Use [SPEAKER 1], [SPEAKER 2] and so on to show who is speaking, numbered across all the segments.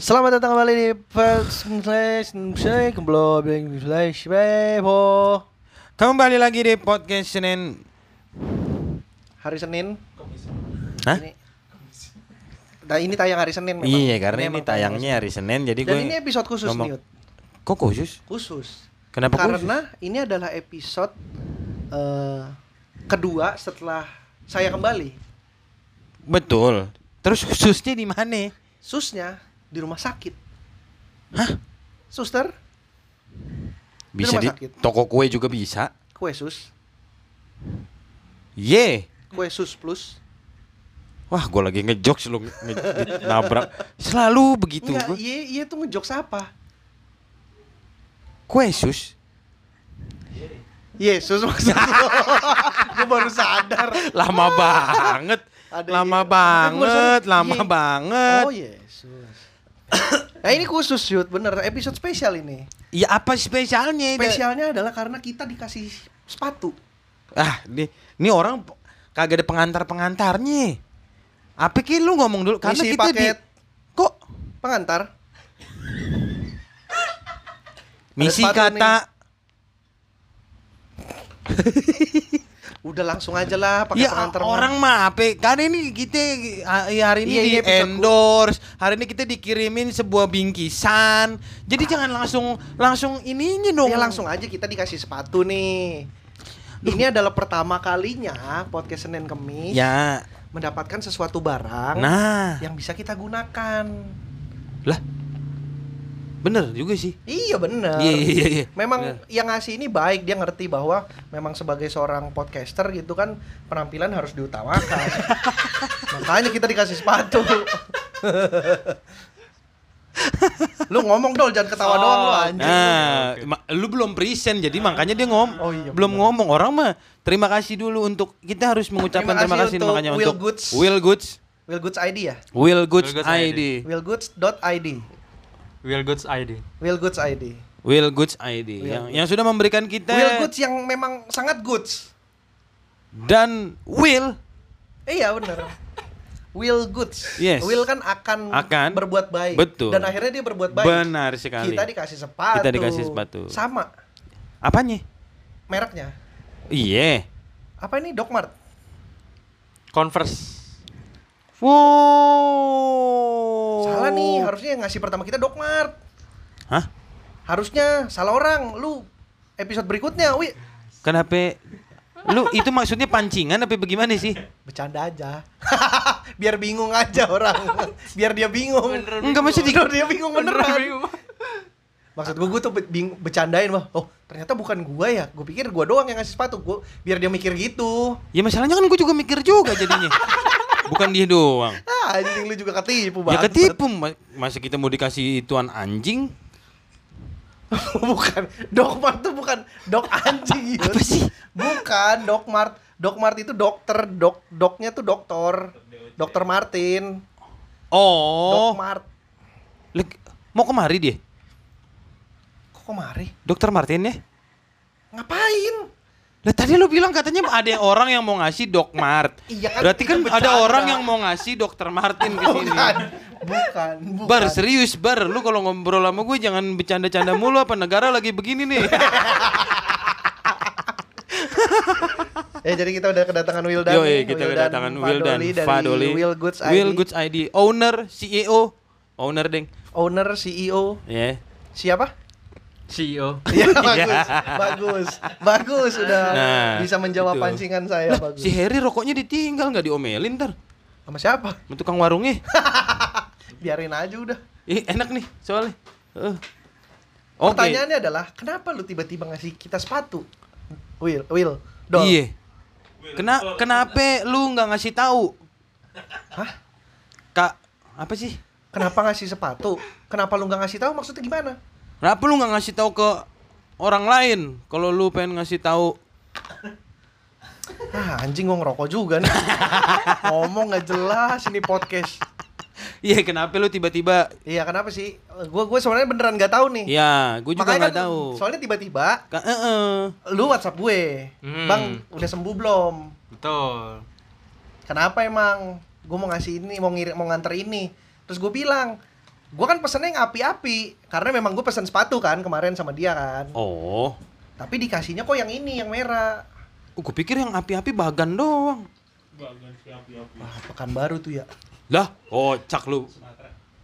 [SPEAKER 1] Selamat datang kembali di First Flash Flash Kembali Flash Bebo
[SPEAKER 2] Kembali lagi di podcast Senin.
[SPEAKER 1] Hari Senin
[SPEAKER 2] Hah?
[SPEAKER 1] ini, Nah, ini tayang hari Senin memang.
[SPEAKER 2] Iya, karena ini
[SPEAKER 1] emang tayang
[SPEAKER 2] tayangnya hari Senin jadi
[SPEAKER 1] Senin.
[SPEAKER 2] gue
[SPEAKER 1] Dan ini episode khusus
[SPEAKER 2] ngomong-
[SPEAKER 1] nih Ut.
[SPEAKER 2] Kok khusus?
[SPEAKER 1] Khusus
[SPEAKER 2] Kenapa
[SPEAKER 1] Karena ini adalah episode eh, Kedua setelah saya kembali
[SPEAKER 2] Betul. Terus khususnya di mana?
[SPEAKER 1] Susnya di rumah sakit Hah? Suster
[SPEAKER 2] Bisa
[SPEAKER 1] rumah
[SPEAKER 2] di,
[SPEAKER 1] sakit.
[SPEAKER 2] toko kue juga bisa.
[SPEAKER 1] Kue sus
[SPEAKER 2] Ye.
[SPEAKER 1] Kue sus plus
[SPEAKER 2] Wah, gue lagi ngejokes lu nge- nge- nabrak. Selalu begitu.
[SPEAKER 1] Enggak,
[SPEAKER 2] Gue.
[SPEAKER 1] iya, iya tuh ngejokes apa?
[SPEAKER 2] Kue sus.
[SPEAKER 1] Yesus maksud lo Gue baru sadar
[SPEAKER 2] Lama banget.
[SPEAKER 1] Ah! Ada iya.
[SPEAKER 2] lama banget,
[SPEAKER 1] Iya.
[SPEAKER 2] lama banget.
[SPEAKER 1] Oh Yesus. nah ini khusus shoot bener episode spesial ini.
[SPEAKER 2] Ya apa spesialnya? ini?
[SPEAKER 1] Spesialnya adalah karena kita dikasih sepatu.
[SPEAKER 2] Ah, ini, ini orang p- kagak ada pengantar-pengantarnya. Apa ki lu ngomong dulu karena
[SPEAKER 1] Isi
[SPEAKER 2] kita
[SPEAKER 1] paket.
[SPEAKER 2] di kok
[SPEAKER 1] Pengantar.
[SPEAKER 2] misi
[SPEAKER 1] sepatu
[SPEAKER 2] kata
[SPEAKER 1] Udah langsung aja lah pakai
[SPEAKER 2] ya
[SPEAKER 1] pengantar. mah.
[SPEAKER 2] orang mah apa karena ini kita ah, ya hari ini
[SPEAKER 1] Iya,
[SPEAKER 2] di
[SPEAKER 1] iya, episode
[SPEAKER 2] endorse, hari ini kita dikirimin sebuah bingkisan. Jadi jangan langsung langsung ininya dong.
[SPEAKER 1] Ya Ah. langsung aja kita dikasih sepatu nih. Ini adalah pertama kalinya podcast Senin Kemis
[SPEAKER 2] Ya.
[SPEAKER 1] mendapatkan sesuatu barang
[SPEAKER 2] Nah,
[SPEAKER 1] yang bisa kita gunakan.
[SPEAKER 2] bener juga sih.
[SPEAKER 1] Iya bener.
[SPEAKER 2] Iya iya iya, iya.
[SPEAKER 1] Memang
[SPEAKER 2] Bener.
[SPEAKER 1] yang ngasih ini baik, dia ngerti bahwa memang sebagai seorang podcaster gitu kan penampilan harus diutamakan. Makanya kita dikasih sepatu. lu ngomong dol, jangan ketawa doang lu anjing.
[SPEAKER 2] Oh, Nah, ma- lu belum present jadi makanya dia ngom
[SPEAKER 1] Oh iya,
[SPEAKER 2] belum ngomong orang mah terima kasih dulu untuk kita harus mengucapkan
[SPEAKER 1] Terima
[SPEAKER 2] terima
[SPEAKER 1] kasih
[SPEAKER 2] kasih,
[SPEAKER 1] untuk
[SPEAKER 2] makanya
[SPEAKER 1] Will
[SPEAKER 2] untuk
[SPEAKER 1] Goods.
[SPEAKER 2] Will Goods
[SPEAKER 1] Willgoods ID ya?
[SPEAKER 2] Will Goods
[SPEAKER 3] Will Goods
[SPEAKER 2] ID
[SPEAKER 1] Willgoods.id.
[SPEAKER 3] Will Goods ID.
[SPEAKER 1] Willgoods ID.
[SPEAKER 2] Will Goods ID
[SPEAKER 1] Will
[SPEAKER 2] yang,
[SPEAKER 1] Goods.
[SPEAKER 2] yang sudah memberikan kita
[SPEAKER 1] Willgoods yang memang sangat goods.
[SPEAKER 2] dan Will
[SPEAKER 1] Iya bener. Will goods.
[SPEAKER 2] Yes.
[SPEAKER 1] Will kan akan,
[SPEAKER 2] Akan.
[SPEAKER 1] berbuat baik.
[SPEAKER 2] Betul.
[SPEAKER 1] Dan akhirnya dia berbuat baik.
[SPEAKER 2] benar sekali
[SPEAKER 1] Kita dikasih sepatu.
[SPEAKER 2] Kita dikasih sepatu.
[SPEAKER 1] Sama
[SPEAKER 2] apanya
[SPEAKER 1] mereknya.
[SPEAKER 2] iya
[SPEAKER 1] Apa ini Doc Mart?
[SPEAKER 3] Converse.
[SPEAKER 2] wow
[SPEAKER 1] Salah
[SPEAKER 2] Oh.
[SPEAKER 1] nih, harusnya yang ngasih pertama kita Doc Mart.
[SPEAKER 2] hah
[SPEAKER 1] Harusnya salah orang. Lu episode berikutnya, wi.
[SPEAKER 2] kenapa Kan lu itu maksudnya pancingan apa bagaimana sih
[SPEAKER 1] Bercanda aja. Biar bingung aja orang. Biar dia bingung.
[SPEAKER 2] enggak maksud di-
[SPEAKER 1] Bener, dia bingung beneran.
[SPEAKER 3] bingung.
[SPEAKER 1] Maksud gua, gua tuh be- bing- bercandain bah. Oh, ternyata bukan gua ya. Gua pikir gua doang yang ngasih sepatu. Gua biar dia mikir gitu.
[SPEAKER 2] Ya masalahnya kan gue juga mikir juga jadinya. Bukan dia doang.
[SPEAKER 1] Ah, anjing lu juga ketipu, Bang.
[SPEAKER 2] Ya ketipu ma- masa kita mau dikasih ituan anjing?
[SPEAKER 1] bukan Doc Mart tuh bukan dok anjing Yud.
[SPEAKER 2] Apa sih?
[SPEAKER 1] bukan Doc Mart Doc Mart itu dokter dok doknya tuh dokter dokter Martin Doc
[SPEAKER 2] Oh,
[SPEAKER 1] Mart
[SPEAKER 2] leg- mau kemari dia?
[SPEAKER 1] kok kemari
[SPEAKER 2] Dokter Martin ya?
[SPEAKER 1] ngapain
[SPEAKER 2] Lah tadi lu bilang katanya ada orang yang mau ngasih Dok Mart.
[SPEAKER 1] Iya kan,
[SPEAKER 2] Berarti
[SPEAKER 1] kita
[SPEAKER 2] kan ada
[SPEAKER 1] bercanda.
[SPEAKER 2] orang yang mau ngasih Dokter Martin ke sini.
[SPEAKER 1] bukan bukan bukan
[SPEAKER 2] Oh, iya. Bar serius Bar, lu kalau ngobrol sama gue jangan bercanda-canda mulu apa negara lagi begini nih.
[SPEAKER 1] eh jadi kita udah kedatangan Wildan
[SPEAKER 2] Yo,
[SPEAKER 1] nih.
[SPEAKER 2] kita kedatangan Wildan,
[SPEAKER 1] dari
[SPEAKER 2] Fadoli,
[SPEAKER 1] Will Goods ID
[SPEAKER 2] Will Goods ID, owner, CEO, owner deng.
[SPEAKER 1] owner CEO
[SPEAKER 2] Ya.
[SPEAKER 1] siapa
[SPEAKER 3] CEO.
[SPEAKER 1] Iya bagus, bagus, bagus udah
[SPEAKER 2] Nah,
[SPEAKER 1] bisa menjawab
[SPEAKER 2] itu.
[SPEAKER 1] pancingan saya
[SPEAKER 2] Lah,
[SPEAKER 1] bagus.
[SPEAKER 2] si Harry rokoknya ditinggal nggak diomelin ntar
[SPEAKER 1] Sama siapa?
[SPEAKER 2] sama tukang warungnya.
[SPEAKER 1] Biarin aja udah.
[SPEAKER 2] Ih, enak nih soalnya. Eh. Oke.
[SPEAKER 1] Pertanyaannya adalah kenapa lu tiba-tiba ngasih kita sepatu? Will, Will, Dol.
[SPEAKER 2] Iya. Kena kenapa lu nggak ngasih tahu?
[SPEAKER 1] Hah?
[SPEAKER 2] Kak, apa sih?
[SPEAKER 1] Kenapa ngasih sepatu? Kenapa lu nggak ngasih tahu maksudnya gimana?
[SPEAKER 2] Kenapa lu nggak ngasih tahu ke orang lain kalau lu pengen ngasih tahu?
[SPEAKER 1] Ah, anjing gua ngerokok juga nih. Ngomong nggak jelas ini podcast.
[SPEAKER 2] Iya, kenapa lu tiba-tiba
[SPEAKER 1] Iya, kenapa sih? Gua gua sebenarnya beneran nggak tahu nih.
[SPEAKER 2] Ya, gue juga
[SPEAKER 1] Makanya
[SPEAKER 2] nggak
[SPEAKER 1] kan,
[SPEAKER 2] tahu.
[SPEAKER 1] Soalnya tiba-tiba
[SPEAKER 2] Ka- eh, eh.
[SPEAKER 1] lu WhatsApp gue.
[SPEAKER 3] Hmm.
[SPEAKER 1] Bang, udah sembuh belum?
[SPEAKER 3] Betul.
[SPEAKER 1] Kenapa emang? Gue mau ngasih ini, mau ngirim, mau nganter ini. Terus gue bilang, Gue kan pesennya yang api-api karena memang gue pesen sepatu kan kemarin sama dia kan.
[SPEAKER 2] Oh,
[SPEAKER 1] Tapi dikasihnya kok yang ini yang merah.
[SPEAKER 2] gue pikir yang api-api bagan doang.
[SPEAKER 1] Wah, Pekanbaru tuh ya.
[SPEAKER 2] Lah, kocak lu.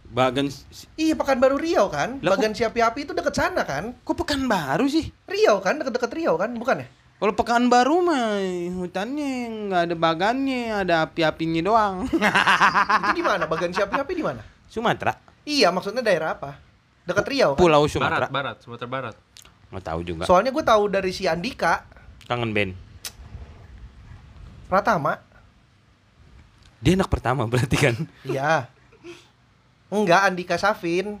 [SPEAKER 2] Bagan,
[SPEAKER 1] Iya, Pekanbaru Riau kan?
[SPEAKER 2] Lah, kok-
[SPEAKER 1] Bagan si api-api itu deket sana kan?
[SPEAKER 2] kok pekan baru sih?
[SPEAKER 1] Riau kan, deket-deket Riau kan, bukan ya?
[SPEAKER 2] Kalau pekan baru mah hutannya nggak ada bagannya, ada api-apinya doang.
[SPEAKER 1] Itu di mana? Bagan si api-api di mana?
[SPEAKER 2] Sumatera,
[SPEAKER 1] Iya, maksudnya daerah apa? Deket Riau kan?
[SPEAKER 2] Pulau
[SPEAKER 3] Barat,
[SPEAKER 2] Sumatera.
[SPEAKER 3] barat, Sumatera Barat.
[SPEAKER 2] Nggak tahu juga.
[SPEAKER 1] Soalnya gue tahu dari si Andika
[SPEAKER 2] Kangen band.
[SPEAKER 1] Pratama.
[SPEAKER 2] Dia anak pertama berarti kan?
[SPEAKER 1] Iya. Enggak, Andika Safin.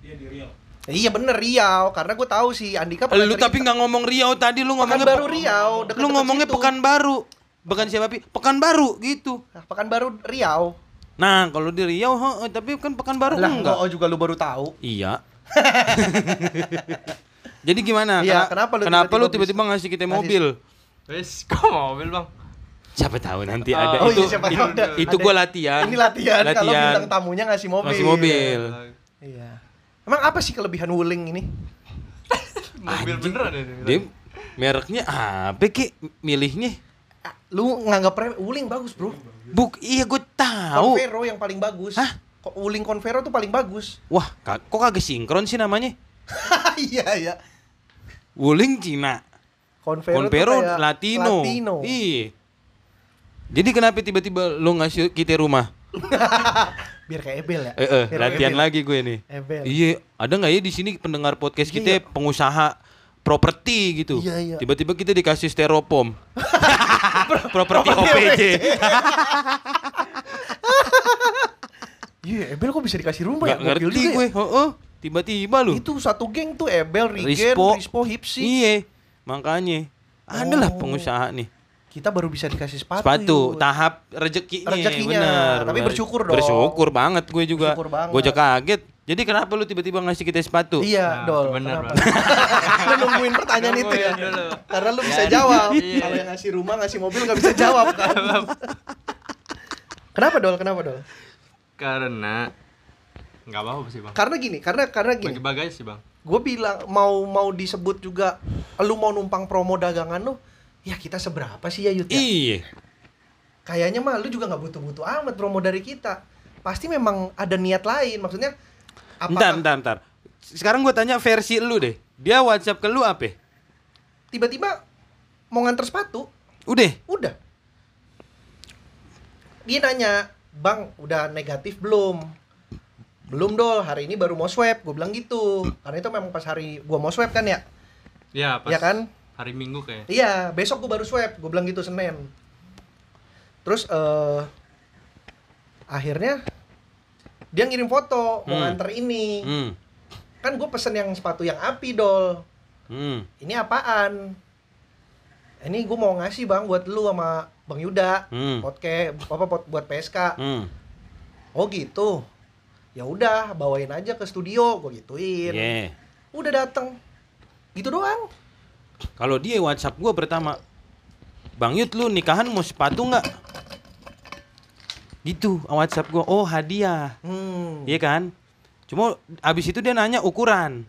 [SPEAKER 1] Dia di Riau. Iya bener Riau, karena gue tahu si Andika pernah
[SPEAKER 2] lu
[SPEAKER 1] cerita.
[SPEAKER 2] tapi nggak ngomong Riau tadi, lu ngomongnya
[SPEAKER 1] Pekanbaru
[SPEAKER 2] pe-
[SPEAKER 1] Riau,
[SPEAKER 2] Lu ngomongnya pekan baru. Bukan siapa pi? Pekan baru gitu.
[SPEAKER 1] Nah, Pekanbaru Riau.
[SPEAKER 2] Nah, kalau di Riau, heeh, tapi kan pekan baru
[SPEAKER 1] lah,
[SPEAKER 2] enggak.
[SPEAKER 1] kok juga lu baru tahu.
[SPEAKER 2] Iya. Jadi gimana?
[SPEAKER 1] Iya,
[SPEAKER 2] Kena-
[SPEAKER 1] kenapa lu
[SPEAKER 2] lu
[SPEAKER 1] tiba-tiba
[SPEAKER 2] tiba-tiba ngasih kita
[SPEAKER 1] ngasih-
[SPEAKER 2] mobil?
[SPEAKER 3] Wes, kok mobil bang?
[SPEAKER 2] Siapa tahu nanti
[SPEAKER 3] Oh,
[SPEAKER 2] ada
[SPEAKER 1] oh iya,
[SPEAKER 2] itu.
[SPEAKER 1] siapa
[SPEAKER 2] itu
[SPEAKER 1] tahu ada-
[SPEAKER 2] itu
[SPEAKER 1] ada-
[SPEAKER 2] gua latihan.
[SPEAKER 1] Ini latihan, kalau
[SPEAKER 2] Latihan.
[SPEAKER 1] bintang tamunya ngasih mobil.
[SPEAKER 2] Ngasih mobil.
[SPEAKER 3] Eh,
[SPEAKER 1] Iya. Emang apa sih kelebihan Wuling ini?
[SPEAKER 3] Mobil beneran ini.
[SPEAKER 2] Dia mereknya apa ki milihnya?
[SPEAKER 1] Ah, Lu nganggap rem- Wuling bagus, Bro.
[SPEAKER 2] Buk, iya gua tahu.
[SPEAKER 1] Convero yang paling bagus.
[SPEAKER 2] Hah?
[SPEAKER 1] Kok Wuling Convero tuh paling bagus?
[SPEAKER 2] Wah, ka- kok kagak sinkron sih namanya?
[SPEAKER 1] Iya, iya.
[SPEAKER 2] Wuling Cina.
[SPEAKER 1] Convero, tuh
[SPEAKER 2] Convero
[SPEAKER 1] kayak
[SPEAKER 2] Latino.
[SPEAKER 1] Latino.
[SPEAKER 2] Iya. Jadi kenapa tiba-tiba lu ngasih kita rumah?
[SPEAKER 1] Biar kayak Ebel ya.
[SPEAKER 2] Eh, eh,
[SPEAKER 1] Biar kayak
[SPEAKER 2] latihan
[SPEAKER 1] Ebel.
[SPEAKER 2] lagi gue nih.
[SPEAKER 1] Ebel.
[SPEAKER 2] Iya, ada nggak ya di sini pendengar podcast
[SPEAKER 1] Iya.
[SPEAKER 2] kita pengusaha properti gitu.
[SPEAKER 1] Iya, iya.
[SPEAKER 2] Tiba-tiba kita dikasih styrofoam. properti
[SPEAKER 1] Oh,
[SPEAKER 2] OPJ.
[SPEAKER 1] Iya, Ebel kok bisa dikasih rumah ya?
[SPEAKER 2] Nggak
[SPEAKER 1] Gokil
[SPEAKER 2] ngerti
[SPEAKER 1] juga ya.
[SPEAKER 2] gue. Heeh. Tiba-tiba lu.
[SPEAKER 1] Itu satu geng tuh Ebel, Rigen,
[SPEAKER 2] Rispo.
[SPEAKER 1] Rispo, Hipsi.
[SPEAKER 2] Iya. Makanya adalah
[SPEAKER 1] Oh.
[SPEAKER 2] pengusaha nih.
[SPEAKER 1] Kita baru bisa dikasih sepatu.
[SPEAKER 2] Sepatu,
[SPEAKER 1] Yud.
[SPEAKER 2] tahap rezekinya,
[SPEAKER 1] Rezekinya,
[SPEAKER 2] bener.
[SPEAKER 1] tapi
[SPEAKER 2] bener.
[SPEAKER 1] bersyukur dong.
[SPEAKER 2] Bersyukur banget gue juga.
[SPEAKER 1] Bersyukur banget.
[SPEAKER 2] Gue aja kaget. Jadi kenapa lu tiba-tiba ngasih kita sepatu?
[SPEAKER 1] Iya,
[SPEAKER 3] Nah,
[SPEAKER 1] Dol.
[SPEAKER 3] itu bener,
[SPEAKER 1] kenapa? Lu nungguin pertanyaan itu ya.
[SPEAKER 3] Nungguin dulu.
[SPEAKER 1] Karena lu bisa
[SPEAKER 3] Ya,
[SPEAKER 1] jawab.
[SPEAKER 3] iya.
[SPEAKER 1] Kalau yang ngasih rumah, ngasih mobil nggak bisa jawab kan. kenapa, Dol? Kenapa, Dol?
[SPEAKER 3] Karena nggak apa-apa sih bang.
[SPEAKER 1] Karena gini, karena karena gini.
[SPEAKER 3] Bagi bagai sih bang.
[SPEAKER 1] gue bilang mau mau disebut juga lu mau numpang promo dagangan lu ya kita seberapa sih ya Yud ya?
[SPEAKER 2] Iya.
[SPEAKER 1] kayaknya mah lu juga nggak butuh-butuh amat promo dari kita pasti memang ada niat lain maksudnya
[SPEAKER 2] Ntar,
[SPEAKER 1] apa
[SPEAKER 2] ntar, ntar. Sekarang gue tanya versi lu deh. Dia WhatsApp ke lu apa?
[SPEAKER 1] tiba-tiba mau nganter sepatu
[SPEAKER 2] Udah.
[SPEAKER 1] udah dia nanya bang udah negatif belum belum dol hari ini baru mau swab gue bilang gitu karena itu memang pas hari gue mau swab kan ya
[SPEAKER 3] Ya pas.
[SPEAKER 1] ya kan
[SPEAKER 3] Hari Minggu kayak.
[SPEAKER 1] Iya, besok gue baru swab. Gue bilang gitu Senin. Terus eh akhirnya dia ngirim foto mau
[SPEAKER 2] Hmm.
[SPEAKER 1] nganter ini.
[SPEAKER 2] Hmm.
[SPEAKER 1] Kan gue pesen yang sepatu yang api dol.
[SPEAKER 2] Hmm.
[SPEAKER 1] Ini apaan? Ini gue mau ngasih bang buat lu sama Bang Yuda.
[SPEAKER 2] Hmm.
[SPEAKER 1] Podcast apa pot- buat PSK.
[SPEAKER 2] Hmm.
[SPEAKER 1] Oh gitu. Ya udah, bawain aja ke studio, gue gituin.
[SPEAKER 2] Yeah.
[SPEAKER 1] Udah dateng. Gitu doang.
[SPEAKER 2] Kalau dia WhatsApp gue pertama, Bang Yud lu nikahan mau sepatu nggak? Gitu WhatsApp gue. Oh hadiah.
[SPEAKER 1] Hmm.
[SPEAKER 2] Iya kan? Cuma abis itu dia nanya ukuran.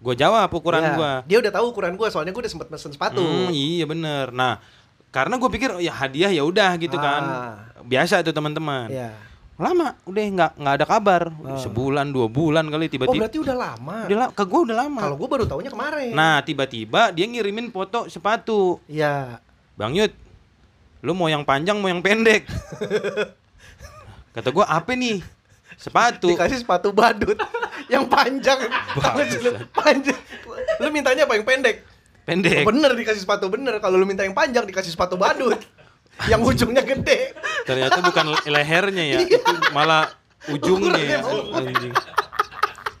[SPEAKER 2] Gue jawab ukuran
[SPEAKER 1] Iya.
[SPEAKER 2] gue.
[SPEAKER 1] Dia udah tahu ukuran gue, soalnya gue udah sempet mesen sepatu.
[SPEAKER 2] Hmm, iya bener. Nah karena gue pikir oh, ya hadiah ya udah gitu kan.
[SPEAKER 1] Ah.
[SPEAKER 2] Biasa tuh teman-teman.
[SPEAKER 1] Iya.
[SPEAKER 2] Lama udah nggak nggak ada kabar. Sebulan dua bulan kali
[SPEAKER 1] Oh
[SPEAKER 2] tiba-tiba.
[SPEAKER 1] berarti udah lama.
[SPEAKER 2] udah la- ke gue udah lama.
[SPEAKER 1] Kalau gue baru taunya kemarin.
[SPEAKER 2] Nah tiba-tiba dia ngirimin foto sepatu.
[SPEAKER 1] Iya.
[SPEAKER 2] Bang Yud, lu mau yang panjang mau yang pendek? Kata gua apa nih? Sepatu.
[SPEAKER 1] Dikasih sepatu badut yang panjang. Tahu sih lu, panjang. Lu mintanya apa yang pendek?
[SPEAKER 2] Pendek.
[SPEAKER 1] Bener dikasih sepatu bener. Kalau lu minta yang panjang dikasih sepatu badut. yang ujungnya gede.
[SPEAKER 2] Ternyata bukan le- lehernya ya, itu malah ujungnya. ya. Anjing.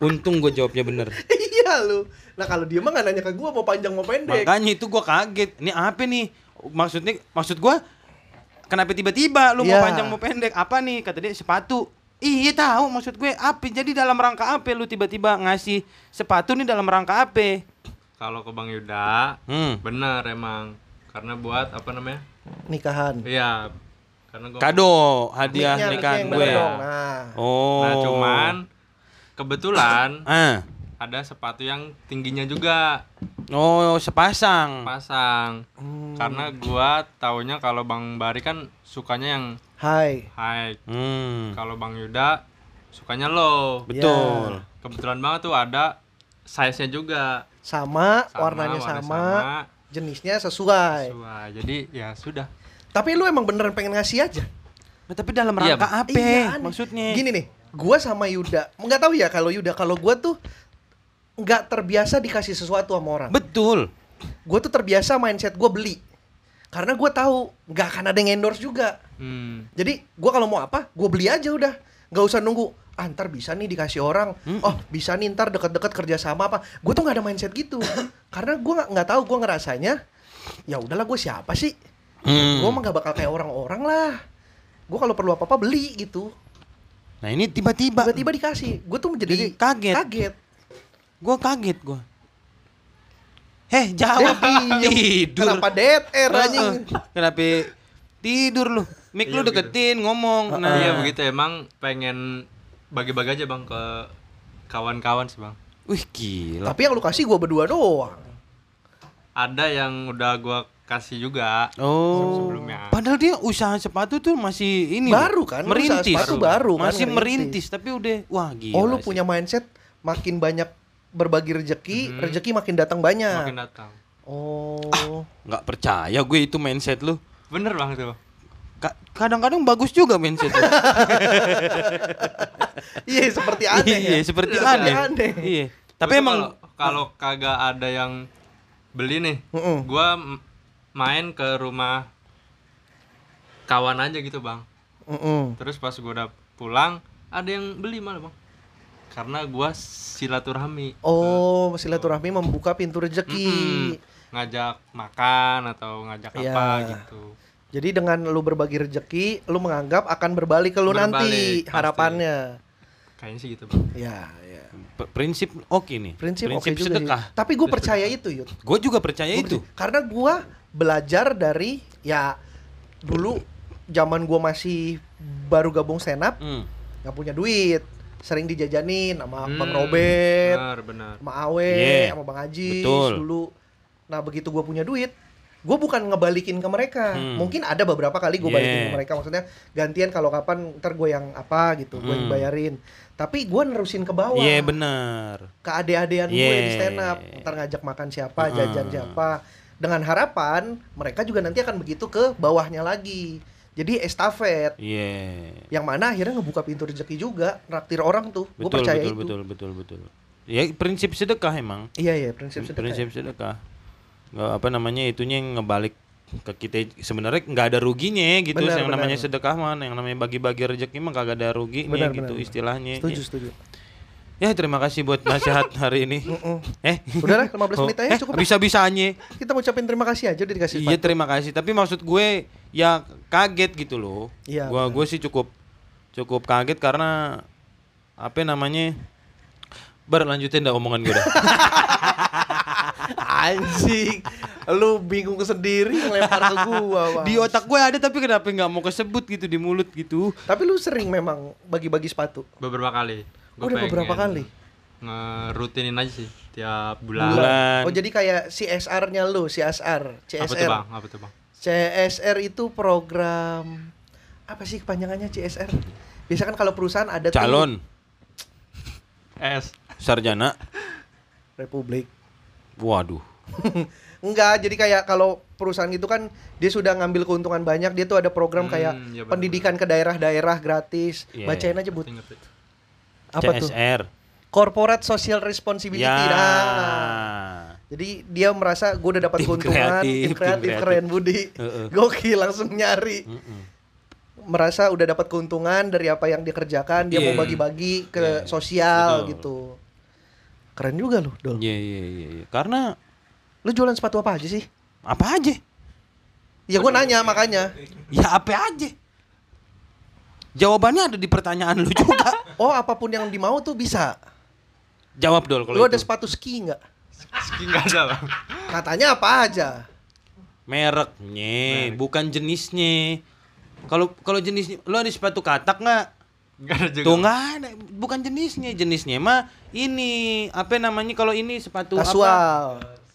[SPEAKER 2] Untung gua jawabnya bener.
[SPEAKER 1] iya lu. Nah kalau dia mah nggak nanya ke gue mau panjang mau pendek.
[SPEAKER 2] Makanya itu gua kaget. Ini apa nih? Maksudnya maksud gua kenapa tiba-tiba
[SPEAKER 1] Iya.
[SPEAKER 2] lu mau panjang mau pendek? Apa nih? Kata dia sepatu. Iya tahu maksud gue apa? Jadi dalam rangka apa lu tiba-tiba ngasih sepatu nih dalam rangka apa?
[SPEAKER 3] Kalau ke Bang Yuda,
[SPEAKER 2] Hmm.
[SPEAKER 3] bener emang. Karena buat apa namanya?
[SPEAKER 1] Nikahan.
[SPEAKER 3] Iya. Karena gua
[SPEAKER 2] Kado hadiah
[SPEAKER 1] Niknya,
[SPEAKER 2] Iya, nikahan
[SPEAKER 1] niknya yang
[SPEAKER 2] gue.
[SPEAKER 1] bener dong. Nah.
[SPEAKER 2] Oh.
[SPEAKER 3] Nah cuman kebetulan
[SPEAKER 2] Ah.
[SPEAKER 3] ada sepatu yang tingginya juga
[SPEAKER 2] Oh, sepasang.
[SPEAKER 3] pasang.
[SPEAKER 2] Hmm.
[SPEAKER 3] Karena gua taunya kalau Bang Bari kan sukanya yang
[SPEAKER 1] Hai.
[SPEAKER 3] high.
[SPEAKER 2] Hmm.
[SPEAKER 3] Kalau Bang Yuda sukanya low.
[SPEAKER 2] Betul.
[SPEAKER 3] Kebetulan banget tuh ada size-nya juga.
[SPEAKER 1] Sama,
[SPEAKER 3] Sama,
[SPEAKER 1] warnanya
[SPEAKER 3] warna
[SPEAKER 1] sama,
[SPEAKER 3] sama.
[SPEAKER 1] jenisnya sesuai.
[SPEAKER 3] Wah, jadi ya sudah.
[SPEAKER 1] Tapi lu emang beneran pengen ngasih aja.
[SPEAKER 2] Nah, tapi dalam
[SPEAKER 3] Iya,
[SPEAKER 2] rangka apa? ya,
[SPEAKER 1] aneh.
[SPEAKER 2] Maksudnya?
[SPEAKER 1] Gini nih, gua sama Yuda, nggak tahu ya kalau Yuda, kalau gua tuh nggak terbiasa dikasih sesuatu sama orang.
[SPEAKER 2] Betul.
[SPEAKER 1] Gua tuh terbiasa mindset gua beli. Karena gua tahu nggak akan ada yang endorse juga.
[SPEAKER 3] Hmm.
[SPEAKER 1] Jadi gua kalau mau apa, gua beli aja udah. Nggak usah nunggu. Ah, ntar bisa nih dikasih orang. Oh, bisa nih ntar deket-deket kerjasama apa. Gue tuh nggak ada mindset gitu. Karena gua nggak- nggak tahu, gua ngerasanya ya udahlah gue siapa sih?
[SPEAKER 2] Hmm.
[SPEAKER 1] Gua mah nggak bakal kayak orang-orang lah. Gua kalau perlu apa-apa beli gitu.
[SPEAKER 2] Nah, ini tiba-tiba.
[SPEAKER 1] Tiba-tiba dikasih. Gue tuh
[SPEAKER 2] Mm. Jadi
[SPEAKER 1] jadi,
[SPEAKER 2] kaget.
[SPEAKER 1] Kaget.
[SPEAKER 2] Gua kaget gua. Heh, jawab tidur.
[SPEAKER 1] Kenapa dead air
[SPEAKER 2] Heeh.
[SPEAKER 1] anjing?
[SPEAKER 2] Kenapa tidur lu? Mik lu
[SPEAKER 3] Iya, begitu.
[SPEAKER 2] deketin ngomong. Nah,
[SPEAKER 3] Iya begitu emang pengen bagi-bagi aja bang ke kawan-kawan sih bang.
[SPEAKER 2] Wih, gila.
[SPEAKER 1] Tapi yang lu kasih gua berdua doang.
[SPEAKER 3] Ada yang udah gua kasih juga.
[SPEAKER 2] Oh.
[SPEAKER 3] Sebelumnya.
[SPEAKER 2] Padahal dia usaha sepatu tuh masih ini.
[SPEAKER 1] Baru
[SPEAKER 2] loh.
[SPEAKER 1] kan, usaha
[SPEAKER 2] Merintis.
[SPEAKER 1] sepatu baru kan,
[SPEAKER 2] Masih merintis.
[SPEAKER 1] merintis.
[SPEAKER 2] tapi udah wah gila.
[SPEAKER 1] oh, lu
[SPEAKER 2] sih.
[SPEAKER 1] punya mindset makin banyak berbagi rejeki,
[SPEAKER 3] Mhm.
[SPEAKER 1] rejeki makin datang
[SPEAKER 2] iya.
[SPEAKER 1] banyak.
[SPEAKER 3] Makin datang.
[SPEAKER 1] Oh.
[SPEAKER 2] nggak percaya gue itu mindset lu.
[SPEAKER 3] Bener bang tuh.
[SPEAKER 2] Ka- Kadang-kadang bagus juga mindset lu.
[SPEAKER 1] Iya, seperti aneh.
[SPEAKER 2] Iya,
[SPEAKER 1] ya?
[SPEAKER 2] seperti
[SPEAKER 1] Seperti
[SPEAKER 2] aneh.
[SPEAKER 1] aneh.
[SPEAKER 2] Iya. Tapi
[SPEAKER 3] Gua tuh
[SPEAKER 2] emang
[SPEAKER 3] kalau- kalau kagak ada yang beli nih,
[SPEAKER 1] Mm-mm.
[SPEAKER 3] gua m- main ke rumah kawan aja gitu bang.
[SPEAKER 1] Mm-mm.
[SPEAKER 3] Terus pas gua udah pulang ada yang beli malah bang. Karena gua silaturahmi.
[SPEAKER 1] Oh, iya. silaturahmi membuka pintu rejeki.
[SPEAKER 3] Mm-mm. ngajak makan atau ngajak
[SPEAKER 1] Iya.
[SPEAKER 3] apa gitu.
[SPEAKER 1] Jadi dengan lu berbagi rejeki, lu menganggap akan berbalik ke lu nanti
[SPEAKER 3] Berbalik, pasti.
[SPEAKER 1] harapannya.
[SPEAKER 3] Kayaknya sih gitu bang.
[SPEAKER 1] Ya, ya.
[SPEAKER 2] pr- prinsip oke nih.
[SPEAKER 1] Prinsip, Ya oke juga sih.
[SPEAKER 2] sedekah.
[SPEAKER 1] Tapi gue percaya itu, Yud.
[SPEAKER 2] Gue juga percaya
[SPEAKER 1] Gua
[SPEAKER 2] itu.
[SPEAKER 1] percaya. Karena gua belajar dari ya dulu zaman gua masih baru gabung stand up,
[SPEAKER 2] Hmm.
[SPEAKER 1] nggak punya duit, sering dijajanin sama Bang
[SPEAKER 3] Hmm,
[SPEAKER 1] Robert,
[SPEAKER 3] Benar, benar.
[SPEAKER 1] sama Awe,
[SPEAKER 2] Yeah.
[SPEAKER 1] sama Bang Ajis
[SPEAKER 2] Iya, Betul.
[SPEAKER 1] dulu. Nah, begitu gua punya duit, gua bukan ngebalikin ke mereka.
[SPEAKER 2] Hmm. Iya.
[SPEAKER 1] Mungkin ada beberapa kali gua balikin ke
[SPEAKER 2] Yeah.
[SPEAKER 1] mereka, maksudnya gantian kalau kapan ntar gue yang apa gitu, gue yang
[SPEAKER 2] Hmm.
[SPEAKER 1] bayarin. Tapi gua nerusin ke bawah
[SPEAKER 2] Iya benar.
[SPEAKER 1] ke ade-adean gue di
[SPEAKER 2] Yeah.
[SPEAKER 1] stand up ntar ngajak makan siapa
[SPEAKER 2] Mm.
[SPEAKER 1] jajan siapa dengan harapan mereka juga nanti akan begitu ke bawahnya lagi jadi estafet
[SPEAKER 2] Iya.
[SPEAKER 1] yang mana akhirnya ngebuka pintu rezeki juga raktir orang tuh gue
[SPEAKER 2] Betul,
[SPEAKER 1] percaya
[SPEAKER 2] betul,
[SPEAKER 1] itu
[SPEAKER 2] betul, betul, betul. Ya prinsip sedekah emang.
[SPEAKER 1] iya iya prinsip sedekah
[SPEAKER 2] prinsip sedekah. Nggak apa namanya itunya yang ngebalik ke kita sebenarnya nggak ada ruginya gitu
[SPEAKER 1] Benar,
[SPEAKER 2] yang
[SPEAKER 1] benar.
[SPEAKER 2] namanya sedekah mana yang namanya bagi-bagi rezeki mah kagak ada ruginya
[SPEAKER 1] Benar,
[SPEAKER 2] gitu
[SPEAKER 1] benar.
[SPEAKER 2] istilahnya
[SPEAKER 1] setuju setuju
[SPEAKER 2] ya terima kasih buat nasihat hari ini eh
[SPEAKER 1] udah lah 15 menit aja cukup ya. lah.
[SPEAKER 2] bisa bisanya
[SPEAKER 1] kita ucapin terima kasih aja udah dikasih
[SPEAKER 2] Iya terima kasih. Tapi maksud gue ya kaget gitu loh.
[SPEAKER 1] Iya,
[SPEAKER 2] Gua gue sih cukup cukup kaget karena apa namanya berlanjutin dah omongan gue dah.
[SPEAKER 1] anjing lu bingung sendiri ngelempar ke gua Bang.
[SPEAKER 2] di otak gue ada tapi kenapa nggak mau kesebut gitu di mulut gitu.
[SPEAKER 1] tapi lu sering memang bagi-bagi sepatu
[SPEAKER 3] Beberapa kali. Gua
[SPEAKER 1] Oh, Udah beberapa
[SPEAKER 3] pengen
[SPEAKER 1] kali?
[SPEAKER 3] Ngerutinin aja sih tiap bulan.
[SPEAKER 2] Bulan.
[SPEAKER 1] oh jadi kayak CSR-nya lu CSR CSR
[SPEAKER 3] Apa tuh bang? Apa tuh bang?
[SPEAKER 1] CSR itu program apa sih kepanjangannya CSR? Biasa kan kalau perusahaan ada tuh
[SPEAKER 2] Calon
[SPEAKER 3] Es.
[SPEAKER 2] sarjana.
[SPEAKER 1] Republik.
[SPEAKER 2] Waduh.
[SPEAKER 1] Enggak, jadi kayak kalau perusahaan itu kan dia sudah ngambil keuntungan banyak, dia tuh ada program
[SPEAKER 3] Hmm,
[SPEAKER 1] kayak
[SPEAKER 3] iya benar-benar.
[SPEAKER 1] pendidikan ke daerah-daerah gratis.
[SPEAKER 2] Iya,
[SPEAKER 1] Bacain aja but.
[SPEAKER 3] Ngerti, ngerti.
[SPEAKER 1] Apa tuh?
[SPEAKER 2] CSR.
[SPEAKER 1] Corporate Social Responsibility.
[SPEAKER 2] Ya.
[SPEAKER 1] Nah. Jadi dia merasa gue udah dapat
[SPEAKER 2] Tim
[SPEAKER 1] keuntungan,
[SPEAKER 2] kreatif,
[SPEAKER 1] tim
[SPEAKER 2] tim
[SPEAKER 1] kreatif,
[SPEAKER 2] kreatif.
[SPEAKER 1] keren Budi.
[SPEAKER 2] Heeh.
[SPEAKER 1] Gokil langsung nyari.
[SPEAKER 2] Mm-mm.
[SPEAKER 1] merasa udah dapat keuntungan dari apa yang dikerjakan dia
[SPEAKER 2] Iya.
[SPEAKER 1] mau bagi-bagi ke
[SPEAKER 2] Iya.
[SPEAKER 1] sosial
[SPEAKER 2] Betul.
[SPEAKER 1] gitu keren juga loh dol
[SPEAKER 2] Iya iya iya. iya. Karena
[SPEAKER 1] lu jualan sepatu apa aja sih
[SPEAKER 2] apa aja?
[SPEAKER 1] ya gue nanya makanya
[SPEAKER 2] Ya apa aja? Jawabannya ada di pertanyaan lu juga.
[SPEAKER 1] oh apapun yang dimau tuh bisa
[SPEAKER 2] Jawab dol kalau
[SPEAKER 1] lu ada
[SPEAKER 2] itu.
[SPEAKER 1] sepatu ski nggak
[SPEAKER 3] Ski nggak ada bang.
[SPEAKER 1] katanya apa aja
[SPEAKER 2] Mereknya, bukan jenisnya. Kalau kalau jenisnya, lo ada sepatu katak nggak?
[SPEAKER 3] Enggak ada juga.
[SPEAKER 2] Tuh nggak ada, bukan jenisnya, jenisnya mah ini apa namanya kalau ini sepatu apa?
[SPEAKER 1] Kasual.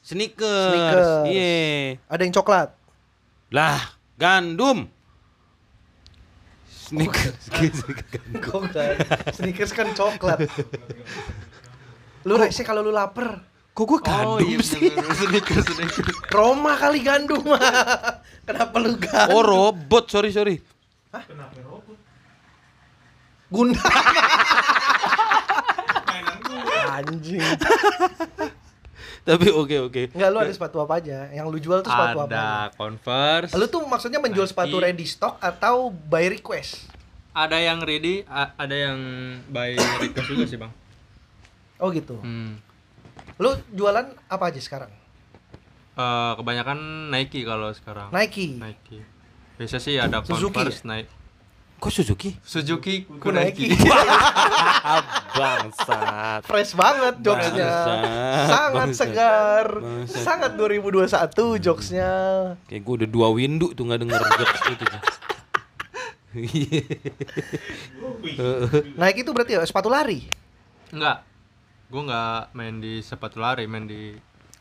[SPEAKER 2] Sneakers.
[SPEAKER 1] Sneakers.
[SPEAKER 2] Iya.
[SPEAKER 1] Ada yang coklat.
[SPEAKER 2] Lah, gandum. Sneakers.
[SPEAKER 1] Bukan. Sneakers kan coklat. Lu rese kalau lu lapar.
[SPEAKER 2] Kok gue
[SPEAKER 3] Oh
[SPEAKER 2] gandum
[SPEAKER 3] iya
[SPEAKER 2] sih?
[SPEAKER 3] bener, bener. sneaker sneaker.
[SPEAKER 1] Roma kali gandum. Kenapa lu
[SPEAKER 2] Oh,
[SPEAKER 1] gandum?
[SPEAKER 2] robot, sorry sorry.
[SPEAKER 1] Gunda. Anjing.
[SPEAKER 2] Tapi oke oke.
[SPEAKER 1] Enggak lu ada sepatu apa aja? Yang lu jual tuh sepatu apa?
[SPEAKER 3] Ada Converse.
[SPEAKER 1] Lu tuh maksudnya menjual sepatu
[SPEAKER 3] Nike.
[SPEAKER 1] ready stock atau by request?
[SPEAKER 3] Ada yang ready, a- ada yang by request juga sih bang.
[SPEAKER 1] Oh gitu.
[SPEAKER 3] Hmm.
[SPEAKER 1] Lu jualan apa aja sekarang?
[SPEAKER 3] Eh, kebanyakan Nike kalau sekarang.
[SPEAKER 1] Nike.
[SPEAKER 3] Nike. Biasa sih ada
[SPEAKER 1] Suzuki ya?
[SPEAKER 3] Converse, Nike.
[SPEAKER 2] Kok Suzuki?
[SPEAKER 3] Suzuki
[SPEAKER 1] Ku
[SPEAKER 3] ku
[SPEAKER 1] Nike.
[SPEAKER 3] Nike.
[SPEAKER 2] Bangsat.
[SPEAKER 1] Fresh banget jokesnya.
[SPEAKER 2] Bangsat,
[SPEAKER 1] Sangat
[SPEAKER 2] bangsat,
[SPEAKER 1] segar.
[SPEAKER 2] bangsat.
[SPEAKER 1] Sangat 2021 jokesnya.
[SPEAKER 2] Kayak gue udah dua windu tuh nggak denger jokes itu. Cah. Iya.
[SPEAKER 1] Nike itu berarti ya, sepatu lari.
[SPEAKER 3] Enggak. Gua enggak main di sepatu lari, main di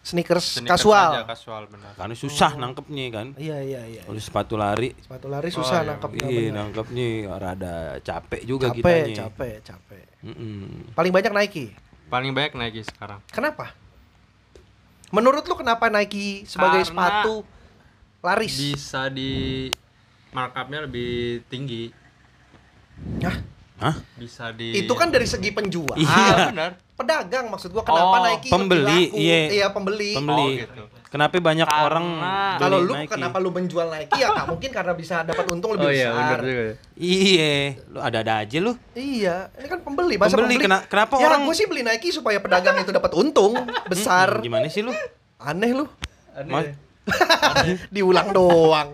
[SPEAKER 1] Sneakers,
[SPEAKER 3] sneakers
[SPEAKER 1] kasual.
[SPEAKER 3] aja, kasual benar.
[SPEAKER 2] Karena Kan
[SPEAKER 1] Oh.
[SPEAKER 2] susah nangkepnya kan.
[SPEAKER 1] Iya iya iya.
[SPEAKER 2] Kalau sepatu lari,
[SPEAKER 1] Sepatu lari susah nangkap
[SPEAKER 2] iya nangkepnya rada capek juga
[SPEAKER 1] Capek,
[SPEAKER 2] kitanya.
[SPEAKER 1] capek, capek.
[SPEAKER 2] Mm-mm.
[SPEAKER 1] Paling banyak Nike.
[SPEAKER 3] Paling banyak Nike sekarang.
[SPEAKER 1] Kenapa? Menurut lu kenapa Nike sebagai
[SPEAKER 3] Karena
[SPEAKER 1] sepatu laris?
[SPEAKER 3] Bisa di markupnya lebih tinggi.
[SPEAKER 1] Hah?
[SPEAKER 2] Hah?
[SPEAKER 3] Bisa di
[SPEAKER 1] Itu kan dari segi penjual.
[SPEAKER 3] Iya,
[SPEAKER 2] Iya.
[SPEAKER 3] benar.
[SPEAKER 1] Pedagang maksud gua kenapa
[SPEAKER 3] Oh,
[SPEAKER 1] Nike lebih
[SPEAKER 2] pembeli,
[SPEAKER 1] laku?
[SPEAKER 2] iya.
[SPEAKER 1] Iya, pembeli.
[SPEAKER 2] Pembeli.
[SPEAKER 3] Oh, gitu.
[SPEAKER 2] Kenapa banyak
[SPEAKER 3] Karena-
[SPEAKER 2] orang beli
[SPEAKER 1] Kalau lu
[SPEAKER 2] Nike?
[SPEAKER 1] kenapa lu menjual Nike ya nggak mungkin karena bisa dapat untung lebih
[SPEAKER 3] Oh iya,
[SPEAKER 1] besar.
[SPEAKER 3] benar juga.
[SPEAKER 2] Iya, lu ada-ada aja lu.
[SPEAKER 1] Iya, ini kan pembeli. Masa
[SPEAKER 2] Pembeli,
[SPEAKER 1] pembeli,
[SPEAKER 2] kena- kenapa
[SPEAKER 1] ya,
[SPEAKER 2] orang-
[SPEAKER 1] gue sih beli Nike supaya pedagang itu dapat untung besar.
[SPEAKER 2] Hmm, Gimana sih lu?
[SPEAKER 1] Aneh lu,
[SPEAKER 2] Ma-
[SPEAKER 1] diulang doang.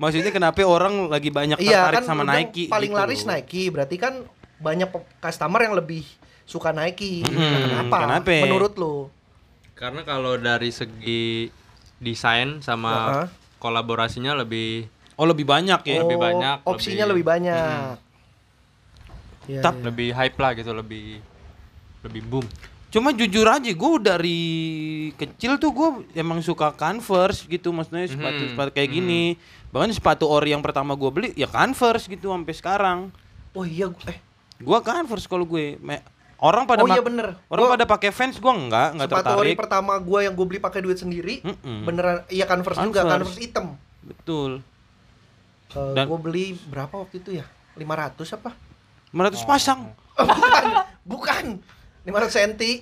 [SPEAKER 2] maksudnya kenapa orang lagi banyak
[SPEAKER 1] iya
[SPEAKER 2] tertarik
[SPEAKER 1] kan
[SPEAKER 2] sama
[SPEAKER 1] lu bilang
[SPEAKER 2] Nike?
[SPEAKER 1] Paling
[SPEAKER 2] gitu.
[SPEAKER 1] laris Nike, berarti kan banyak pe- customer yang lebih suka Nike.
[SPEAKER 2] Hmm,
[SPEAKER 1] Nah, kenapa?
[SPEAKER 2] kenapa?
[SPEAKER 1] Menurut lu?
[SPEAKER 3] Karena kalau dari segi
[SPEAKER 1] Aha.
[SPEAKER 3] desain sama kolaborasinya lebih
[SPEAKER 2] Oh lebih banyak ya.
[SPEAKER 3] lebih banyak,
[SPEAKER 1] Opsinya lebih,
[SPEAKER 3] lebih-
[SPEAKER 1] banyak. Iya,
[SPEAKER 2] Tap.
[SPEAKER 1] iya.
[SPEAKER 3] lebih hype lah gitu, lebih lebih boom.
[SPEAKER 2] Cuma jujur aja, gue dari kecil tuh gue emang suka Converse gitu, maksudnya sepatu sepatu kayak gini. Bahkan sepatu ori yang pertama gue beli ya Converse gitu sampai sekarang.
[SPEAKER 1] Oh iya, gua- eh
[SPEAKER 2] Gua Converse kalau gue Me- orang
[SPEAKER 1] Oh
[SPEAKER 2] pada
[SPEAKER 1] iya,
[SPEAKER 2] mak-
[SPEAKER 1] bener.
[SPEAKER 2] orang
[SPEAKER 1] Gua-
[SPEAKER 2] pada pakai fans gue enggak enggak
[SPEAKER 1] sepatu ori
[SPEAKER 2] tertarik.
[SPEAKER 1] pertama gue yang gue beli pakai duit sendiri,
[SPEAKER 2] Mm-mm.
[SPEAKER 1] beneran iya Converse, juga,
[SPEAKER 2] Converse.
[SPEAKER 1] Converse hitam.
[SPEAKER 2] Betul.
[SPEAKER 1] Eh,
[SPEAKER 2] Dan-
[SPEAKER 1] gue beli berapa waktu itu ya? 500 apa?
[SPEAKER 2] 500 pasang.
[SPEAKER 1] Oh, bukan, bukan. 500 senti.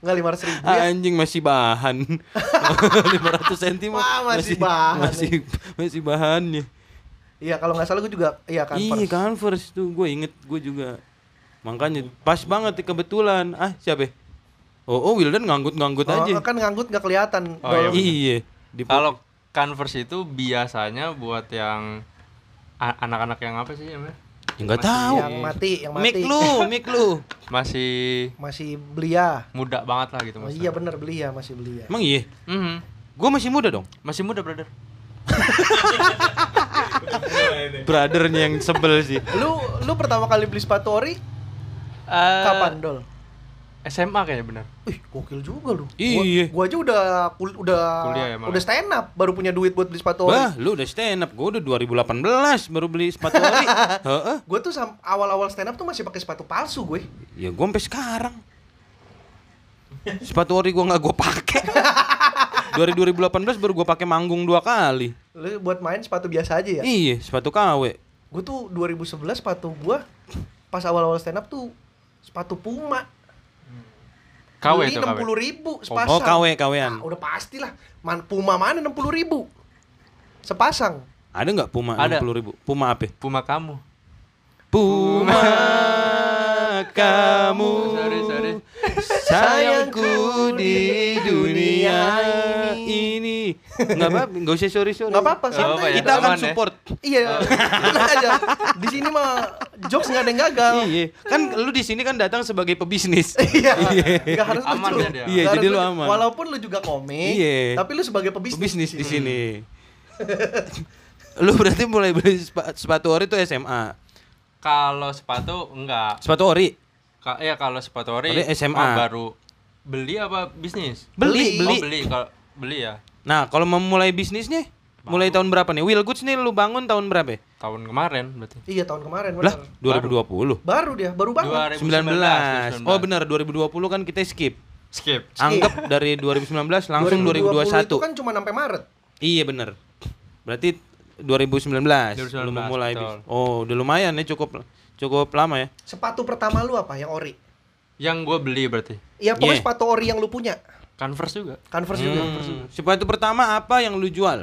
[SPEAKER 1] Enggak 500 ribu ya?
[SPEAKER 2] Anjing masih bahan. 500 cm
[SPEAKER 1] Wah, masih bahan
[SPEAKER 2] Masih masih ya. bahannya.
[SPEAKER 1] Iya kalau nggak salah gue juga iya Converse.
[SPEAKER 2] Iya Converse tuh gue inget gue juga makanya pas banget kebetulan ah siapa ya? oh oh Wildan nganggut-nganggut
[SPEAKER 1] Oh,
[SPEAKER 2] aja
[SPEAKER 1] kan ngangkut nggak kelihatan.
[SPEAKER 3] Oh, iya,
[SPEAKER 1] Kalau-
[SPEAKER 3] bener.
[SPEAKER 2] iya di
[SPEAKER 3] Kalau Converse itu biasanya buat yang a- anak-anak yang apa sih namanya?
[SPEAKER 2] Ya, nggak tahu
[SPEAKER 1] Yang mati, yang mati.
[SPEAKER 2] mik lu mik lu
[SPEAKER 3] Masih
[SPEAKER 1] Masih belia.
[SPEAKER 3] muda banget lah gitu
[SPEAKER 1] Oh,
[SPEAKER 3] maksudnya.
[SPEAKER 1] iya bener belia masih belia.
[SPEAKER 2] emang iya
[SPEAKER 3] Mhm.
[SPEAKER 2] gue masih muda dong
[SPEAKER 3] Masih muda, brother.
[SPEAKER 2] brothernya yang sebel sih
[SPEAKER 1] Lu lu pertama kali beli sepatu ori
[SPEAKER 3] Eh,
[SPEAKER 1] kapan dol?
[SPEAKER 3] SMA kayaknya benar.
[SPEAKER 1] Ih, gokil juga lu.
[SPEAKER 2] Iya.
[SPEAKER 1] Gua, gua aja udah kul- udah
[SPEAKER 3] Kuliah ya malah.
[SPEAKER 1] udah stand up baru punya duit buat beli sepatu ori.
[SPEAKER 2] Wah, lu udah stand up. Gue udah 2018 baru beli sepatu ori. Heeh.
[SPEAKER 1] Gue tuh sam- awal-awal stand up tuh masih pakai sepatu palsu gue.
[SPEAKER 2] Ya gue sampai sekarang. Sepatu ori gue nggak gue pakai. Dari 2018 baru gue pakai manggung dua kali.
[SPEAKER 1] Lu buat main sepatu biasa aja ya.
[SPEAKER 2] Iya, sepatu KW.
[SPEAKER 1] Gue tuh 2011 sepatu gua pas awal-awal stand up tuh sepatu Puma. Beli
[SPEAKER 3] KW itu KW.
[SPEAKER 1] 60 ribu sepasang.
[SPEAKER 2] Oh, KW, KW-an.
[SPEAKER 1] Ah, udah pastilah. Man, Puma mana 60 ribu? Sepasang.
[SPEAKER 2] Ada nggak Puma
[SPEAKER 3] Ada.
[SPEAKER 2] 60 ribu? Puma apa?
[SPEAKER 3] Puma kamu.
[SPEAKER 2] Puma kamu
[SPEAKER 3] Sorry, sorry.
[SPEAKER 2] sayangku di dunia
[SPEAKER 1] dunia
[SPEAKER 2] ini. Nggak apa-apa, nggak usah sorry sorry.
[SPEAKER 1] Nggak apa-apa,
[SPEAKER 3] Nggak apa-apa
[SPEAKER 1] santai.
[SPEAKER 3] ya,
[SPEAKER 2] Kita akan
[SPEAKER 3] aman ya.
[SPEAKER 2] support. Oh.
[SPEAKER 1] Iya, tenang aja. Di sini mah jokes nggak ada yang gagal.
[SPEAKER 2] Iya, kan lu di sini kan datang sebagai pebisnis.
[SPEAKER 1] Iya, nggak harus
[SPEAKER 3] Aman
[SPEAKER 1] lucu.
[SPEAKER 3] ya dia.
[SPEAKER 1] Nggak
[SPEAKER 2] Iya,
[SPEAKER 1] harus
[SPEAKER 2] jadi lu
[SPEAKER 1] lucu.
[SPEAKER 2] aman.
[SPEAKER 1] Walaupun lu juga komik,
[SPEAKER 2] Iya.
[SPEAKER 1] tapi lu sebagai pebisnis.
[SPEAKER 2] pebisnis di sini. Lu berarti mulai beli sepa- sepatu ori itu SMA.
[SPEAKER 3] Kalau sepatu enggak.
[SPEAKER 2] Sepatu ori.
[SPEAKER 3] Ka ya kalau sepatu ori
[SPEAKER 2] Ori SMA.
[SPEAKER 3] mah baru beli apa bisnis?
[SPEAKER 2] Beli,
[SPEAKER 3] Oh,
[SPEAKER 2] beli.
[SPEAKER 3] beli kalau beli ya
[SPEAKER 2] Nah, kalau memulai bisnisnya mulai tahun berapa nih? Will Goods nih lu bangun tahun berapa? ya?
[SPEAKER 3] tahun kemarin berarti.
[SPEAKER 1] Iya tahun kemarin bener.
[SPEAKER 2] Lah, 2020.
[SPEAKER 1] Baru dia, baru banget.
[SPEAKER 2] 19.
[SPEAKER 3] 2019.
[SPEAKER 2] Oh
[SPEAKER 3] 2019.
[SPEAKER 2] benar 2020 kan kita skip.
[SPEAKER 3] Skip.
[SPEAKER 2] Anggap dari 2019 langsung
[SPEAKER 1] 2020 Itu
[SPEAKER 2] 2021.
[SPEAKER 1] kan cuma sampai Maret.
[SPEAKER 2] Iya benar. Berarti 2019,
[SPEAKER 3] 2019,
[SPEAKER 2] lu memulai
[SPEAKER 3] betul.
[SPEAKER 2] bis- Oh, udah lumayan ya cukup cukup lama ya.
[SPEAKER 1] Sepatu pertama lu apa yang ori?
[SPEAKER 3] Yang gue beli berarti
[SPEAKER 1] Ya pokoknya
[SPEAKER 2] Yeah.
[SPEAKER 1] sepatu ori yang lu punya.
[SPEAKER 3] Converse juga.
[SPEAKER 1] Converse juga.
[SPEAKER 2] Iya. Hmm. Sepatu pertama apa yang lu jual?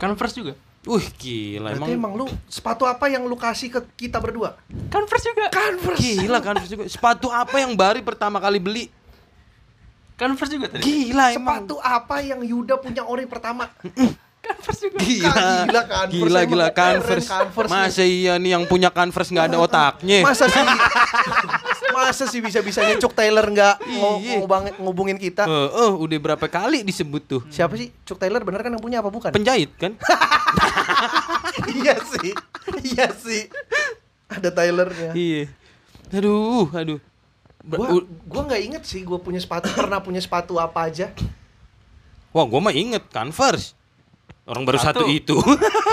[SPEAKER 3] Converse juga.
[SPEAKER 2] Uh, gila
[SPEAKER 1] Berarti
[SPEAKER 2] emang.
[SPEAKER 1] emang lu sepatu apa yang lu kasih ke kita berdua?
[SPEAKER 3] Converse juga.
[SPEAKER 1] Converse.
[SPEAKER 2] Gila kan juga. Sepatu apa yang Bari pertama kali beli?
[SPEAKER 3] Converse juga tadi.
[SPEAKER 2] Gila Nah, emang.
[SPEAKER 1] Sepatu apa yang Yuda punya ori pertama?
[SPEAKER 3] Converse juga.
[SPEAKER 1] Gila,
[SPEAKER 2] Gila.
[SPEAKER 1] kan, Converse
[SPEAKER 2] Gila
[SPEAKER 1] emang
[SPEAKER 2] gila
[SPEAKER 1] keren,
[SPEAKER 2] Converse.
[SPEAKER 1] Converse nih.
[SPEAKER 2] Masa iya nih yang punya Converse nggak ada otaknya?
[SPEAKER 1] Masa sih Masa sih bisa-bisanya Cuk Taylor nggak ngo-
[SPEAKER 2] Iya.
[SPEAKER 1] ngobang- ngubungin
[SPEAKER 2] Eh,
[SPEAKER 1] kita?
[SPEAKER 2] eh, udah berapa kali disebut tuh?
[SPEAKER 1] Siapa sih Cuk Taylor bener kan yang punya apa bukan?
[SPEAKER 2] Penjahit kan?
[SPEAKER 1] iya sih. Iya sih. Ada Taylornya.
[SPEAKER 2] Iya. Aduh, aduh. Ber-
[SPEAKER 1] Gua
[SPEAKER 2] u-
[SPEAKER 1] gua nggak inget sih gua punya sepatu pernah punya sepatu apa aja.
[SPEAKER 2] Wah, gua mah inget Converse. Orang baru satu,
[SPEAKER 3] Satu.
[SPEAKER 2] itu.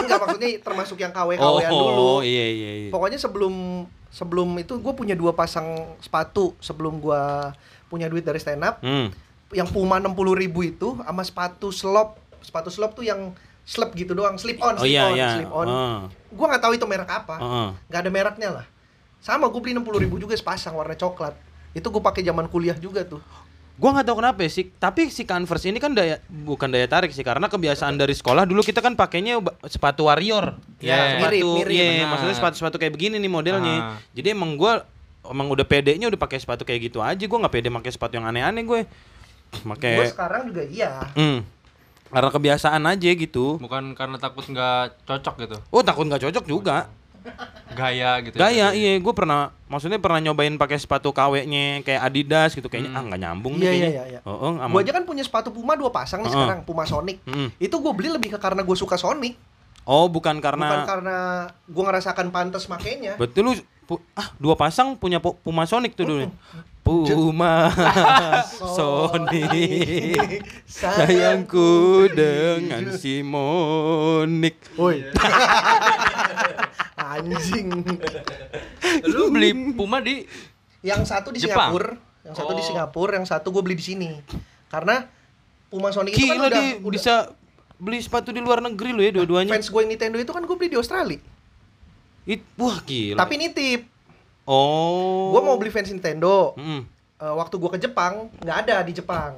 [SPEAKER 1] Enggak maksudnya termasuk yang KW KW-an dulu.
[SPEAKER 2] oh, iya iya iya.
[SPEAKER 1] Pokoknya sebelum sebelum itu gue punya dua pasang sepatu sebelum gue punya duit dari stand up.
[SPEAKER 2] Hmm.
[SPEAKER 1] Yang Puma 60.000 ribu itu sama sepatu slop. Sepatu slop tuh yang slep gitu doang, slip on,
[SPEAKER 2] Oh
[SPEAKER 1] slip
[SPEAKER 2] iya Ah.
[SPEAKER 1] on,
[SPEAKER 2] iya.
[SPEAKER 1] slip on.
[SPEAKER 2] Heeh.
[SPEAKER 1] Gue nggak tahu itu merek apa,
[SPEAKER 2] Heeh.
[SPEAKER 1] nggak ada mereknya lah. Sama gue beli 60.000 ribu juga sepasang warna coklat. Itu gue pakai zaman kuliah juga tuh.
[SPEAKER 2] Gua nggak tahu kenapa ya, sih, tapi si Converse ini kan daya bukan daya tarik sih karena kebiasaan dari sekolah dulu kita kan pakainya ba- sepatu warrior.
[SPEAKER 3] Iya.
[SPEAKER 2] sepatu
[SPEAKER 1] Mirip, Nah. mirip.
[SPEAKER 2] iya,
[SPEAKER 3] Benar.
[SPEAKER 2] maksudnya sepatu-sepatu kayak begini nih modelnya.
[SPEAKER 3] Ah.
[SPEAKER 2] Jadi emang gua emang udah pedenya udah pakai sepatu kayak gitu aja, gua nggak pede pakai sepatu yang aneh-aneh gue.
[SPEAKER 1] Gue
[SPEAKER 2] Pakai
[SPEAKER 1] sekarang juga iya.
[SPEAKER 2] hmm, karena kebiasaan aja gitu.
[SPEAKER 3] Bukan karena takut nggak cocok gitu.
[SPEAKER 2] Oh, takut nggak cocok juga.
[SPEAKER 3] Gaya gitu.
[SPEAKER 2] Gaya, iya, gue pernah, maksudnya pernah nyobain pakai sepatu KW-nya kayak Adidas gitu, kayaknya ah nggak nyambung nih
[SPEAKER 1] Iya,
[SPEAKER 2] kayaknya.
[SPEAKER 1] iya, iya, iya.
[SPEAKER 2] Oh, oh, aman.
[SPEAKER 1] Gue aja kan punya sepatu Puma dua pasang nih
[SPEAKER 2] Heeh.
[SPEAKER 1] sekarang, Puma Sonic.
[SPEAKER 2] Mm-mm.
[SPEAKER 1] Itu gue beli lebih ke karena gue suka Sonic,
[SPEAKER 2] Oh,
[SPEAKER 1] bukan
[SPEAKER 2] bukan karena,
[SPEAKER 1] karena gue ngerasakan pantas makainya.
[SPEAKER 2] betul lu pu- ah dua pasang punya Pu- Puma Sonic tuh dulu. Puma Sonic, sayangku dengan si Monik.
[SPEAKER 1] Woi. Anjing.
[SPEAKER 3] Lu beli Puma di
[SPEAKER 1] Yang satu di
[SPEAKER 3] Jepang?
[SPEAKER 1] Singapura, yang satu di
[SPEAKER 3] Oh.
[SPEAKER 1] Singapura, yang satu gue beli di sini. Karena Puma Sonic itu kan
[SPEAKER 2] Gila
[SPEAKER 1] udah,
[SPEAKER 2] dia
[SPEAKER 1] udah-
[SPEAKER 2] bisa beli sepatu di luar negeri lo ya dua-duanya.
[SPEAKER 1] fans gue yang Nintendo itu kan gue beli di Australia.
[SPEAKER 2] It, wah gila.
[SPEAKER 1] Tapi nitip.
[SPEAKER 2] oh.
[SPEAKER 1] Gue mau beli fans Nintendo.
[SPEAKER 2] Mm.
[SPEAKER 1] Eh, waktu gue ke Jepang nggak ada di Jepang.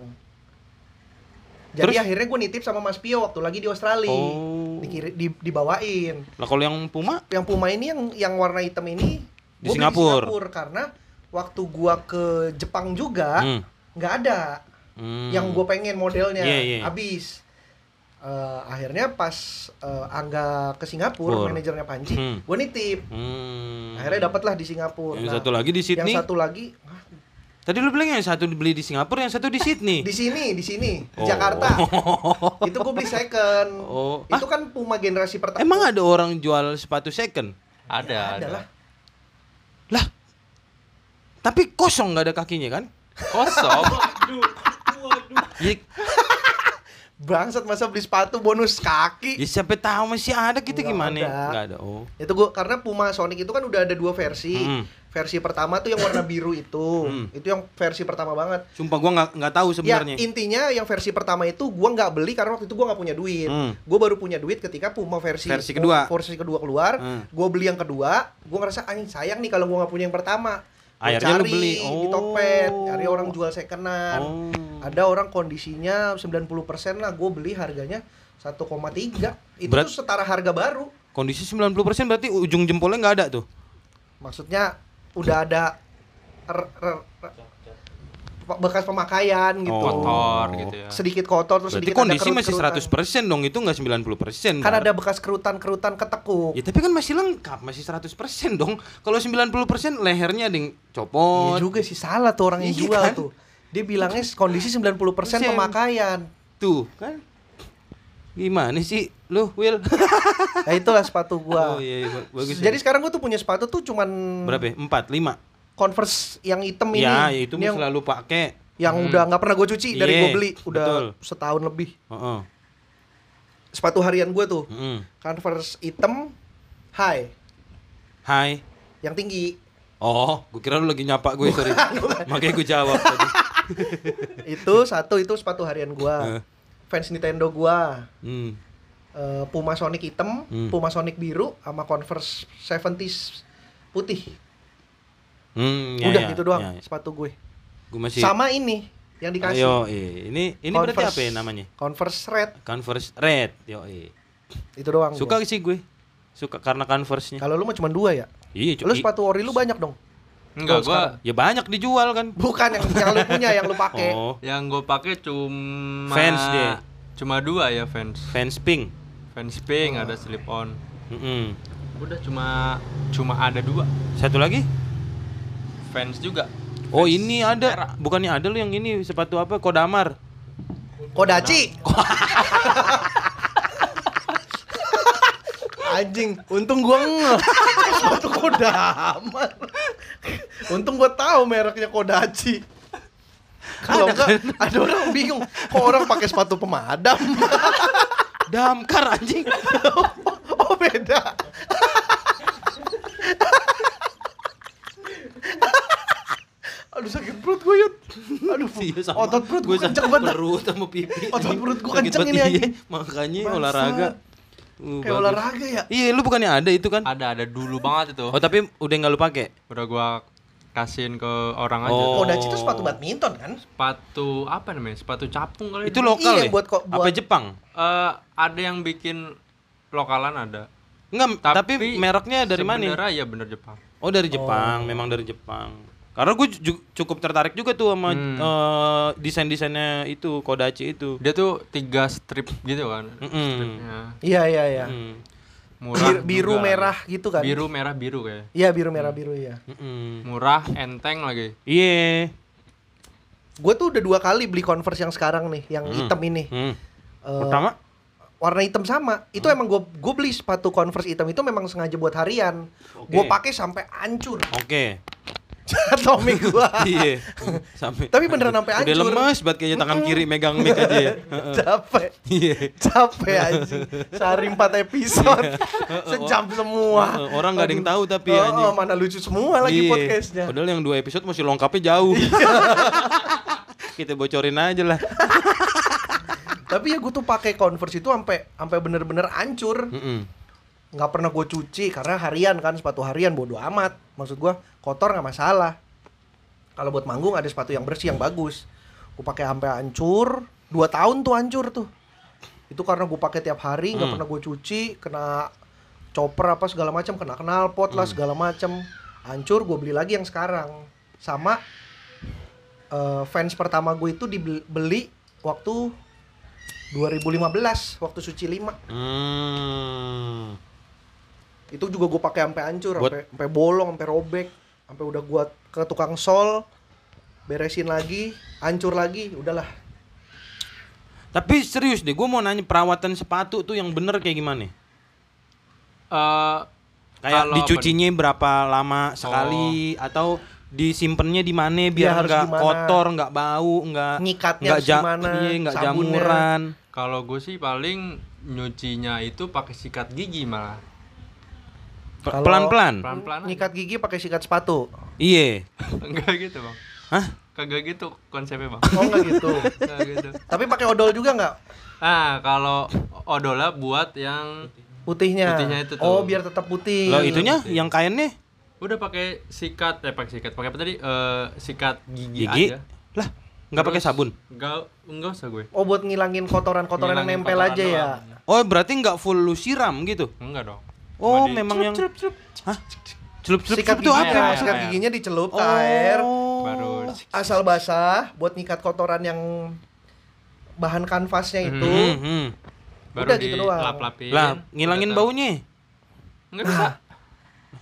[SPEAKER 1] Jadi
[SPEAKER 2] Terus?
[SPEAKER 1] akhirnya gue nitip sama Mas Pio waktu lagi di Australia.
[SPEAKER 2] Oh.
[SPEAKER 1] Dikiri- di- dibawain.
[SPEAKER 2] Lah kalau yang Puma
[SPEAKER 1] yang Puma ini yang yang warna hitam ini
[SPEAKER 2] Di
[SPEAKER 1] gua beli
[SPEAKER 2] Singapura.
[SPEAKER 1] karena waktu gua ke Jepang juga
[SPEAKER 2] Hmm.
[SPEAKER 1] nggak ada
[SPEAKER 2] Hmm.
[SPEAKER 1] yang gua pengen modelnya
[SPEAKER 2] Iya, iya.
[SPEAKER 1] habis Eh, akhirnya pas eh, Angga ke Singapura
[SPEAKER 2] Pur.
[SPEAKER 1] manajernya Panji
[SPEAKER 2] Hmm.
[SPEAKER 1] gua nitip
[SPEAKER 2] Hmm.
[SPEAKER 1] akhirnya dapatlah di Singapura
[SPEAKER 2] Yang
[SPEAKER 1] Nah,
[SPEAKER 2] satu lagi di
[SPEAKER 1] yang
[SPEAKER 2] Sydney.
[SPEAKER 1] satu lagi ah,
[SPEAKER 2] Tadi lu bilang yang satu dibeli di Singapura, yang satu di Sydney.
[SPEAKER 1] di sini di sini di
[SPEAKER 2] Oh.
[SPEAKER 1] Jakarta itu gua beli second
[SPEAKER 2] Oh.
[SPEAKER 1] itu kan Puma generasi pertama
[SPEAKER 2] Emang ada orang jual sepatu second?
[SPEAKER 3] ada
[SPEAKER 1] Ya, ada
[SPEAKER 3] ada.
[SPEAKER 1] lah.
[SPEAKER 2] Lah. Tapi kosong nggak ada kakinya kan?
[SPEAKER 3] Kosong.
[SPEAKER 2] Ya,
[SPEAKER 1] bangsat masa beli sepatu bonus kaki
[SPEAKER 2] ya siapa tahu masih ada kita
[SPEAKER 1] Nggak
[SPEAKER 2] gimana?
[SPEAKER 1] ada.
[SPEAKER 2] Nggak ada. Oh.
[SPEAKER 1] itu gua karena Puma Sonic itu kan udah ada dua versi
[SPEAKER 2] Mm.
[SPEAKER 1] versi pertama tuh yang warna biru itu
[SPEAKER 2] Mm.
[SPEAKER 1] itu yang versi pertama banget
[SPEAKER 2] Sumpah gua nggak nggak tahu sebenarnya.
[SPEAKER 1] ya intinya yang versi pertama itu gua nggak beli karena waktu itu gua nggak punya duit
[SPEAKER 2] Mm.
[SPEAKER 1] gua baru punya duit ketika Puma versi
[SPEAKER 2] Versi kedua.
[SPEAKER 1] versi kedua keluar
[SPEAKER 2] Mm.
[SPEAKER 1] gua beli yang kedua gua ngerasa anjing sayang nih kalau gua nggak punya yang pertama Gua
[SPEAKER 2] Akhirnya lu
[SPEAKER 1] cari
[SPEAKER 2] beli.
[SPEAKER 1] di
[SPEAKER 2] Oh.
[SPEAKER 1] Tokped cari orang jual secondan
[SPEAKER 2] Oh.
[SPEAKER 1] ada orang kondisinya 90% lah gua beli harganya 1,3 itu
[SPEAKER 2] Berat-
[SPEAKER 1] tuh setara harga baru
[SPEAKER 2] Kondisi 90% berarti ujung jempolnya nggak ada tuh.
[SPEAKER 1] maksudnya udah ada er- er- er- bekas pemakaian gitu
[SPEAKER 3] Kotor gitu ya.
[SPEAKER 1] sedikit kotor terus
[SPEAKER 2] Oh, Berarti
[SPEAKER 1] sedikit
[SPEAKER 2] kondisi
[SPEAKER 1] ada
[SPEAKER 2] masih
[SPEAKER 1] kerut-kerutan.
[SPEAKER 2] 100% dong, itu nggak 90%.
[SPEAKER 1] kan
[SPEAKER 2] Bar.
[SPEAKER 1] ada bekas kerutan-kerutan ketekuk
[SPEAKER 2] Ya tapi kan masih lengkap, masih 100% dong. Kalau 90% lehernya ada yang
[SPEAKER 1] Iya
[SPEAKER 2] copot.
[SPEAKER 1] juga sih salah tuh orang yang
[SPEAKER 2] Iya
[SPEAKER 1] jual
[SPEAKER 2] kan?
[SPEAKER 1] tuh dia bilangnya kondisi 90%
[SPEAKER 2] Persen.
[SPEAKER 1] pemakaian
[SPEAKER 2] Tuh, kan. Gimana sih lu, Will?
[SPEAKER 1] Nah, itulah sepatu gua.
[SPEAKER 2] oh iya, iya, ba- bagus.
[SPEAKER 1] Jadi
[SPEAKER 2] Jadi
[SPEAKER 1] sekarang gua tuh punya sepatu tuh cuman
[SPEAKER 2] berapa? Ya? Empat, lima.
[SPEAKER 1] Converse yang hitam ini.
[SPEAKER 2] Ya, itu
[SPEAKER 1] Ini
[SPEAKER 2] mah
[SPEAKER 1] yang,
[SPEAKER 2] selalu pakai.
[SPEAKER 1] yang udah nggak pernah gua cuci dari
[SPEAKER 2] Iya,
[SPEAKER 1] gua beli, udah
[SPEAKER 2] betul.
[SPEAKER 1] setahun lebih.
[SPEAKER 2] Heeh.
[SPEAKER 1] Sepatu harian gua tuh
[SPEAKER 2] Heeh.
[SPEAKER 1] Converse hitam high
[SPEAKER 2] Hai.
[SPEAKER 1] yang tinggi.
[SPEAKER 2] Oh, gue kira lu lagi nyapa gue, sorry. Makanya gue jawab tadi.
[SPEAKER 1] itu satu itu sepatu harian gua.
[SPEAKER 2] Heeh.
[SPEAKER 1] Fans Nintendo gua.
[SPEAKER 2] Hmm.
[SPEAKER 1] eh, Puma Sonic hitam,
[SPEAKER 2] Hmm.
[SPEAKER 1] Puma Sonic biru, sama Converse 70s putih.
[SPEAKER 2] Hmm, ya,
[SPEAKER 1] Udah
[SPEAKER 2] ya,
[SPEAKER 1] gitu doang
[SPEAKER 2] ya, ya.
[SPEAKER 1] sepatu gue.
[SPEAKER 2] Gue masih
[SPEAKER 1] Sama ini yang dikasih.
[SPEAKER 2] Ayo, eh, ini ini berarti
[SPEAKER 1] Converse-
[SPEAKER 2] apa ya namanya?
[SPEAKER 1] Converse Red.
[SPEAKER 2] Converse Red. Yo, eh.
[SPEAKER 1] Itu doang.
[SPEAKER 2] Suka
[SPEAKER 1] gua.
[SPEAKER 2] sih gue. Suka karena Converse-nya.
[SPEAKER 1] Kalau lu mah cuma dua ya.
[SPEAKER 2] Iya, cu-
[SPEAKER 1] Lu
[SPEAKER 2] i-
[SPEAKER 1] sepatu ori lu banyak dong.
[SPEAKER 3] Enggak,
[SPEAKER 1] Kalau
[SPEAKER 3] gua
[SPEAKER 1] sekarang.
[SPEAKER 2] ya banyak dijual kan.
[SPEAKER 1] Bukan yang yang lu punya yang lu pakai.
[SPEAKER 2] Oh,
[SPEAKER 3] yang gue pakai cuma
[SPEAKER 2] Vans dia.
[SPEAKER 3] Cuma dua ya fans.
[SPEAKER 2] fans pink. Hmm,
[SPEAKER 3] Fans pink ada slip on.
[SPEAKER 2] Mm-mm.
[SPEAKER 3] Udah cuma cuma ada dua
[SPEAKER 2] Satu lagi?
[SPEAKER 3] fans juga.
[SPEAKER 2] Oh, ini ada. Bukannya ada lu yang ini sepatu apa? Kodamar.
[SPEAKER 1] Kodaci. Anjing, untung gua ngeh. Sepatu Kodamar. Untung gua tahu mereknya Kodaci. Kalau enggak
[SPEAKER 2] kan?
[SPEAKER 1] ada orang bingung, kok orang pakai sepatu pemadam?
[SPEAKER 2] Damkar anjing.
[SPEAKER 1] oh, beda. Aduh sakit perut gue yut Aduh
[SPEAKER 2] Iya, sama.
[SPEAKER 1] otot perut gue
[SPEAKER 2] Gua
[SPEAKER 1] kenceng
[SPEAKER 2] sakit
[SPEAKER 1] banget
[SPEAKER 2] Perut sama pipi.
[SPEAKER 1] Otot
[SPEAKER 2] anjing.
[SPEAKER 1] perut gua
[SPEAKER 2] Sakit
[SPEAKER 1] kenceng
[SPEAKER 2] banget,
[SPEAKER 1] ini,
[SPEAKER 2] iya.
[SPEAKER 1] anjing.
[SPEAKER 2] Makanya
[SPEAKER 1] Bangsat.
[SPEAKER 2] olahraga. Uh,
[SPEAKER 1] Kayak
[SPEAKER 2] bagus.
[SPEAKER 1] olahraga ya
[SPEAKER 2] Iya, lu bukannya ada itu kan?
[SPEAKER 3] Ada ada dulu banget itu.
[SPEAKER 2] Oh, tapi udah nggak lu pakai.
[SPEAKER 3] Udah gua kasihin ke orang aja.
[SPEAKER 2] Oh.
[SPEAKER 1] Kodachi itu sepatu badminton kan?
[SPEAKER 3] Sepatu apa namanya? Sepatu capung kali.
[SPEAKER 2] Itu
[SPEAKER 3] dulu.
[SPEAKER 2] lokal
[SPEAKER 1] Iya,
[SPEAKER 2] ya?
[SPEAKER 1] buat kok-
[SPEAKER 2] Apa
[SPEAKER 1] buat-
[SPEAKER 2] Jepang?
[SPEAKER 3] Eh, ada yang bikin lokalan ada.
[SPEAKER 2] Enggak, tapi, mereknya dari mana?
[SPEAKER 3] sebenarnya ya bener Jepang.
[SPEAKER 2] Oh, dari Jepang, memang dari Jepang. Karena gue ju- cukup tertarik juga tuh sama
[SPEAKER 1] Hmm.
[SPEAKER 2] eh, desain-desainnya itu, Kodachi itu.
[SPEAKER 3] Dia tuh tiga strip gitu kan.
[SPEAKER 1] Hmm.
[SPEAKER 2] Mm-mm.
[SPEAKER 1] Iya
[SPEAKER 3] Ya,
[SPEAKER 1] iya iya. Bir-
[SPEAKER 2] Mm.
[SPEAKER 3] murah
[SPEAKER 1] biru
[SPEAKER 3] juga.
[SPEAKER 1] merah gitu kan?
[SPEAKER 3] Biru merah biru kayak.
[SPEAKER 1] Iya biru merah
[SPEAKER 2] Hmm.
[SPEAKER 1] biru ya.
[SPEAKER 2] Mm-mm.
[SPEAKER 3] Murah, enteng lagi.
[SPEAKER 2] Iya.
[SPEAKER 1] Gue tuh udah dua kali beli converse yang sekarang nih, yang hitam ini.
[SPEAKER 2] Mm.
[SPEAKER 1] Eh,
[SPEAKER 2] Pertama, Hmm.
[SPEAKER 1] warna hitam sama. Itu emang gue gue beli sepatu converse hitam itu memang sengaja buat harian. Gue pakai sampai hancur.
[SPEAKER 2] oke.
[SPEAKER 1] Tommy gue.
[SPEAKER 2] Iya. Sampai
[SPEAKER 1] Tapi beneran sampai
[SPEAKER 2] Udah
[SPEAKER 1] hancur. Hmm.
[SPEAKER 2] lemes banget kayaknya tangan kiri megang mic aja ya. Heeh.
[SPEAKER 1] capek
[SPEAKER 2] Iya.
[SPEAKER 1] capek anjing sehari empat episode sejam semua
[SPEAKER 2] Iya. Heeh, orang nggak ada yang
[SPEAKER 1] Aduh.
[SPEAKER 2] tahu tapi ya,
[SPEAKER 1] Oh,
[SPEAKER 2] anjing.
[SPEAKER 1] oh, mana lucu semua lagi
[SPEAKER 2] Iya.
[SPEAKER 1] podcastnya
[SPEAKER 2] Padahal yang dua episode masih lengkapnya jauh. Kita bocorin aja lah.
[SPEAKER 1] tapi ya gue tuh pakai converse itu sampai sampai bener-bener hancur
[SPEAKER 2] Mm-mm.
[SPEAKER 1] nggak pernah gue cuci karena harian kan sepatu harian bodo amat maksud gue kotor nggak masalah kalau buat manggung ada sepatu yang bersih yang bagus gue pakai sampai hancur dua tahun tuh hancur tuh itu karena gue pakai tiap hari nggak
[SPEAKER 2] Hmm.
[SPEAKER 1] pernah gue cuci kena chopper apa segala macam kena knalpot lah segala macam hancur gue beli lagi yang sekarang sama eh, fans pertama gue itu dibeli waktu 2015 waktu suci 5
[SPEAKER 2] Hmm.
[SPEAKER 1] itu juga gue pakai sampai hancur
[SPEAKER 2] Buat-
[SPEAKER 1] sampai sampai bolong sampai robek sampai udah gua ke tukang sol beresin lagi hancur lagi udahlah
[SPEAKER 2] Tapi serius deh, gue mau nanya perawatan sepatu tuh yang bener kayak gimana?
[SPEAKER 3] Eh,
[SPEAKER 2] Kayak
[SPEAKER 3] kalau apa
[SPEAKER 2] dicucinya berapa lama sekali atau disimpannya di
[SPEAKER 1] Oh.
[SPEAKER 2] mana
[SPEAKER 1] Iya,
[SPEAKER 2] biar
[SPEAKER 1] harus
[SPEAKER 2] nggak
[SPEAKER 1] gimana.
[SPEAKER 2] kotor, nggak bau, nggak
[SPEAKER 1] Ngikatnya
[SPEAKER 2] nggak
[SPEAKER 1] harus gimana,
[SPEAKER 2] iya, nggak
[SPEAKER 1] sabunnya.
[SPEAKER 2] jamuran.
[SPEAKER 3] Kalau gue sih paling nyucinya itu pakai sikat gigi malah.
[SPEAKER 2] Pe-
[SPEAKER 1] Kalau-
[SPEAKER 2] Pelan-pelan.
[SPEAKER 3] Pelan-pelan. aja.
[SPEAKER 1] nyikat gigi pakai sikat sepatu
[SPEAKER 2] Iya.
[SPEAKER 3] Enggak gitu, Bang.
[SPEAKER 2] Hah?
[SPEAKER 3] Kagak gitu konsepnya, Bang.
[SPEAKER 1] oh nggak gitu
[SPEAKER 3] Enggak gitu.
[SPEAKER 1] tapi pakai odol juga nggak
[SPEAKER 3] Nah, kalau odola buat yang
[SPEAKER 1] putihnya
[SPEAKER 3] Putihnya itu tuh.
[SPEAKER 1] oh biar tetap putih
[SPEAKER 2] Lo itunya
[SPEAKER 1] iya.
[SPEAKER 2] yang kainnya
[SPEAKER 3] udah pakai sikat, eh pakai sikat, pakai apa tadi? Eh, sikat
[SPEAKER 1] Iya
[SPEAKER 3] gigi,
[SPEAKER 2] gigi.
[SPEAKER 3] aja.
[SPEAKER 2] Lah, nggak pakai sabun.
[SPEAKER 3] Enggak enggak usah gue.
[SPEAKER 1] oh buat ngilangin kotoran-kotoran yang
[SPEAKER 3] Ngilangin
[SPEAKER 1] nempel
[SPEAKER 3] kotoran
[SPEAKER 1] aja ya
[SPEAKER 3] doang.
[SPEAKER 2] Oh, berarti nggak full lu siram gitu.
[SPEAKER 3] Enggak dong.
[SPEAKER 2] Oh,
[SPEAKER 3] Cuma di-
[SPEAKER 2] memang yang Hah? Celup-celup
[SPEAKER 1] sikat Iya,
[SPEAKER 2] itu
[SPEAKER 1] giginya
[SPEAKER 2] apa?
[SPEAKER 3] air, air,
[SPEAKER 1] sikat
[SPEAKER 3] air.
[SPEAKER 1] giginya dicelup ke
[SPEAKER 2] Oh.
[SPEAKER 1] air
[SPEAKER 3] baru
[SPEAKER 1] asal basah buat nyikat kotoran yang bahan kanvasnya itu
[SPEAKER 2] Hmm, hmm.
[SPEAKER 3] baru
[SPEAKER 1] Udah
[SPEAKER 3] di
[SPEAKER 1] gitu doang.
[SPEAKER 3] lap-lapin.
[SPEAKER 2] Lah, ngilangin
[SPEAKER 3] Udah tahu.
[SPEAKER 2] baunya.
[SPEAKER 3] Enggak bisa.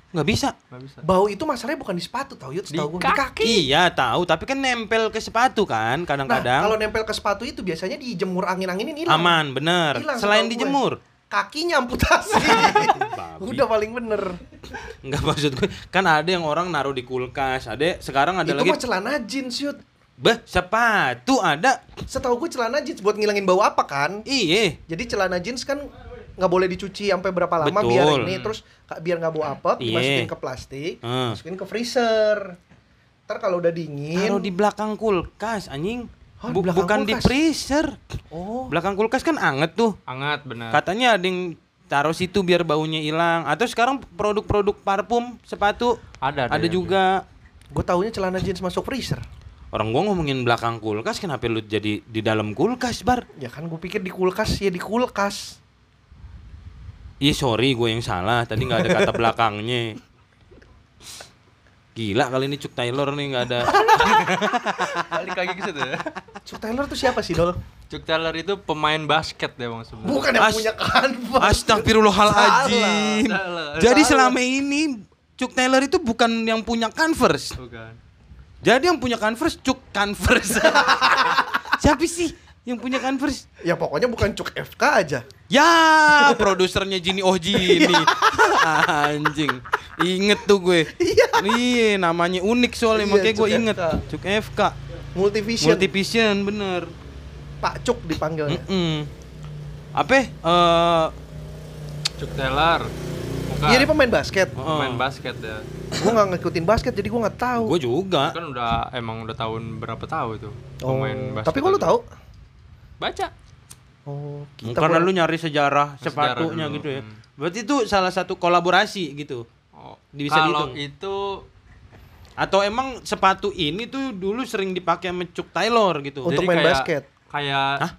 [SPEAKER 2] nggak bisa
[SPEAKER 3] nggak bisa
[SPEAKER 1] Bau itu masalahnya bukan di sepatu tau Yud,
[SPEAKER 3] Di
[SPEAKER 1] setahu gue
[SPEAKER 2] iya tahu tapi kan nempel ke sepatu kan
[SPEAKER 1] Nah,
[SPEAKER 2] kadang-kadang
[SPEAKER 1] kalau nempel ke sepatu itu biasanya dijemur angin-anginin hilang.
[SPEAKER 2] aman bener
[SPEAKER 1] Hilang setahu
[SPEAKER 2] selain
[SPEAKER 1] gue.
[SPEAKER 2] dijemur
[SPEAKER 1] Kakinya amputasi.
[SPEAKER 2] Babi.
[SPEAKER 1] Udah paling bener.
[SPEAKER 2] nggak maksud gue kan ada yang orang naruh di kulkas ada sekarang ada
[SPEAKER 1] itu
[SPEAKER 2] lagi
[SPEAKER 1] mah celana jeans Yud.
[SPEAKER 2] beh sepatu ada
[SPEAKER 1] Setahu gue celana jeans buat ngilangin bau apa kan?
[SPEAKER 2] iye
[SPEAKER 1] Jadi celana jeans kan nggak boleh dicuci sampai berapa lama
[SPEAKER 2] Betul.
[SPEAKER 1] biar ini terus ka- biar nggak bau apek
[SPEAKER 2] Iya.
[SPEAKER 1] dimasukin ke plastik,
[SPEAKER 2] Hmm.
[SPEAKER 1] masukin ke freezer. Ntar kalau udah dingin,
[SPEAKER 2] Taruh di belakang kulkas anjing
[SPEAKER 1] Hah, Oh, di
[SPEAKER 2] Bu-
[SPEAKER 1] belakang
[SPEAKER 2] bukan di
[SPEAKER 1] kulkas?
[SPEAKER 2] freezer
[SPEAKER 1] oh
[SPEAKER 2] belakang kulkas kan anget tuh
[SPEAKER 3] hangat benar
[SPEAKER 2] katanya ada yang taruh situ biar baunya hilang atau sekarang produk-produk parfum sepatu
[SPEAKER 3] Ada, ya, ada,
[SPEAKER 2] ada
[SPEAKER 3] ada.
[SPEAKER 2] juga
[SPEAKER 1] gue taunya celana jeans masuk freezer.
[SPEAKER 2] orang gua ngomongin belakang kulkas kenapa lu jadi di dalam kulkas bar
[SPEAKER 1] Ya kan gue pikir di kulkas ya di kulkas.
[SPEAKER 2] Iya sorry gue yang salah tadi nggak ada kata belakangnya gila kali ini Cuk Taylor nih nggak ada
[SPEAKER 3] balik lagi ke situ ya
[SPEAKER 1] Chuck Taylor tuh siapa sih dol?
[SPEAKER 3] Chuck Taylor itu pemain basket ya bang sebenarnya
[SPEAKER 1] Bukan yang
[SPEAKER 2] As-
[SPEAKER 1] punya kanvas.
[SPEAKER 2] Astagfirullahaladzim
[SPEAKER 3] Salah, salah,
[SPEAKER 2] jadi
[SPEAKER 3] salah.
[SPEAKER 2] selama ini Cuk Taylor itu bukan yang punya Converse
[SPEAKER 3] bukan
[SPEAKER 2] Jadi yang punya Converse cuk Converse. Siapa sih yang punya Converse?
[SPEAKER 1] Ya pokoknya bukan Chuck FK aja.
[SPEAKER 2] Ya, produsernya Jini Oh Jini.
[SPEAKER 3] Ya.
[SPEAKER 2] Anjing. Inget tuh gue.
[SPEAKER 1] Iya.
[SPEAKER 2] Iya, namanya unik soalnya
[SPEAKER 1] Iya,
[SPEAKER 2] makanya gue
[SPEAKER 1] Cuk
[SPEAKER 2] inget.
[SPEAKER 1] FK.
[SPEAKER 2] Cuk FK.
[SPEAKER 3] Iya.
[SPEAKER 1] Multivision.
[SPEAKER 2] Multivision bener.
[SPEAKER 1] Pak Cuk dipanggilnya.
[SPEAKER 2] Mm-mm. Apa? Eh,
[SPEAKER 3] Chuck Taylor
[SPEAKER 2] Hmm?
[SPEAKER 3] bukan
[SPEAKER 1] Iya dia pemain basket.
[SPEAKER 3] pemain
[SPEAKER 2] eh,
[SPEAKER 3] basket ya
[SPEAKER 1] gue nggak ngikutin basket jadi gue nggak tahu.
[SPEAKER 2] gue juga.
[SPEAKER 3] kan udah emang udah tahun berapa tahu itu
[SPEAKER 1] Oh,
[SPEAKER 3] pemain basket
[SPEAKER 1] tapi kok lu
[SPEAKER 3] itu.
[SPEAKER 1] tahu?
[SPEAKER 3] baca
[SPEAKER 1] Oh,
[SPEAKER 2] Karena
[SPEAKER 1] kurang-
[SPEAKER 2] lu nyari sejarah
[SPEAKER 3] Sejarah
[SPEAKER 2] sepatunya
[SPEAKER 3] dulu,
[SPEAKER 2] gitu ya.
[SPEAKER 3] hmm.
[SPEAKER 2] Berarti itu salah satu kolaborasi gitu.
[SPEAKER 3] oh,
[SPEAKER 2] Bisa dihitung.
[SPEAKER 3] kalau itu
[SPEAKER 2] Atau emang sepatu ini tuh dulu sering dipakai sama Cuk Taylor gitu.
[SPEAKER 1] Untuk
[SPEAKER 3] Jadi
[SPEAKER 1] main
[SPEAKER 3] kayak-
[SPEAKER 1] basket.
[SPEAKER 3] kayak
[SPEAKER 2] Hah?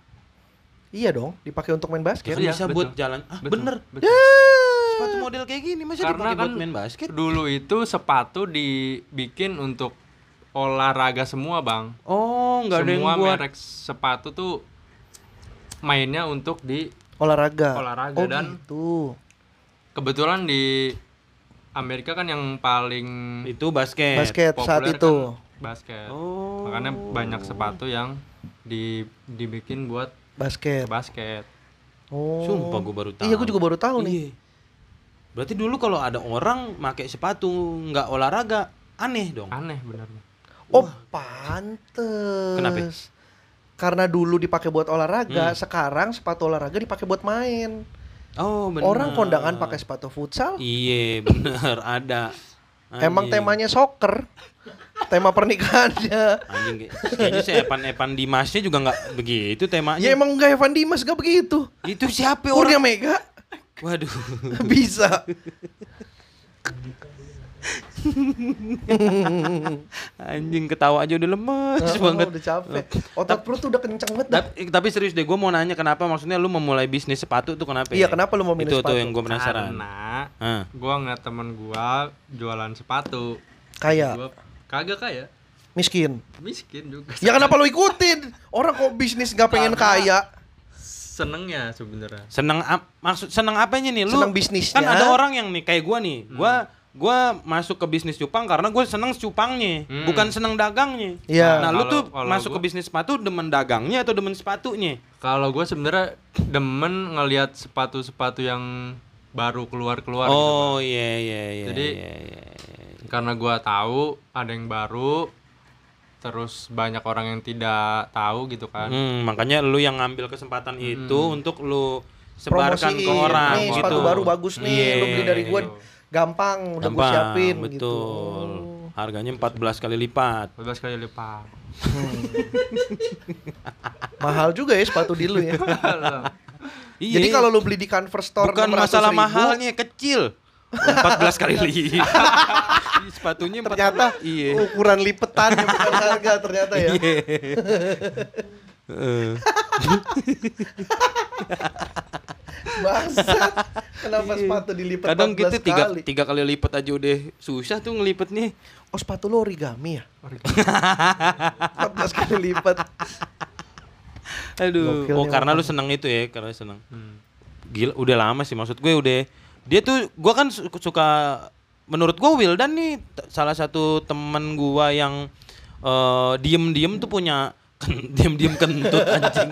[SPEAKER 1] Iya dong, dipakai untuk main basket.
[SPEAKER 2] Kan
[SPEAKER 3] Iya,
[SPEAKER 2] bisa
[SPEAKER 3] betul.
[SPEAKER 2] buat jalan. Ah,
[SPEAKER 3] Betul,
[SPEAKER 2] bener.
[SPEAKER 3] betul.
[SPEAKER 2] Sepatu model kayak gini masa
[SPEAKER 3] karena
[SPEAKER 2] dipakai
[SPEAKER 3] kan
[SPEAKER 2] buat main basket?
[SPEAKER 3] dulu itu sepatu dibikin untuk olahraga semua bang
[SPEAKER 2] Oh, nggak ada yang
[SPEAKER 3] semua
[SPEAKER 2] buat.
[SPEAKER 3] merek sepatu tuh mainnya untuk di
[SPEAKER 1] Olahraga.
[SPEAKER 3] Olahraga
[SPEAKER 1] oh,
[SPEAKER 3] dan-
[SPEAKER 1] gitu.
[SPEAKER 3] kebetulan di Amerika kan yang paling
[SPEAKER 2] Itu basket.
[SPEAKER 1] Basket
[SPEAKER 3] populer
[SPEAKER 1] saat
[SPEAKER 3] kan
[SPEAKER 1] itu.
[SPEAKER 3] basket
[SPEAKER 2] Oh.
[SPEAKER 3] makanya banyak sepatu yang di dibikin buat
[SPEAKER 1] Basket.
[SPEAKER 3] basket
[SPEAKER 1] Oh.
[SPEAKER 2] Sumpah gua baru tahu.
[SPEAKER 1] Iya, gue juga baru tahu nih.
[SPEAKER 2] Iya. Berarti dulu kalau ada orang pakai sepatu nggak olahraga aneh dong.
[SPEAKER 3] aneh benernya
[SPEAKER 1] Oh, pantes.
[SPEAKER 2] Kenapa? Hmm.
[SPEAKER 1] Karena dulu dipakai buat olahraga, sekarang sepatu olahraga dipakai buat main.
[SPEAKER 2] Oh, bener.
[SPEAKER 1] Orang kondangan pakai sepatu futsal.
[SPEAKER 2] Iya, bener ada.
[SPEAKER 1] Emang
[SPEAKER 2] Anjing.
[SPEAKER 1] temanya soccer. Tema pernikahannya.
[SPEAKER 2] anjing kayak- kayaknya si Epan Epan Dimasnya juga nggak begitu temanya.
[SPEAKER 1] ya emang nggak Evan Dimas gak begitu.
[SPEAKER 2] itu siapa
[SPEAKER 1] Kurnia
[SPEAKER 2] orang?
[SPEAKER 1] Mega
[SPEAKER 2] Waduh.
[SPEAKER 1] bisa.
[SPEAKER 2] Anjing ketawa aja udah lemes
[SPEAKER 1] Oh,
[SPEAKER 2] banget.
[SPEAKER 1] udah capek. Otak perut tuh udah kenceng banget dah.
[SPEAKER 2] Tapi, tapi serius deh, gue mau nanya kenapa maksudnya lu memulai bisnis sepatu tuh kenapa? ya?
[SPEAKER 1] Iya, kenapa lu mau milih
[SPEAKER 2] itu tuh
[SPEAKER 1] sepatu?
[SPEAKER 2] yang gue penasaran.
[SPEAKER 3] karena
[SPEAKER 2] Hah.
[SPEAKER 3] gua ngeliat temen gua jualan sepatu
[SPEAKER 1] Kayak
[SPEAKER 3] Gua kagak kaya
[SPEAKER 1] miskin.
[SPEAKER 3] miskin juga
[SPEAKER 1] Ya kenapa lu ikutin? Orang kok bisnis nggak pengen kaya?
[SPEAKER 3] senengnya sebenarnya
[SPEAKER 2] Seneng ap- maksud seneng apanya nih lu?
[SPEAKER 1] Seneng bisnisnya.
[SPEAKER 2] Kan ada orang yang nih kayak gue nih, gue gue masuk ke bisnis cupang karena gue seneng cupangnya,
[SPEAKER 3] Hmm.
[SPEAKER 2] bukan seneng dagangnya.
[SPEAKER 1] Iya.
[SPEAKER 2] Nah, lu
[SPEAKER 3] Kalau-
[SPEAKER 2] tuh
[SPEAKER 3] kalau
[SPEAKER 2] masuk
[SPEAKER 3] gua-
[SPEAKER 2] ke bisnis sepatu demen dagangnya atau demen sepatunya?
[SPEAKER 3] Kalau gue sebenarnya demen ngelihat sepatu-sepatu yang baru keluar-keluar gitu.
[SPEAKER 2] oh iya iya iya.
[SPEAKER 3] Jadi-
[SPEAKER 2] iya, iya, iya.
[SPEAKER 3] Karena gua tahu ada yang baru terus banyak orang yang tidak tahu gitu kan.
[SPEAKER 2] Hmm, makanya lu yang ngambil kesempatan
[SPEAKER 3] Hmm.
[SPEAKER 2] itu untuk lu sebarkan
[SPEAKER 1] Promosiin.
[SPEAKER 2] ke orang
[SPEAKER 1] nih,
[SPEAKER 2] gitu.
[SPEAKER 1] sepatu baru bagus nih, lu
[SPEAKER 2] Iya.
[SPEAKER 1] beli dari gua gampang, udah gua
[SPEAKER 2] Gampang,
[SPEAKER 1] siapin
[SPEAKER 2] betul.
[SPEAKER 1] gitu.
[SPEAKER 2] Harganya 14 kali lipat.
[SPEAKER 3] 12 kali lipat.
[SPEAKER 1] Mahal juga ya sepatu di lu ya.
[SPEAKER 2] Iya.
[SPEAKER 1] Jadi kalau lu beli di Converse Store
[SPEAKER 2] bukan
[SPEAKER 1] 600.000,
[SPEAKER 2] masalah mahalnya kecil. 14 kali lipat. Ih, Sepatunya empat-
[SPEAKER 1] ternyata oh,
[SPEAKER 2] iya.
[SPEAKER 1] ukuran lipetan ya, bukan harga ternyata ya.
[SPEAKER 2] Iya. Heeh.
[SPEAKER 1] Bangsat. Kenapa sepatu dilipet
[SPEAKER 2] Iya. Kadang
[SPEAKER 1] 14
[SPEAKER 2] gitu tiga,
[SPEAKER 1] kali?
[SPEAKER 2] tiga kali lipat aja udah susah tuh ngelipetnya.
[SPEAKER 1] Oh sepatu lu origami ya? 14 kali lipat.
[SPEAKER 2] Aduh.
[SPEAKER 1] Gokil
[SPEAKER 2] oh
[SPEAKER 1] nih
[SPEAKER 2] karena lu seneng itu ya, karena seneng.
[SPEAKER 3] Hmm.
[SPEAKER 2] Gila, udah lama sih maksud gue udah. Dia tuh, gue kan su- suka menurut gue Wildan nih t- salah satu temen gua yang eh, diem-diem tuh punya ken- diem-diem kentut anjing.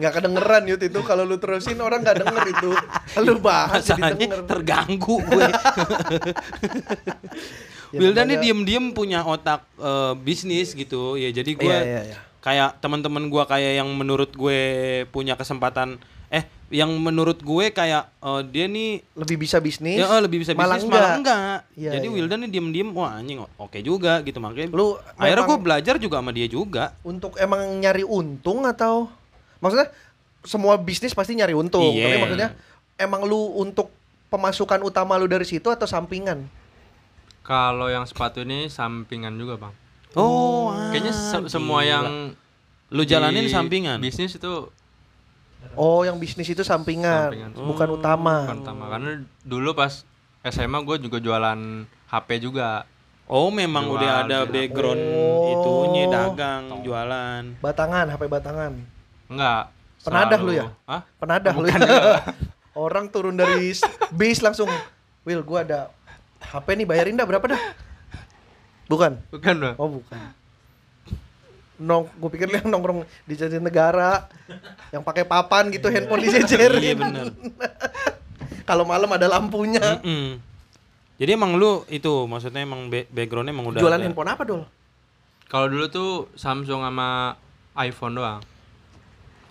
[SPEAKER 1] nggak kedengeran yut itu kalau lu terusin orang nggak denger itu lu bahas jadi
[SPEAKER 2] Masalahnya
[SPEAKER 1] denger
[SPEAKER 2] terganggu gue.
[SPEAKER 1] Ya,
[SPEAKER 2] Wildan nih
[SPEAKER 1] makanya-
[SPEAKER 2] diem-diem punya otak eh, bisnis gitu. Ya jadi gue
[SPEAKER 1] Iya, iya, iya.
[SPEAKER 2] kayak teman-teman gue kayak yang menurut gue punya kesempatan eh yang menurut gue kayak eh, dia nih
[SPEAKER 1] lebih bisa bisnis
[SPEAKER 2] Ya, eh, lebih bisa
[SPEAKER 1] malah
[SPEAKER 2] bisnis
[SPEAKER 1] enggak.
[SPEAKER 2] malah enggak.
[SPEAKER 1] Iya,
[SPEAKER 2] Jadi
[SPEAKER 1] iya.
[SPEAKER 2] Wildan nih diem-diem wah anjing o- oke juga gitu makanya.
[SPEAKER 1] Lu
[SPEAKER 2] akhirnya
[SPEAKER 1] memang-
[SPEAKER 2] gue belajar juga sama dia juga.
[SPEAKER 1] untuk emang nyari untung atau maksudnya semua bisnis pasti nyari untung
[SPEAKER 2] Iya.
[SPEAKER 1] tapi maksudnya emang lu untuk pemasukan utama lu dari situ atau sampingan
[SPEAKER 3] Kalau yang sepatu ini sampingan juga bang.
[SPEAKER 2] Oh,
[SPEAKER 3] Kayaknya
[SPEAKER 2] ah,
[SPEAKER 3] se- semua
[SPEAKER 2] gila.
[SPEAKER 3] yang
[SPEAKER 2] lu jalanin
[SPEAKER 3] di
[SPEAKER 2] sampingan.
[SPEAKER 3] Bisnis itu
[SPEAKER 1] oh yang bisnis itu sampingan,
[SPEAKER 3] Sampingan.
[SPEAKER 1] bukan utama
[SPEAKER 3] bukan utama karena dulu pas SMA gue juga jualan HP juga.
[SPEAKER 2] Oh, memang
[SPEAKER 3] Jual,
[SPEAKER 2] udah ada
[SPEAKER 3] jual.
[SPEAKER 2] background
[SPEAKER 1] Oh.
[SPEAKER 2] itunya dagang, jualan.
[SPEAKER 1] batangan HP batangan
[SPEAKER 3] Enggak.
[SPEAKER 1] Penadah
[SPEAKER 3] selalu-
[SPEAKER 1] lu ya?
[SPEAKER 3] Hah?
[SPEAKER 1] penadah lu ya. orang turun dari s- base langsung Will gua ada HP nih bayarin dah berapa dah bukan
[SPEAKER 3] Bukan bang.
[SPEAKER 1] Oh bukan. Nong, gue pikir lu yang nongkrong di jajan negara, yang pakai papan gitu handphone dijejerin.
[SPEAKER 2] Iya benar.
[SPEAKER 1] Kalau malam ada lampunya.
[SPEAKER 2] Mm-mm. Jadi emang lu itu maksudnya emang be- backgroundnya emang udah
[SPEAKER 1] Jualan
[SPEAKER 2] ada.
[SPEAKER 1] handphone apa dul?
[SPEAKER 3] Kalau dulu tuh Samsung sama iPhone doang.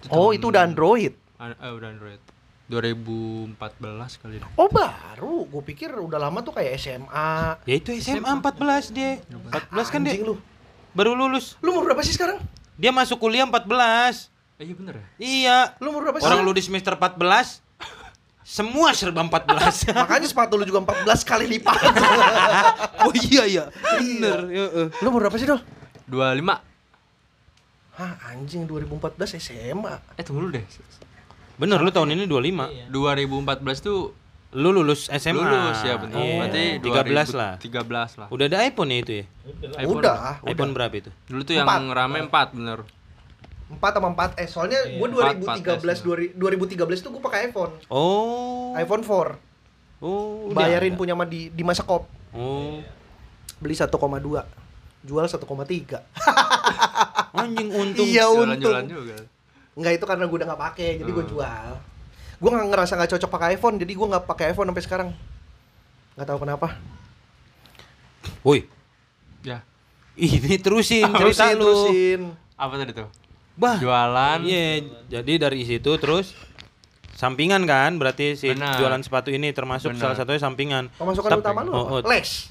[SPEAKER 1] Oh itu udah Android.
[SPEAKER 3] An- eh, udah Android. 2014 kali deh.
[SPEAKER 1] Oh baru, gue pikir udah lama tuh kayak SMA.
[SPEAKER 2] Ya itu SMA 14 dia. 14 kan dia
[SPEAKER 1] Anjing lu.
[SPEAKER 2] baru lulus.
[SPEAKER 1] Lu umur berapa sih sekarang?
[SPEAKER 2] Dia masuk kuliah 14.
[SPEAKER 3] Eh, iya bener ya?
[SPEAKER 2] Iya.
[SPEAKER 1] Lu umur berapa sih?
[SPEAKER 2] Orang lu di semester 14 semua serba 14.
[SPEAKER 1] Makanya sepatu lu juga 14 kali lipat.
[SPEAKER 2] oh iya iya. Bener. heeh.
[SPEAKER 1] lu umur berapa sih dul?
[SPEAKER 3] 25.
[SPEAKER 1] Hah anjing 2014 SMA.
[SPEAKER 3] Eh tunggu dulu deh.
[SPEAKER 2] Bener lu tahun ini 25.
[SPEAKER 3] 2014 tuh
[SPEAKER 2] Lu lulus SMA.
[SPEAKER 3] lulus ya bener.
[SPEAKER 2] Iya,
[SPEAKER 3] Berarti
[SPEAKER 2] 13 lah.
[SPEAKER 3] 13 lah.
[SPEAKER 2] Udah ada iPhone ya itu ya?
[SPEAKER 3] iPhone.
[SPEAKER 1] Udah,
[SPEAKER 2] Ah, iPhone
[SPEAKER 1] udah.
[SPEAKER 2] berapa itu?
[SPEAKER 3] Dulu tuh yang
[SPEAKER 1] Empat.
[SPEAKER 3] rame 4 bener.
[SPEAKER 1] 4 sama 4 S. Soalnya
[SPEAKER 2] Iya.
[SPEAKER 1] gue
[SPEAKER 3] Empat, empat S,
[SPEAKER 1] 2013 2013 tuh gue pakai iPhone.
[SPEAKER 2] Oh.
[SPEAKER 1] iPhone 4.
[SPEAKER 2] Oh. udah
[SPEAKER 1] bayarin
[SPEAKER 2] ada.
[SPEAKER 1] punya sama di di masa kop
[SPEAKER 2] Oh.
[SPEAKER 1] beli 1,2 jual 1,3
[SPEAKER 2] Anjing untung.
[SPEAKER 1] Iya, untung.
[SPEAKER 3] Jualan-jualan juga.
[SPEAKER 1] nggak itu karena gue udah nggak pakai jadi gue jual gue nggak ngerasa nggak cocok pakai iPhone jadi gue nggak pakai iPhone sampai sekarang nggak tahu kenapa
[SPEAKER 2] Woi,
[SPEAKER 3] Ya.
[SPEAKER 2] ini terusin
[SPEAKER 1] Hmm,
[SPEAKER 2] cerita
[SPEAKER 1] terusin
[SPEAKER 2] lu.
[SPEAKER 1] terusin
[SPEAKER 3] Apa tadi tuh?
[SPEAKER 1] Ah.
[SPEAKER 2] Bah.
[SPEAKER 3] Jualan.
[SPEAKER 2] Iya, jadi dari situ terus sampingan kan berarti si
[SPEAKER 3] Benar.
[SPEAKER 2] jualan sepatu ini termasuk
[SPEAKER 3] Benar.
[SPEAKER 2] salah satunya sampingan.
[SPEAKER 1] pemasukan
[SPEAKER 2] Tapi-
[SPEAKER 1] utama lu apa?
[SPEAKER 2] Oh, oh,
[SPEAKER 1] les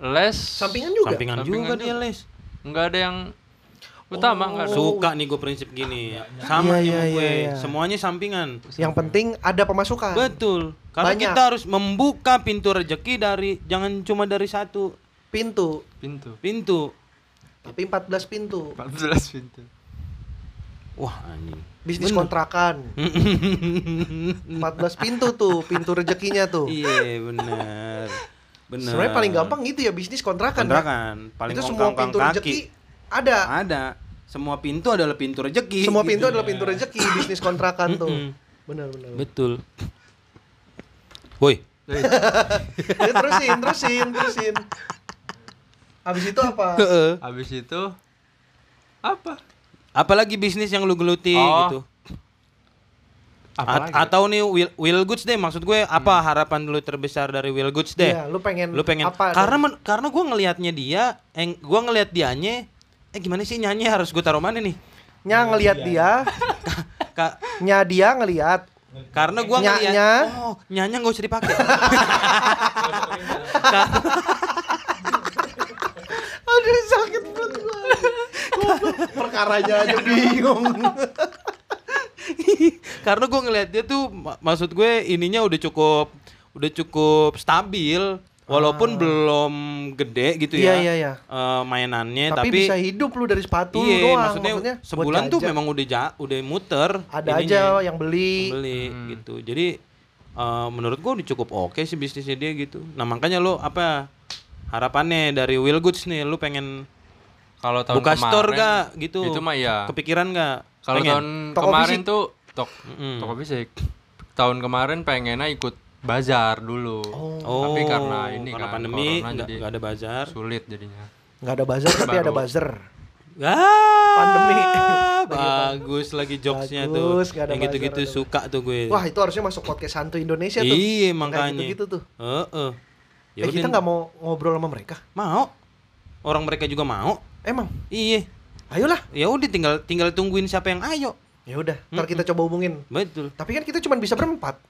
[SPEAKER 3] Les.
[SPEAKER 1] sampingan juga
[SPEAKER 2] Sampingan, juga
[SPEAKER 3] Sampingan
[SPEAKER 2] dia les.
[SPEAKER 3] Enggak ada yang utama enggak ada.
[SPEAKER 2] Suka nih gue prinsip gini.
[SPEAKER 1] Oh. Iya, iya,
[SPEAKER 2] Sama nih sama gue,
[SPEAKER 1] iya, iya.
[SPEAKER 2] semuanya sampingan.
[SPEAKER 1] yang penting ada pemasukan
[SPEAKER 2] Betul. Karena
[SPEAKER 1] Banyak.
[SPEAKER 2] kita harus membuka pintu rezeki dari jangan cuma dari satu
[SPEAKER 1] pintu
[SPEAKER 3] Pintu.
[SPEAKER 2] pintu.
[SPEAKER 1] tapi 14 pintu
[SPEAKER 3] 14 pintu.
[SPEAKER 2] Wah, anjing.
[SPEAKER 1] bisnis
[SPEAKER 2] Bener.
[SPEAKER 1] kontrakan 14 pintu tuh pintu rezekinya tuh
[SPEAKER 2] Iya, benar. Benar.
[SPEAKER 1] sebenarnya paling gampang itu ya bisnis kontrakan, ya.
[SPEAKER 2] kontrakan paling
[SPEAKER 1] itu semua
[SPEAKER 2] kongkang
[SPEAKER 1] pintu rezeki ada
[SPEAKER 2] ada semua pintu adalah pintu rezeki
[SPEAKER 1] semua
[SPEAKER 2] gitu.
[SPEAKER 1] pintu adalah pintu rezeki bisnis kontrakan tuh
[SPEAKER 2] Mm-mm.
[SPEAKER 1] benar-benar
[SPEAKER 2] betul woi
[SPEAKER 1] ya, terusin terusin terusin habis itu apa
[SPEAKER 3] Habis itu apa?
[SPEAKER 2] apalagi bisnis yang lu geluti
[SPEAKER 3] Oh.
[SPEAKER 2] gitu
[SPEAKER 3] Apa
[SPEAKER 2] A- atau nih will, Will goods deh maksud gue apa harapan lu terbesar dari will goods deh
[SPEAKER 1] Iya, lu pengen
[SPEAKER 2] lu pengen
[SPEAKER 1] apa
[SPEAKER 2] karena men- karena gue ngelihatnya dia eh, gue ngelihat dianya eh gimana sih nyanyi harus gue taruh mana nih
[SPEAKER 1] nya ngelihat
[SPEAKER 2] Iya.
[SPEAKER 1] dia
[SPEAKER 2] Ka-
[SPEAKER 1] nya dia ngelihat
[SPEAKER 2] Karena gua
[SPEAKER 1] Nya-
[SPEAKER 2] ngeliat,
[SPEAKER 1] nya.
[SPEAKER 2] oh, nyanya nggak usah dipakai. Karena-
[SPEAKER 1] aduh sakit perut gua Goblok, perkaranya aja bingung
[SPEAKER 2] Karena gua ngeliat dia tuh ma- maksud gue ininya udah cukup udah cukup stabil walaupun belum gede gitu
[SPEAKER 1] Ah. Iya,
[SPEAKER 2] ya.
[SPEAKER 1] iya, iya.
[SPEAKER 2] eh, mainannya
[SPEAKER 1] tapi,
[SPEAKER 2] tapi,
[SPEAKER 1] bisa hidup lu dari sepatu
[SPEAKER 2] iya,
[SPEAKER 1] doang
[SPEAKER 2] maksudnya,
[SPEAKER 1] buat
[SPEAKER 2] sebulan tuh
[SPEAKER 1] jajan.
[SPEAKER 2] memang udah ja- udah muter
[SPEAKER 1] ada
[SPEAKER 2] ininya, ya.
[SPEAKER 1] aja yang beli,
[SPEAKER 2] beli gitu. Jadi eh, menurut gua udah cukup oke sih bisnisnya dia gitu. Nah, makanya lo apa harapannya dari Will Goods nih lu pengen
[SPEAKER 3] Kalau tahun
[SPEAKER 2] buka
[SPEAKER 3] kemarin,
[SPEAKER 2] store gak gitu
[SPEAKER 3] Itu mah ya.
[SPEAKER 2] kepikiran gak
[SPEAKER 3] Kalau tahun
[SPEAKER 1] Toko
[SPEAKER 3] kemarin
[SPEAKER 1] fisik.
[SPEAKER 3] tuh tok,
[SPEAKER 2] Mm-mm.
[SPEAKER 3] toko fisik. Tahun kemarin pengennya ikut bazar dulu.
[SPEAKER 2] Oh,
[SPEAKER 3] Tapi karena ini
[SPEAKER 2] karena
[SPEAKER 3] kan,
[SPEAKER 2] pandemi
[SPEAKER 3] corona
[SPEAKER 2] nggak
[SPEAKER 3] jadi
[SPEAKER 2] nggak ada bazar.
[SPEAKER 3] sulit jadinya.
[SPEAKER 1] nggak ada buzzer tapi ada buzzer
[SPEAKER 2] Ah,
[SPEAKER 1] Pandemi.
[SPEAKER 2] Bagus lagi jokesnya tuh.
[SPEAKER 1] Bagus, nggak ada
[SPEAKER 2] Yang gitu-gitu
[SPEAKER 1] bazar, ada
[SPEAKER 2] suka tuh gue.
[SPEAKER 1] wah itu harusnya masuk podcast santu Indonesia tuh Kayak
[SPEAKER 2] Iya makanya.
[SPEAKER 1] gitu-gitu tuh
[SPEAKER 2] Heeh. Ya
[SPEAKER 1] eh, kita
[SPEAKER 2] udah,
[SPEAKER 1] nggak mau ngobrol sama mereka
[SPEAKER 2] mau. Orang mereka juga mau.
[SPEAKER 1] emang
[SPEAKER 2] Iya.
[SPEAKER 1] ayolah
[SPEAKER 2] Ya udah tinggal tinggal tungguin siapa yang ayo.
[SPEAKER 1] ya udah ntar kita coba hubungin
[SPEAKER 2] Betul.
[SPEAKER 1] tapi kan kita cuma bisa berempat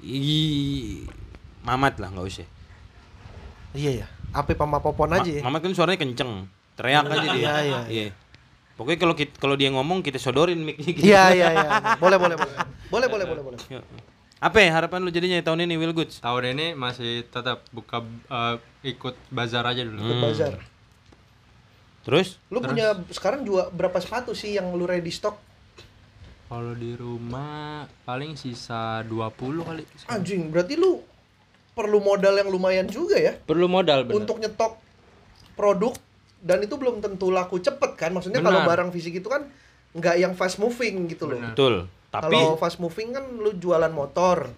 [SPEAKER 2] I Mamat lah nggak usah.
[SPEAKER 1] iya ya apa sama popon
[SPEAKER 2] Ma-
[SPEAKER 1] aja ya
[SPEAKER 2] Mamat kan suaranya kenceng. Teriak aja dia.
[SPEAKER 1] Iya, iya,
[SPEAKER 2] Iya. Pokoknya kalau kit- kalau dia ngomong kita sodorin mic-nya gitu.
[SPEAKER 1] iya iya iya boleh boleh boleh boleh boleh boleh boleh
[SPEAKER 2] Yo. Apa ya harapan lu jadinya tahun ini Will Goods?
[SPEAKER 3] Tahun ini masih tetap buka eh, ikut bazar aja dulu.
[SPEAKER 2] Mm.
[SPEAKER 1] Ikut bazar
[SPEAKER 2] Hmm. Terus?
[SPEAKER 1] lu punya sekarang juga berapa sepatu sih yang lu ready stock
[SPEAKER 3] Kalau di rumah paling sisa 20 kali.
[SPEAKER 1] anjing berarti lu perlu modal yang lumayan juga ya
[SPEAKER 3] Perlu modal bener.
[SPEAKER 1] untuk nyetok produk dan itu belum tentu laku cepet kan maksudnya
[SPEAKER 3] Benar.
[SPEAKER 1] kalau barang fisik itu kan nggak yang fast moving gitu loh
[SPEAKER 3] Benar.
[SPEAKER 2] Betul. Tapi
[SPEAKER 1] kalau fast moving kan lu jualan motor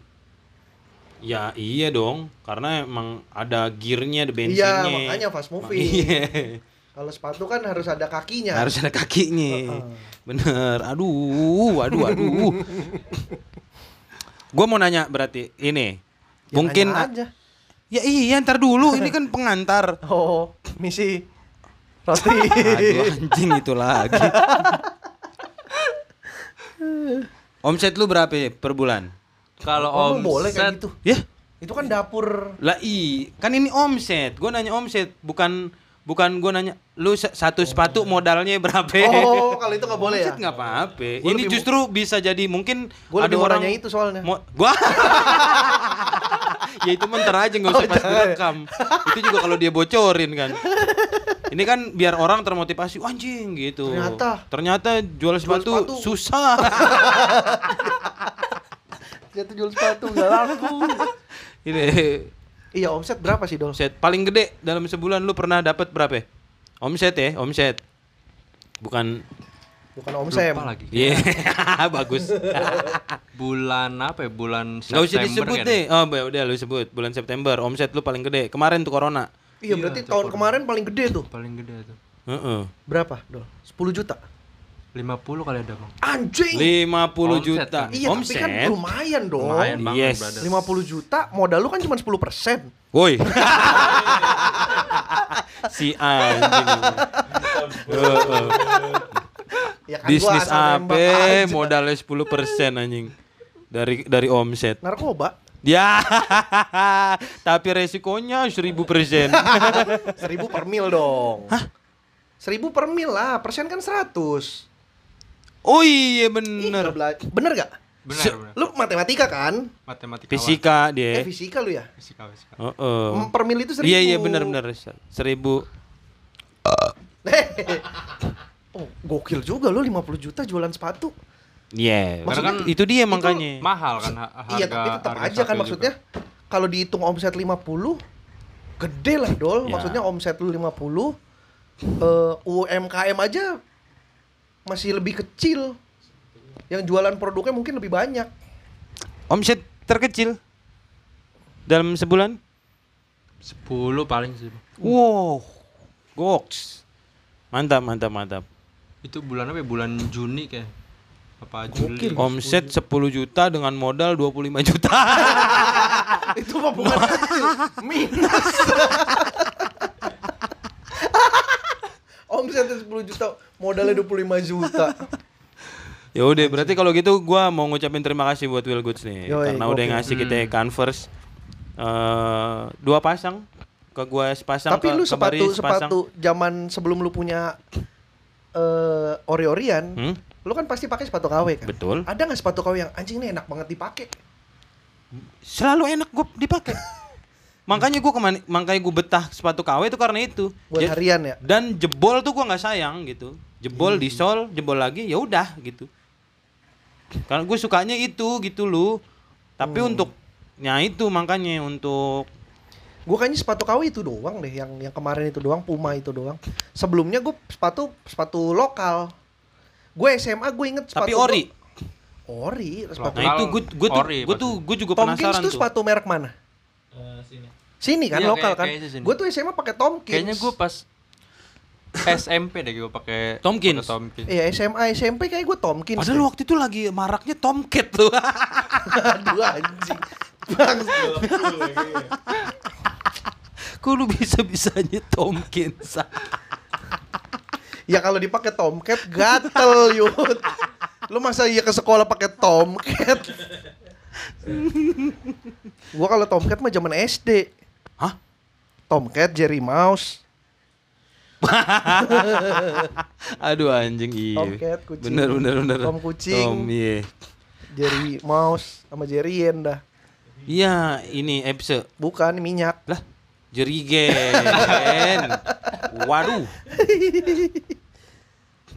[SPEAKER 2] ya iya dong, karena emang ada gearnya, ada bensinnya.
[SPEAKER 1] iya makanya fast moving
[SPEAKER 2] Iya.
[SPEAKER 1] kalau sepatu kan harus ada kakinya
[SPEAKER 2] Harus ada kakinya. Bener. Aduh, aduh, aduh. Gue mau nanya berarti ini.
[SPEAKER 1] Ya,
[SPEAKER 2] mungkin
[SPEAKER 1] nanya aja
[SPEAKER 2] ya iya ntar dulu ini kan pengantar.
[SPEAKER 1] oh misi roti
[SPEAKER 2] Aduh anjing itu lagi. Omset lu berapa ya per bulan?
[SPEAKER 3] Kalau
[SPEAKER 1] Ngomong
[SPEAKER 3] omset
[SPEAKER 1] Oh, boleh kayak gitu
[SPEAKER 2] Ya,
[SPEAKER 1] itu kan dapur
[SPEAKER 2] lah i, kan ini omset. Gua nanya omset, bukan bukan gua nanya lu sa- satu sepatu modalnya berapa?
[SPEAKER 1] oh kalau itu nggak boleh ya
[SPEAKER 2] Omset nggak apa-apa.
[SPEAKER 1] Gua
[SPEAKER 2] Ini
[SPEAKER 1] lebih mu-
[SPEAKER 2] justru bisa jadi mungkin
[SPEAKER 1] gue
[SPEAKER 2] ada
[SPEAKER 1] lebih
[SPEAKER 2] orang
[SPEAKER 1] orangnya itu soalnya
[SPEAKER 2] Mo- gua. ya itu mentar aja nggak usah pas direkam. itu juga kalau dia bocorin kan. Ini kan biar orang termotivasi "Wah, anjing gitu.
[SPEAKER 1] Ternyata.
[SPEAKER 2] Ternyata jual sepatu,
[SPEAKER 1] sepatu.
[SPEAKER 2] susah.
[SPEAKER 1] dia tuh jual sepatu nggak laku
[SPEAKER 2] Ini
[SPEAKER 1] iya omset berapa sih dol
[SPEAKER 2] omset paling gede dalam sebulan lu pernah dapat berapa? ya? Omset ya, omset. Bukan
[SPEAKER 1] bukan omset
[SPEAKER 3] Lupa lagi.
[SPEAKER 2] Iya, bagus.
[SPEAKER 3] Bulan apa ya? Bulan
[SPEAKER 2] Nggak
[SPEAKER 3] September.
[SPEAKER 2] usah disebut
[SPEAKER 3] kan?
[SPEAKER 2] deh. Oh, ya udah lu sebut. Bulan September omset lu paling gede. Kemarin tuh corona.
[SPEAKER 1] Iya,
[SPEAKER 3] Iya,
[SPEAKER 1] berarti
[SPEAKER 3] itu
[SPEAKER 1] tahun
[SPEAKER 3] korban.
[SPEAKER 1] kemarin paling gede tuh.
[SPEAKER 3] Paling gede tuh.
[SPEAKER 2] Heeh.
[SPEAKER 1] Berapa, Dol? 10 juta.
[SPEAKER 3] 50 kali ada, Bang.
[SPEAKER 1] Anjing.
[SPEAKER 2] 50
[SPEAKER 3] Omset
[SPEAKER 2] juta.
[SPEAKER 3] kan?
[SPEAKER 1] iya,
[SPEAKER 2] omset.
[SPEAKER 1] tapi kan lumayan dong.
[SPEAKER 3] Lumayan
[SPEAKER 2] yes.
[SPEAKER 3] banget, brother.
[SPEAKER 1] 50 juta, modal lu kan cuma 10%.
[SPEAKER 2] Woi. si anjing. Heeh.
[SPEAKER 1] Ya kan
[SPEAKER 2] Bisnis
[SPEAKER 1] asal nembak
[SPEAKER 2] apa
[SPEAKER 1] aja.
[SPEAKER 2] modalnya 10% anjing. Dari dari omset.
[SPEAKER 1] Narkoba.
[SPEAKER 2] Ya. tapi resikonya 1000%.
[SPEAKER 1] 1000 per mil dong. Hah? 1000 per mil lah, persen kan 100.
[SPEAKER 2] Oh
[SPEAKER 1] Ih,
[SPEAKER 2] iya bener.
[SPEAKER 1] ngebela- Bener gak?
[SPEAKER 3] Benar,
[SPEAKER 2] Se-
[SPEAKER 3] benar.
[SPEAKER 1] Lu matematika kan?
[SPEAKER 3] Matematika. awal.
[SPEAKER 2] Fisika
[SPEAKER 1] Eh,
[SPEAKER 2] dia.
[SPEAKER 1] fisika lu ya?
[SPEAKER 3] Fisika, fisika.
[SPEAKER 2] Heeh.
[SPEAKER 1] Mm, Per mil itu 1000.
[SPEAKER 2] Iya iya bener bener. Seribu.
[SPEAKER 1] Eh. oh, gokil juga lu 50 juta jualan sepatu.
[SPEAKER 2] Iya.
[SPEAKER 1] Maksudnya
[SPEAKER 2] Kan, itu dia makanya.
[SPEAKER 3] Mahal kan ha- harga
[SPEAKER 1] iya tapi tetap
[SPEAKER 3] harga
[SPEAKER 1] aja kan
[SPEAKER 3] satu
[SPEAKER 1] maksudnya
[SPEAKER 3] juga.
[SPEAKER 1] kalau dihitung omset 50 gede lah dol
[SPEAKER 2] Ya.
[SPEAKER 1] maksudnya omset lu 50 eh, UMKM aja masih lebih kecil yang jualan produknya mungkin lebih banyak
[SPEAKER 2] Omset terkecil dalam sebulan?
[SPEAKER 3] 10 paling sih. Bang.
[SPEAKER 2] Wow, goks. Mantap, mantap, mantap.
[SPEAKER 3] Itu bulan apa ya? Bulan Juni kayak. Apa
[SPEAKER 1] Iya,
[SPEAKER 3] Juli?
[SPEAKER 2] Omset 10 juta dengan modal 25 juta.
[SPEAKER 1] itu mah bukan kecil minus omsetnya 10 juta modalnya 25 juta
[SPEAKER 2] ya udah, berarti kalau gitu gua mau ngucapin terima kasih buat Will Goods
[SPEAKER 1] Yoi,
[SPEAKER 2] nih
[SPEAKER 1] Hmm.
[SPEAKER 2] karena udah
[SPEAKER 1] gokil.
[SPEAKER 2] ngasih kita Converse eh dua pasang ke gua sepasang
[SPEAKER 1] tapi
[SPEAKER 2] ke,
[SPEAKER 1] lu
[SPEAKER 2] ke Bari
[SPEAKER 1] sepatu
[SPEAKER 2] sepasang.
[SPEAKER 1] sepatu zaman sebelum lu punya eh ori-orian
[SPEAKER 2] Hmm?
[SPEAKER 1] Lu kan pasti pakai sepatu KW kan?
[SPEAKER 2] Betul.
[SPEAKER 1] Ada nggak sepatu KW yang anjing ini enak banget dipakai?
[SPEAKER 2] Selalu enak gua dipakai. makanya gua kemana makanya gua betah sepatu KW itu karena itu.
[SPEAKER 1] Buat
[SPEAKER 2] Ya-
[SPEAKER 1] harian ya.
[SPEAKER 2] dan jebol tuh gua nggak sayang gitu jebol
[SPEAKER 1] Hmm.
[SPEAKER 2] di sol jebol lagi ya udah gitu karena gue sukanya itu gitu lu tapi
[SPEAKER 1] Hmm.
[SPEAKER 2] untuk ya itu makanya untuk
[SPEAKER 1] Gue kayaknya sepatu KW itu doang deh yang yang kemarin itu doang, Puma itu doang. Sebelumnya gue sepatu sepatu lokal. Gue SMA gue inget sepatu
[SPEAKER 2] tapi ori
[SPEAKER 1] gua- Ori, sepatu.
[SPEAKER 2] Nah itu gue gue tuh
[SPEAKER 3] Ori
[SPEAKER 2] gue tuh gue juga
[SPEAKER 1] Tomkins
[SPEAKER 2] penasaran
[SPEAKER 1] tuh
[SPEAKER 2] tuh.
[SPEAKER 1] sepatu merek mana? Sini kan
[SPEAKER 3] Iya,
[SPEAKER 1] lokal
[SPEAKER 3] kayak-
[SPEAKER 1] kan.
[SPEAKER 3] kayaknya sini.
[SPEAKER 1] Gue tuh SMA pakai Tomkins.
[SPEAKER 3] Kayaknya gue pas SMP deh gue pakai
[SPEAKER 2] Tomkins.
[SPEAKER 3] pakai Tomkins.
[SPEAKER 1] Iya SMA SMP kayak gue Tomkins.
[SPEAKER 2] Padahal waktu itu lagi maraknya Tomcat tuh.
[SPEAKER 1] Aduh anjing. Bang,
[SPEAKER 2] Kok lu bisa bisanya Tomkins?
[SPEAKER 1] ya kalau dipakai Tomcat gatel yud. Lu masa iya ke sekolah pakai Tomcat? gua kalau Tomcat mah zaman SD.
[SPEAKER 2] Hah?
[SPEAKER 1] Tomcat, Jerry Mouse.
[SPEAKER 2] Aduh anjing iya.
[SPEAKER 1] Tomcat, kucing.
[SPEAKER 2] Bener bener bener.
[SPEAKER 1] Tom kucing.
[SPEAKER 2] Tom iya.
[SPEAKER 1] Jerry Mouse sama Jerry Yen dah.
[SPEAKER 2] Iya ini episode
[SPEAKER 1] Bukan minyak.
[SPEAKER 2] lah jerigen. Waduh.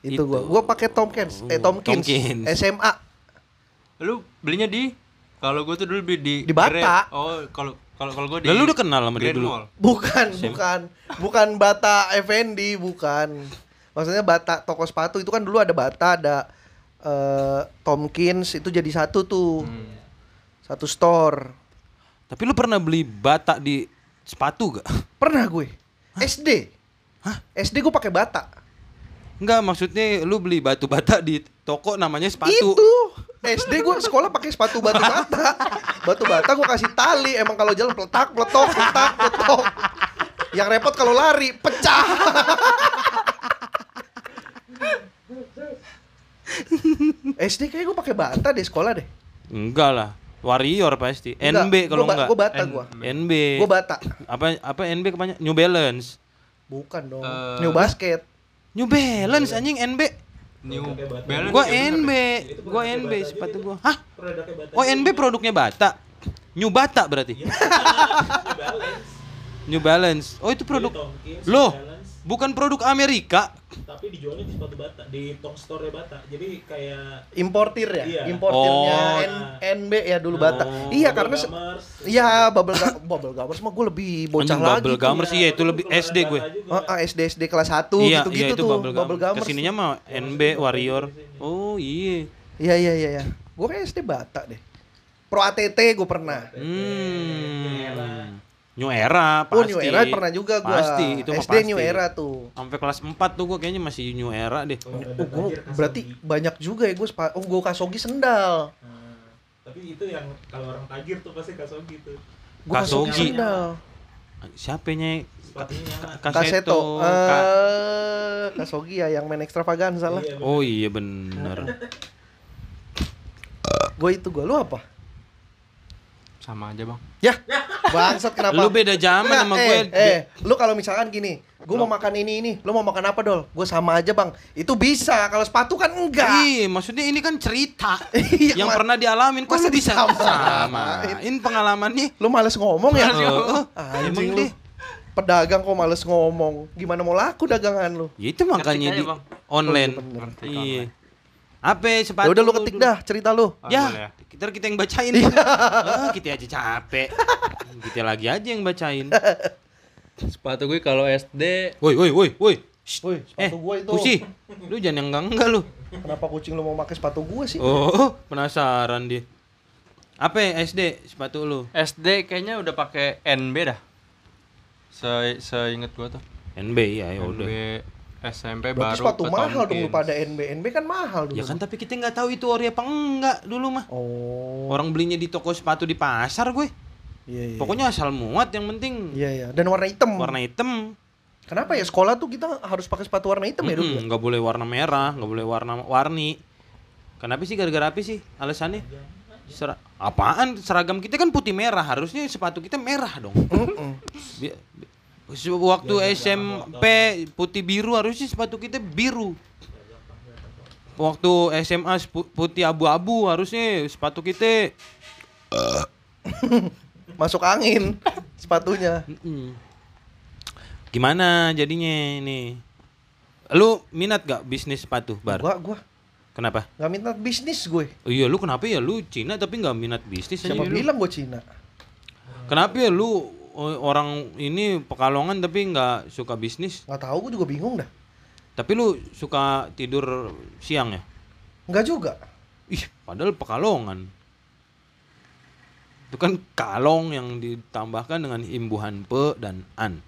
[SPEAKER 1] Itu, gua.
[SPEAKER 2] Itu.
[SPEAKER 1] Gua pakai Tomkins, eh Tomkins.
[SPEAKER 2] Tomkins.
[SPEAKER 1] SMA.
[SPEAKER 3] Lu belinya di kalau gue tuh dulu beli di
[SPEAKER 1] Di Bata.
[SPEAKER 3] Grand- Oh, kalau kalau kalau gue di
[SPEAKER 2] Lah, lu udah kenal sama dia
[SPEAKER 3] Grand
[SPEAKER 2] dulu?
[SPEAKER 3] Mall.
[SPEAKER 1] Bukan, bukan. Bukan Bata Effendi, bukan. Maksudnya Bata toko sepatu itu kan dulu ada Bata, ada eh, Tomkins itu jadi satu tuh. Satu store.
[SPEAKER 2] Tapi lu pernah beli bata di sepatu gak?
[SPEAKER 1] Pernah gue. SD. SD gue pakai Bata.
[SPEAKER 2] Enggak maksudnya lu beli batu bata di toko namanya sepatu.
[SPEAKER 1] Itu. SD gue sekolah pakai sepatu batu bata. Batu bata gue kasih tali. Emang kalau jalan peletak, peletok, peletak, peletok. Yang repot kalau lari pecah. SD kayak gue pakai bata deh sekolah deh.
[SPEAKER 2] Enggak lah. Warrior pasti. NB kalau enggak.
[SPEAKER 1] Gue bata gue.
[SPEAKER 2] NB.
[SPEAKER 1] Gue bata.
[SPEAKER 2] apa apa NB kepanjang New Balance.
[SPEAKER 1] Bukan dong.
[SPEAKER 3] Eh,
[SPEAKER 1] New basket.
[SPEAKER 2] New Balance anjing NB.
[SPEAKER 3] New Balance.
[SPEAKER 2] Gua
[SPEAKER 3] ya, bener.
[SPEAKER 2] NB, gua NB sepatu gua. Hah? Oh, NB produknya Bata. New Bata berarti. New Balance. Oh, itu produk. Loh, bukan produk Amerika.
[SPEAKER 4] tapi dijualnya di sepatu bata di tong store bata jadi kayak
[SPEAKER 1] Importir ya,
[SPEAKER 4] Iya.
[SPEAKER 1] importirnya
[SPEAKER 2] Oh.
[SPEAKER 1] N- NB ya dulu bata. Iya karena se-
[SPEAKER 4] gamers
[SPEAKER 1] Iya, bubble ga- bubble gamers mah gue lebih bocah
[SPEAKER 2] Anjing,
[SPEAKER 1] lagi. tuh.
[SPEAKER 2] Bubble
[SPEAKER 1] ya.
[SPEAKER 2] Gamers iya itu lebih SD gue.
[SPEAKER 1] Ah, ah, SD SD kelas 1
[SPEAKER 2] Iya, iya
[SPEAKER 1] gitu-gitu
[SPEAKER 2] itu
[SPEAKER 1] tuh
[SPEAKER 2] Bubble
[SPEAKER 1] bubble
[SPEAKER 2] Gamers.
[SPEAKER 1] gamers.
[SPEAKER 2] Kesininya mah NB Warrior. Oh, iya.
[SPEAKER 1] Iya iya iya iya. Gua kayak SD Bata deh. Pro ATT gue pernah.
[SPEAKER 2] Hmm. New Era pasti.
[SPEAKER 1] Oh New Era pernah juga gua.
[SPEAKER 2] Pasti, itu mah
[SPEAKER 1] SD New
[SPEAKER 2] pasti.
[SPEAKER 1] Era tuh.
[SPEAKER 2] Sampai kelas 4 tuh gue kayaknya masih New Era deh.
[SPEAKER 1] Oh, gua berarti banyak juga ya gue oh gue kasogi sendal
[SPEAKER 4] Hmm. tapi itu yang kalau orang tajir tuh pasti gitu. kasogi tuh
[SPEAKER 1] gue kasogi.
[SPEAKER 2] Kasogi.
[SPEAKER 1] sendal
[SPEAKER 2] Siapanya?
[SPEAKER 4] sepatunya nyaman
[SPEAKER 1] kaseto
[SPEAKER 2] Ka-
[SPEAKER 1] eh kasogi ya yang main extravaganza lah
[SPEAKER 4] Iya,
[SPEAKER 2] Oh iya bener
[SPEAKER 1] gue itu gue lu apa
[SPEAKER 3] Sama aja, Bang.
[SPEAKER 1] ya bangsat kenapa
[SPEAKER 2] Lu beda zaman
[SPEAKER 1] Nggak,
[SPEAKER 2] sama
[SPEAKER 1] eh,
[SPEAKER 2] gue
[SPEAKER 1] eh lu kalau misalkan gini gue mau makan ini ini lu mau makan apa dol gue sama aja bang itu bisa kalau sepatu kan enggak
[SPEAKER 2] Iya, maksudnya ini kan cerita
[SPEAKER 1] Iya,
[SPEAKER 2] yang
[SPEAKER 1] Mat.
[SPEAKER 2] pernah dialamin. Kok
[SPEAKER 1] Masa
[SPEAKER 2] lu bisa
[SPEAKER 1] disamain?
[SPEAKER 2] samain pengalamannya?
[SPEAKER 1] lu males ngomong ya
[SPEAKER 2] Males ngomong. Emang
[SPEAKER 1] anjing lu
[SPEAKER 2] deh.
[SPEAKER 1] pedagang kok males ngomong gimana mau laku dagangan lu
[SPEAKER 2] Ya itu makanya
[SPEAKER 3] aja,
[SPEAKER 2] di
[SPEAKER 3] Bang.
[SPEAKER 2] online.
[SPEAKER 1] Oh, iya, bener.
[SPEAKER 3] Ngetik
[SPEAKER 2] Iya. Apa sepatu?
[SPEAKER 1] ya udah lu ketik
[SPEAKER 2] dulu.
[SPEAKER 1] dah Iya. cerita lu
[SPEAKER 3] Ah, boleh
[SPEAKER 2] Ya,
[SPEAKER 3] ya?
[SPEAKER 2] kita kita yang bacain. Ah, kita aja capek. kita lagi aja yang bacain.
[SPEAKER 3] Sepatu gue kalau SD
[SPEAKER 2] Woi, woi, woi, woi. Shh.
[SPEAKER 1] Woi,
[SPEAKER 2] Eh,
[SPEAKER 1] sepatu gua itu.
[SPEAKER 2] Pusi, lu jangan yang enggak-enggak lu.
[SPEAKER 1] Kenapa kucing lu mau pakai sepatu gua sih?
[SPEAKER 2] Oh, penasaran dia. Apa ya, SD sepatu lu?
[SPEAKER 3] SD kayaknya udah pakai NB dah. Se seinget gue tuh.
[SPEAKER 2] NB ya, ya udah.
[SPEAKER 3] NB SMP
[SPEAKER 1] Berarti
[SPEAKER 3] baru
[SPEAKER 1] sepatu
[SPEAKER 3] ke
[SPEAKER 1] mahal dong lu
[SPEAKER 3] Tomkins.
[SPEAKER 1] pada NB. NB kan mahal dulu.
[SPEAKER 2] Ya kan tapi kita nggak tahu itu ori apa enggak dulu mah.
[SPEAKER 1] Oh.
[SPEAKER 2] Orang belinya di toko sepatu di pasar gue.
[SPEAKER 1] Iya iya.
[SPEAKER 2] Pokoknya asal muat yang penting
[SPEAKER 1] Iya iya. Dan warna hitam.
[SPEAKER 2] warna hitam.
[SPEAKER 1] Kenapa ya sekolah tuh kita harus pakai sepatu warna hitam ya dulu?
[SPEAKER 2] Mm-mm,
[SPEAKER 1] ya?
[SPEAKER 2] Hmm, Nggak boleh warna merah, nggak boleh warna warni. Kenapa sih gara-gara apa sih alasannya? Sera- apaan seragam kita kan putih merah harusnya sepatu kita merah dong.
[SPEAKER 1] Mm-mm.
[SPEAKER 2] Bi- bi- se- Waktu SMP putih biru harusnya sepatu kita biru. Waktu SMA sepu- putih abu-abu harusnya sepatu kita
[SPEAKER 1] Masuk angin sepatunya.
[SPEAKER 2] Mm-mm. Gimana jadinya ini? Lu minat gak bisnis sepatu bar?
[SPEAKER 1] Gua gua
[SPEAKER 2] Kenapa?
[SPEAKER 1] nggak minta bisnis gue.
[SPEAKER 2] Oh iya lu kenapa ya lu Cina tapi nggak minat bisnis aja
[SPEAKER 1] Siapa
[SPEAKER 2] lu?
[SPEAKER 1] bilang gue Cina?
[SPEAKER 2] Kenapa ya lu o- orang ini pekalongan tapi nggak suka bisnis?
[SPEAKER 1] Nggak tahu gue juga bingung dah.
[SPEAKER 2] Tapi lu suka tidur siang ya?
[SPEAKER 1] Nggak juga.
[SPEAKER 2] Ih, padahal pekalongan. Itu kan kalong yang ditambahkan dengan imbuhan pe dan an.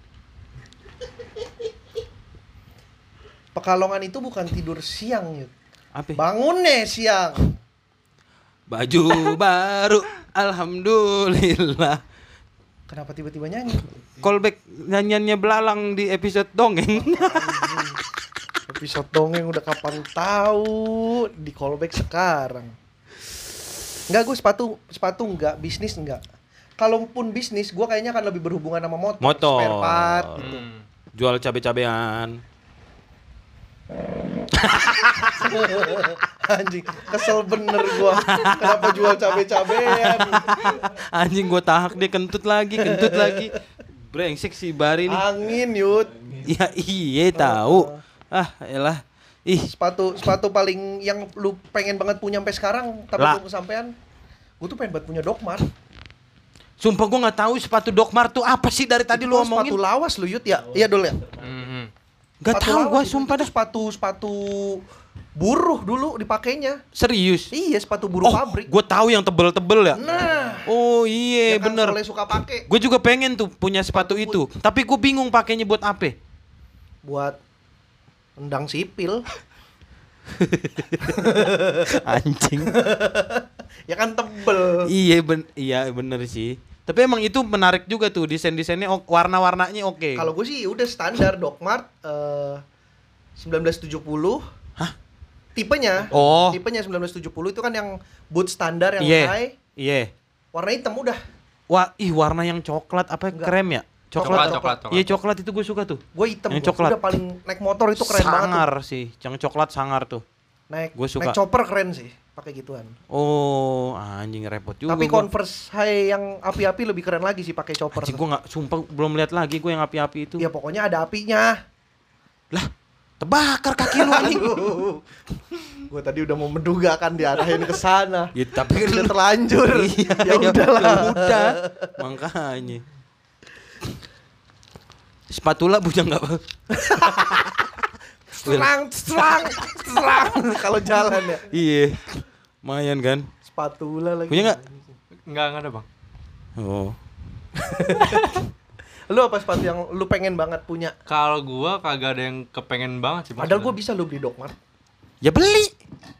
[SPEAKER 1] Pekalongan itu bukan tidur siang, Yud.
[SPEAKER 2] Apa?
[SPEAKER 1] Bangunnya siang.
[SPEAKER 2] Baju baru. Alhamdulillah.
[SPEAKER 1] Kenapa tiba-tiba nyanyi?
[SPEAKER 2] Callback nyanyiannya belalang di episode dongeng.
[SPEAKER 1] Episode dongeng udah kapan tahu di callback sekarang. Enggak gue sepatu sepatu enggak, bisnis enggak. Kalaupun bisnis, gue kayaknya akan lebih berhubungan sama motor,
[SPEAKER 2] Motor.
[SPEAKER 1] spare part, gitu.
[SPEAKER 3] Hmm.
[SPEAKER 2] Jual cabe-cabean.
[SPEAKER 1] Anjing, kesel bener gua. Kenapa jual cabe-cabean?
[SPEAKER 2] Anjing gua tahak dia kentut lagi, kentut lagi. Brengsek si Bari nih.
[SPEAKER 1] Angin, Yud.
[SPEAKER 2] Ya iya tahu. Ah, elah. Ih,
[SPEAKER 1] Sepatu sepatu paling yang lu pengen banget punya sampai sekarang tapi
[SPEAKER 2] Lah.
[SPEAKER 1] belum kesampaian. Gue tuh pengen banget punya Dokmar.
[SPEAKER 2] sumpah gua nggak tahu sepatu Dokmar tuh apa sih dari tadi
[SPEAKER 1] Itu
[SPEAKER 2] lu
[SPEAKER 1] kan
[SPEAKER 2] omongin.
[SPEAKER 1] sepatu lawas lu, Yud ya. Iya, Dul ya.
[SPEAKER 3] Hmm.
[SPEAKER 2] Gak
[SPEAKER 1] Sepatu
[SPEAKER 2] tahu
[SPEAKER 1] lawas
[SPEAKER 2] gua
[SPEAKER 1] itu-
[SPEAKER 2] sumpah
[SPEAKER 1] itu
[SPEAKER 2] dah.
[SPEAKER 1] Sepatu sepatu buruh dulu dipakainya.
[SPEAKER 2] Serius.
[SPEAKER 1] Iya, sepatu buruh
[SPEAKER 2] Oh,
[SPEAKER 1] pabrik.
[SPEAKER 2] gua tahu yang tebel-tebel ya.
[SPEAKER 1] Nah,
[SPEAKER 2] Oh iya
[SPEAKER 1] yang kan
[SPEAKER 2] bener.
[SPEAKER 1] Soleh suka pakai
[SPEAKER 2] Gue juga pengen tuh punya sepatu itu, tapi gue bingung pakainya buat apa.
[SPEAKER 1] buat endang sipil.
[SPEAKER 2] Anjing.
[SPEAKER 1] ya kan tebel.
[SPEAKER 2] iya ben, iya bener sih. Tapi emang itu menarik juga tuh desain-desainnya, ok- warna-warnanya oke.
[SPEAKER 1] Kalau gue sih udah standar Dokmart eh 1970.
[SPEAKER 2] Hah?
[SPEAKER 1] Tipenya.
[SPEAKER 2] Oh.
[SPEAKER 1] Tipenya 1970 itu kan yang boot standar yang
[SPEAKER 2] Iya.
[SPEAKER 1] high,
[SPEAKER 2] Iya.
[SPEAKER 1] warna hitam udah.
[SPEAKER 2] Wah, ih warna yang coklat apa
[SPEAKER 1] Enggak.
[SPEAKER 2] krem ya?
[SPEAKER 3] Coklat,
[SPEAKER 2] Coklat.
[SPEAKER 3] coklat, coklat.
[SPEAKER 2] Iya coklat itu gue suka tuh.
[SPEAKER 1] Gue hitam. gua.
[SPEAKER 2] Yang coklat.
[SPEAKER 1] Udah paling naik motor itu keren banget. tuh.
[SPEAKER 2] sangar sih, yang coklat sangar tuh.
[SPEAKER 1] Naik
[SPEAKER 2] Gua suka.
[SPEAKER 1] naik chopper keren sih pakai gituan.
[SPEAKER 2] Oh, anjing repot juga.
[SPEAKER 1] Tapi
[SPEAKER 2] gua.
[SPEAKER 1] Converse high yang api-api lebih keren lagi sih pakai chopper.
[SPEAKER 2] Anjing gue nggak sumpah belum lihat lagi gue yang api-api itu.
[SPEAKER 1] Ya pokoknya ada apinya.
[SPEAKER 2] Lah, terbakar kaki lu anjing.
[SPEAKER 1] gue tadi udah mau menduga kan diarahin ke sana.
[SPEAKER 2] Ya, tapi kan
[SPEAKER 1] Udah terlanjur.
[SPEAKER 2] Iya,
[SPEAKER 1] ya udahlah.
[SPEAKER 2] ya udah. Makanya. Spatula punya nggak? Bang?
[SPEAKER 1] serang serang serang kalau jalan ya
[SPEAKER 2] iya. Lumayan kan?
[SPEAKER 1] spatula lagi
[SPEAKER 2] Punya nggak?
[SPEAKER 3] Enggak, enggak ada, Bang.
[SPEAKER 2] Oh.
[SPEAKER 1] lu apa sepatu yang lu pengen banget punya
[SPEAKER 3] Kalau gua kagak ada yang kepengen banget sih, Bang.
[SPEAKER 1] padahal gua bisa lu beli dokmart
[SPEAKER 2] Ya beli.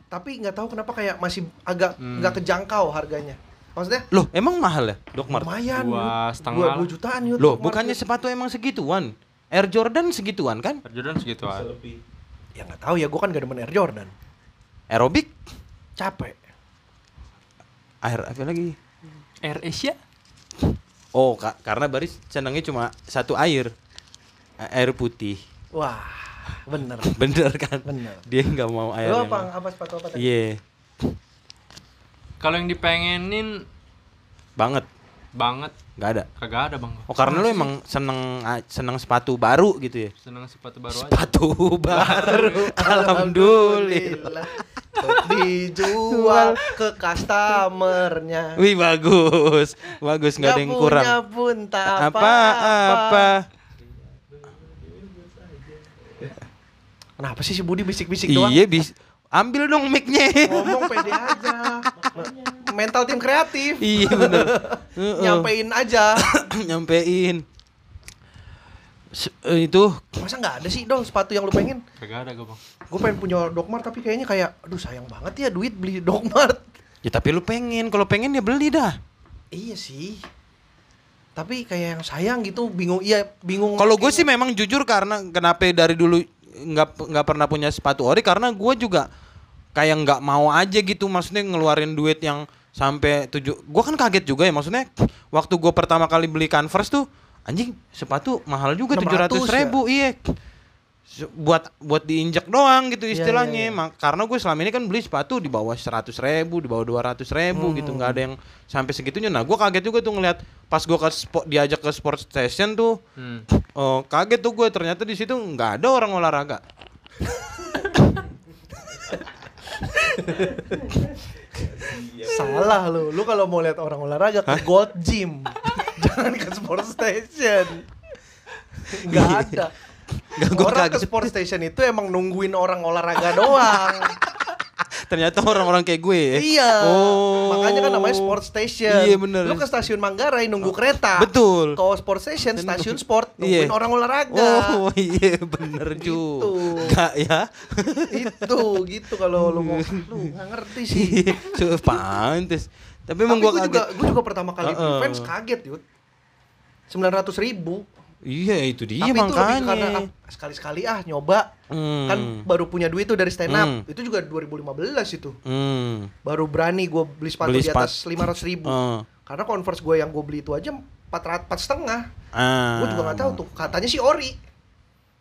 [SPEAKER 1] tapi nggak tahu kenapa kayak masih agak
[SPEAKER 3] Hmm.
[SPEAKER 1] nggak kejangkau harganya maksudnya
[SPEAKER 2] Loh, emang mahal ya, Dokmart?
[SPEAKER 1] lumayan
[SPEAKER 3] Dua
[SPEAKER 1] Yud.
[SPEAKER 3] setengah
[SPEAKER 1] dua
[SPEAKER 3] lah.
[SPEAKER 1] dua jutaan gitu yuk
[SPEAKER 2] Loh, bukannya sepatu emang segituan? Air Jordan segituan kan?
[SPEAKER 3] Air Jordan segitu
[SPEAKER 4] bisa
[SPEAKER 3] aja.
[SPEAKER 4] lebih
[SPEAKER 1] ya nggak tahu ya gua kan gak demen air jordan
[SPEAKER 2] Aerobik?
[SPEAKER 1] capek
[SPEAKER 2] Air apa lagi?
[SPEAKER 3] Air Asia?
[SPEAKER 2] Oh, ka- karena Baris senangnya cuma satu air. A- Air putih.
[SPEAKER 1] wah bener
[SPEAKER 2] Bener kan?
[SPEAKER 1] Bener.
[SPEAKER 2] Dia nggak mau air.
[SPEAKER 1] lu
[SPEAKER 2] yang-
[SPEAKER 1] apa apa sepatu apa tadi
[SPEAKER 2] Iya,
[SPEAKER 3] Kalau yang dipengenin
[SPEAKER 2] banget.
[SPEAKER 3] banget
[SPEAKER 2] Nggak ada.
[SPEAKER 3] kagak ada, Bang.
[SPEAKER 2] Oh karena lu emang seneng seneng sepatu baru gitu ya?
[SPEAKER 3] Senang sepatu baru aja.
[SPEAKER 2] Sepatu baru, alhamdulillah.
[SPEAKER 1] Untuk dijual ke customernya
[SPEAKER 2] Wih bagus, bagus nggak ada yang kurang.
[SPEAKER 1] punya pun tak
[SPEAKER 2] Apa
[SPEAKER 1] apa-apa.
[SPEAKER 2] apa?
[SPEAKER 1] Kenapa sih si Budi bisik-bisik doang?
[SPEAKER 2] Iya bis, ambil dong micnya.
[SPEAKER 1] Ngomong pede aja. Mental tim kreatif.
[SPEAKER 2] iya bener. Heeh.
[SPEAKER 1] Nyampein aja.
[SPEAKER 2] nyampein. Se- eh, itu
[SPEAKER 1] Masa nggak ada sih dong sepatu yang lu pengen?
[SPEAKER 3] Kagak ada gua, Bang.
[SPEAKER 1] Gue pengen punya Dokmart tapi kayaknya kayak aduh sayang banget ya duit beli Dokmart.
[SPEAKER 2] ya tapi lu pengen, kalau pengen ya beli dah.
[SPEAKER 1] Iya sih. Tapi kayak yang sayang gitu bingung iya bingung.
[SPEAKER 2] Kalau gue sih memang jujur karena kenapa dari dulu nggak nggak pernah punya sepatu ori karena gue juga kayak nggak mau aja gitu maksudnya ngeluarin duit yang sampai tujuh gue kan kaget juga ya maksudnya waktu gue pertama kali beli converse tuh anjing sepatu mahal juga tujuh
[SPEAKER 1] 600
[SPEAKER 2] ratus ribu iya Se- buat buat diinjak doang gitu
[SPEAKER 1] Iya, iya,
[SPEAKER 2] istilahnya
[SPEAKER 1] iya.
[SPEAKER 2] Ma- karena gue selama ini kan beli sepatu di bawah seratus ribu di bawah dua ratus
[SPEAKER 1] Hmm.
[SPEAKER 2] ribu gitu nggak ada yang sampai segitunya nah gue kaget juga tuh ngeliat pas gue ke sport diajak ke sport station tuh
[SPEAKER 3] Hmm.
[SPEAKER 2] Oh, kaget tuh gue ternyata di situ nggak ada orang olahraga.
[SPEAKER 1] Iya. salah lu. Lu kalau mau lihat orang olahraga ke Gold Gym. Jangan ke Sport Station. Nggak ada.
[SPEAKER 2] Iya. Nggak, gua
[SPEAKER 1] orang
[SPEAKER 2] kaget.
[SPEAKER 1] ke sport station itu emang nungguin orang olahraga doang.
[SPEAKER 2] Ternyata orang-orang kayak gue ya.
[SPEAKER 1] Iya.
[SPEAKER 2] Oh.
[SPEAKER 1] Makanya kan namanya sport station.
[SPEAKER 2] Iya, bener. Oh.
[SPEAKER 1] Lu ke stasiun Manggarai nunggu kereta.
[SPEAKER 2] Betul.
[SPEAKER 1] Ke sport station, stasiun sport
[SPEAKER 2] Iya.
[SPEAKER 1] nungguin orang olahraga. Gitu.
[SPEAKER 2] Oh iya bener juga ya
[SPEAKER 1] Itu gitu kalau lu mau lu nggak ngerti sih.
[SPEAKER 2] Iya, so, pantes Tapi
[SPEAKER 1] Tapi
[SPEAKER 2] emang
[SPEAKER 1] gue
[SPEAKER 2] gue
[SPEAKER 1] juga
[SPEAKER 2] kaget
[SPEAKER 1] gue juga pertama kali beli
[SPEAKER 2] Heeh.
[SPEAKER 1] fans kaget, Yud. 900 ribu.
[SPEAKER 2] Iya itu dia
[SPEAKER 1] Tapi itu lebih
[SPEAKER 2] makanya
[SPEAKER 1] karena ah, sekali-sekali ah nyoba.
[SPEAKER 2] Hmm.
[SPEAKER 1] Kan baru punya duit tuh dari stand up.
[SPEAKER 2] Hmm.
[SPEAKER 1] Itu juga 2015 itu.
[SPEAKER 2] Hmm. Oh,
[SPEAKER 1] Baru berani gue beli sepatu
[SPEAKER 2] Beli
[SPEAKER 1] di
[SPEAKER 2] Hmm.
[SPEAKER 1] atas 500 ribu.
[SPEAKER 2] Heeh.
[SPEAKER 1] Karena converse gue yang gue beli itu aja 400 empat setengah.
[SPEAKER 2] Ah.
[SPEAKER 1] Gue juga nggak tahu tuh. Katanya sih ori.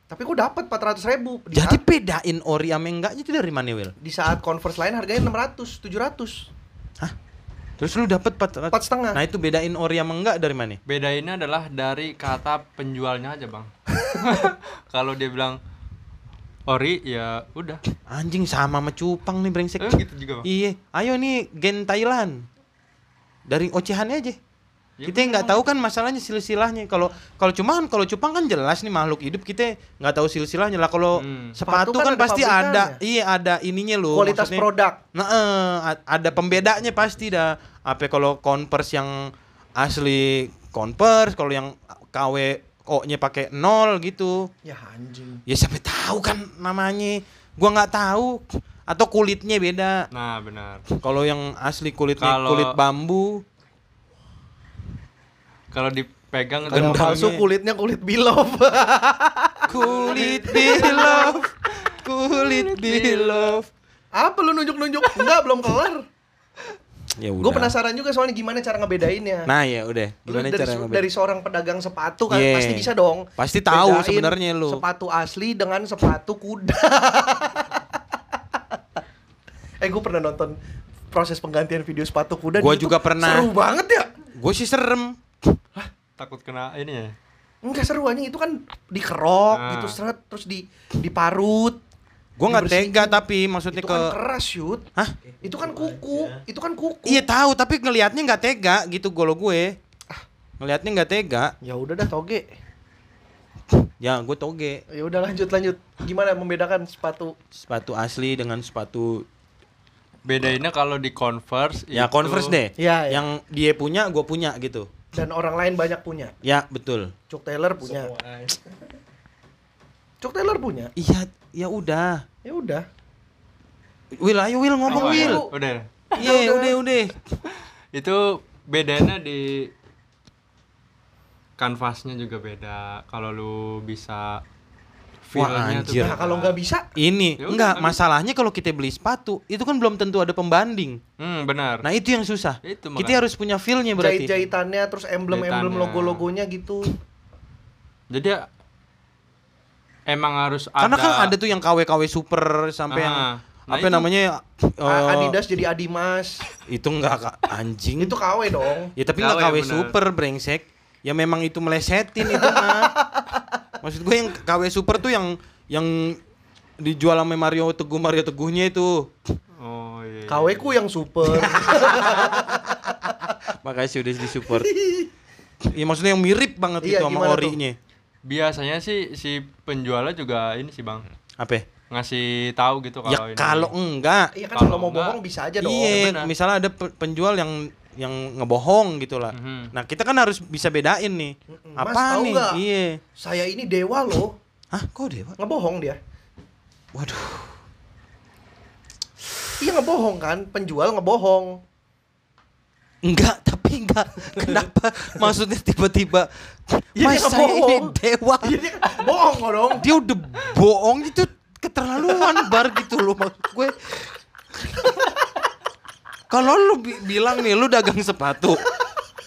[SPEAKER 1] Tapi gue dapat 400 ribu. Di
[SPEAKER 2] Jadi
[SPEAKER 1] saat,
[SPEAKER 2] bedain ori sama enggaknya itu dari mana Wil?
[SPEAKER 1] di saat converse lain harganya 600, 700.
[SPEAKER 2] Hah? Terus lu dapet 400
[SPEAKER 1] Empat setengah.
[SPEAKER 2] Nah itu bedain ori sama enggak dari mana?
[SPEAKER 3] Bedainnya adalah dari kata penjualnya aja, Bang. Kalau dia bilang ori ya udah.
[SPEAKER 2] Anjing sama sama cupang nih brengsek
[SPEAKER 3] Eh, gitu juga, Bang.
[SPEAKER 2] Iya Ayo nih gen Thailand Dari ocehannya aja
[SPEAKER 3] Ya,
[SPEAKER 2] kita yang nggak tahu kan masalahnya silsilahnya kalau kalau cuman kalau cupang kan jelas nih makhluk hidup kita nggak tahu silsilahnya lah kalau
[SPEAKER 3] Hmm.
[SPEAKER 2] sepatu,
[SPEAKER 1] Sepatu kan
[SPEAKER 2] kan,
[SPEAKER 1] ada
[SPEAKER 2] pasti ada
[SPEAKER 1] pabrikannya.
[SPEAKER 2] iya ada ininya loh
[SPEAKER 1] Kualitas
[SPEAKER 2] maksudnya.
[SPEAKER 1] produk.
[SPEAKER 2] Nah, eh, a- ada pembedanya pasti dah. Apa kalau Converse yang asli Converse, kalau yang KW O-nya pakai nol gitu.
[SPEAKER 1] Ya anjing.
[SPEAKER 2] Ya sampai tahu kan namanya. Gua nggak tahu atau kulitnya beda.
[SPEAKER 3] Nah, benar.
[SPEAKER 2] Kalau yang asli kulitnya
[SPEAKER 3] Kalau-
[SPEAKER 2] kulit bambu.
[SPEAKER 3] Kalau dipegang
[SPEAKER 1] Kalau
[SPEAKER 2] Gendangnya.
[SPEAKER 1] palsu kulitnya kulit bilob.
[SPEAKER 2] Kulit di love. Kulit di love.
[SPEAKER 1] Apa lu nunjuk-nunjuk? Enggak, belum kelar.
[SPEAKER 2] Ya udah.
[SPEAKER 1] Gue penasaran juga soalnya gimana cara ngebedainnya.
[SPEAKER 2] Nah, ya udah.
[SPEAKER 1] Lu
[SPEAKER 2] Gimana
[SPEAKER 1] dari,
[SPEAKER 2] cara
[SPEAKER 1] se-
[SPEAKER 2] ngebedain?
[SPEAKER 1] dari seorang pedagang sepatu kan
[SPEAKER 2] Iya.
[SPEAKER 1] pasti bisa dong.
[SPEAKER 2] Pasti tahu
[SPEAKER 1] bedain
[SPEAKER 2] sebenarnya lu.
[SPEAKER 1] Sepatu asli dengan sepatu kuda. eh gue pernah nonton proses penggantian video sepatu kuda. di
[SPEAKER 2] Gua
[SPEAKER 1] YouTube.
[SPEAKER 2] juga pernah.
[SPEAKER 1] Seru banget ya.
[SPEAKER 2] Gue sih serem.
[SPEAKER 3] takut kena ini ya.
[SPEAKER 1] Enggak seru aja itu kan dikerok
[SPEAKER 3] Ah.
[SPEAKER 1] gitu seret terus di diparut.
[SPEAKER 2] Gue nggak
[SPEAKER 1] dibersihin.
[SPEAKER 2] tega tapi maksudnya
[SPEAKER 1] Itu
[SPEAKER 2] ke
[SPEAKER 1] kan keras shoot.
[SPEAKER 2] Hah?
[SPEAKER 1] Itu kan kuku, itu kan kuku.
[SPEAKER 2] Iya tahu tapi ngelihatnya nggak tega gitu golo gue. Ngelihatnya nggak tega.
[SPEAKER 1] Ya udah dah toge.
[SPEAKER 2] Ya gue toge
[SPEAKER 1] Ya udah lanjut lanjut. Gimana membedakan sepatu?
[SPEAKER 2] sepatu asli dengan sepatu
[SPEAKER 3] Bedainnya kalau di Converse
[SPEAKER 2] ya
[SPEAKER 3] itu-
[SPEAKER 2] Converse deh.
[SPEAKER 1] Ya, ya.
[SPEAKER 2] Yang dia punya gue punya gitu.
[SPEAKER 1] Dan orang lain banyak punya.
[SPEAKER 2] Ya betul.
[SPEAKER 1] Chuck Taylor punya. Chuck Taylor punya.
[SPEAKER 2] Iya ya udah.
[SPEAKER 1] Ya udah.
[SPEAKER 2] Will ayo Will ngomong
[SPEAKER 3] Oh,
[SPEAKER 2] Will.
[SPEAKER 3] ya, Udah.
[SPEAKER 2] Iya udah udah.
[SPEAKER 3] Itu bedanya di kanvasnya juga beda. Kalau lu bisa feel-nya tuh
[SPEAKER 2] anjir.
[SPEAKER 1] Nah,
[SPEAKER 3] beda.
[SPEAKER 1] kalau nggak bisa,
[SPEAKER 2] Ini
[SPEAKER 3] Ya udah,
[SPEAKER 2] enggak
[SPEAKER 3] tapi-
[SPEAKER 2] masalahnya kalau kita beli sepatu itu kan belum tentu ada pembanding.
[SPEAKER 3] Hmm, benar.
[SPEAKER 2] Nah itu yang susah.
[SPEAKER 3] Itu
[SPEAKER 2] kita
[SPEAKER 3] makanya.
[SPEAKER 2] harus punya feel-nya berarti.
[SPEAKER 1] jahit-jahitannya terus emblem-emblem
[SPEAKER 3] Jahitannya.
[SPEAKER 1] logo-logonya gitu.
[SPEAKER 3] Jadi ya, emang harus ada
[SPEAKER 2] Karena kan ada tuh yang KW-KW super sampai yang
[SPEAKER 3] Ah, nah
[SPEAKER 2] apa
[SPEAKER 3] itu.
[SPEAKER 2] namanya eh,
[SPEAKER 1] A- Adidas jadi Adimas.
[SPEAKER 2] itu enggak Kak. anjing.
[SPEAKER 1] Itu KW dong.
[SPEAKER 2] ya tapi
[SPEAKER 3] KW,
[SPEAKER 2] enggak KW
[SPEAKER 3] bener.
[SPEAKER 2] super brengsek. Ya memang itu melesetin itu mah. Maksud gue yang KW super tuh yang yang dijual sama Mario Teguh Mario Teguhnya itu.
[SPEAKER 3] Oh iya. iya.
[SPEAKER 1] KW ku yang super.
[SPEAKER 2] Makasih udah disupport. Iya maksudnya yang mirip banget
[SPEAKER 1] Iya,
[SPEAKER 2] itu sama
[SPEAKER 1] gimana tuh?
[SPEAKER 2] orinya.
[SPEAKER 3] Biasanya sih si penjualnya juga ini sih, Bang.
[SPEAKER 2] Apa?
[SPEAKER 3] Ngasih tahu gitu kalau
[SPEAKER 2] Ya
[SPEAKER 3] ini.
[SPEAKER 2] kalau enggak
[SPEAKER 1] Iya kan
[SPEAKER 3] Kalau
[SPEAKER 1] kalau mau
[SPEAKER 3] nggak-
[SPEAKER 1] bohong bisa aja dong.
[SPEAKER 2] Iya,
[SPEAKER 3] benar.
[SPEAKER 2] misalnya ada pe- penjual yang yang ngebohong gitu lah.
[SPEAKER 3] Mhm.
[SPEAKER 2] Nah, kita kan harus bisa bedain nih.
[SPEAKER 1] Mm-mm. Mhm. Mas,
[SPEAKER 2] Apa
[SPEAKER 1] tahu
[SPEAKER 2] nih?
[SPEAKER 1] nggak?
[SPEAKER 2] Iya.
[SPEAKER 1] Saya ini dewa loh.
[SPEAKER 2] Hah, kok dewa?
[SPEAKER 1] Ngebohong dia.
[SPEAKER 2] Waduh.
[SPEAKER 1] Iya ngebohong kan, penjual ngebohong.
[SPEAKER 2] Enggak, tapi enggak. Kenapa? Maksudnya tiba-tiba
[SPEAKER 1] Iya,
[SPEAKER 2] Mas
[SPEAKER 1] dia
[SPEAKER 2] saya ini
[SPEAKER 1] ngebohong.
[SPEAKER 2] dewa.
[SPEAKER 1] Iya dia bohong kok dong.
[SPEAKER 2] Dia udah bohong itu keterlaluan bar gitu loh maksud gue. Kalau lu bi- bilang nih lu dagang sepatu.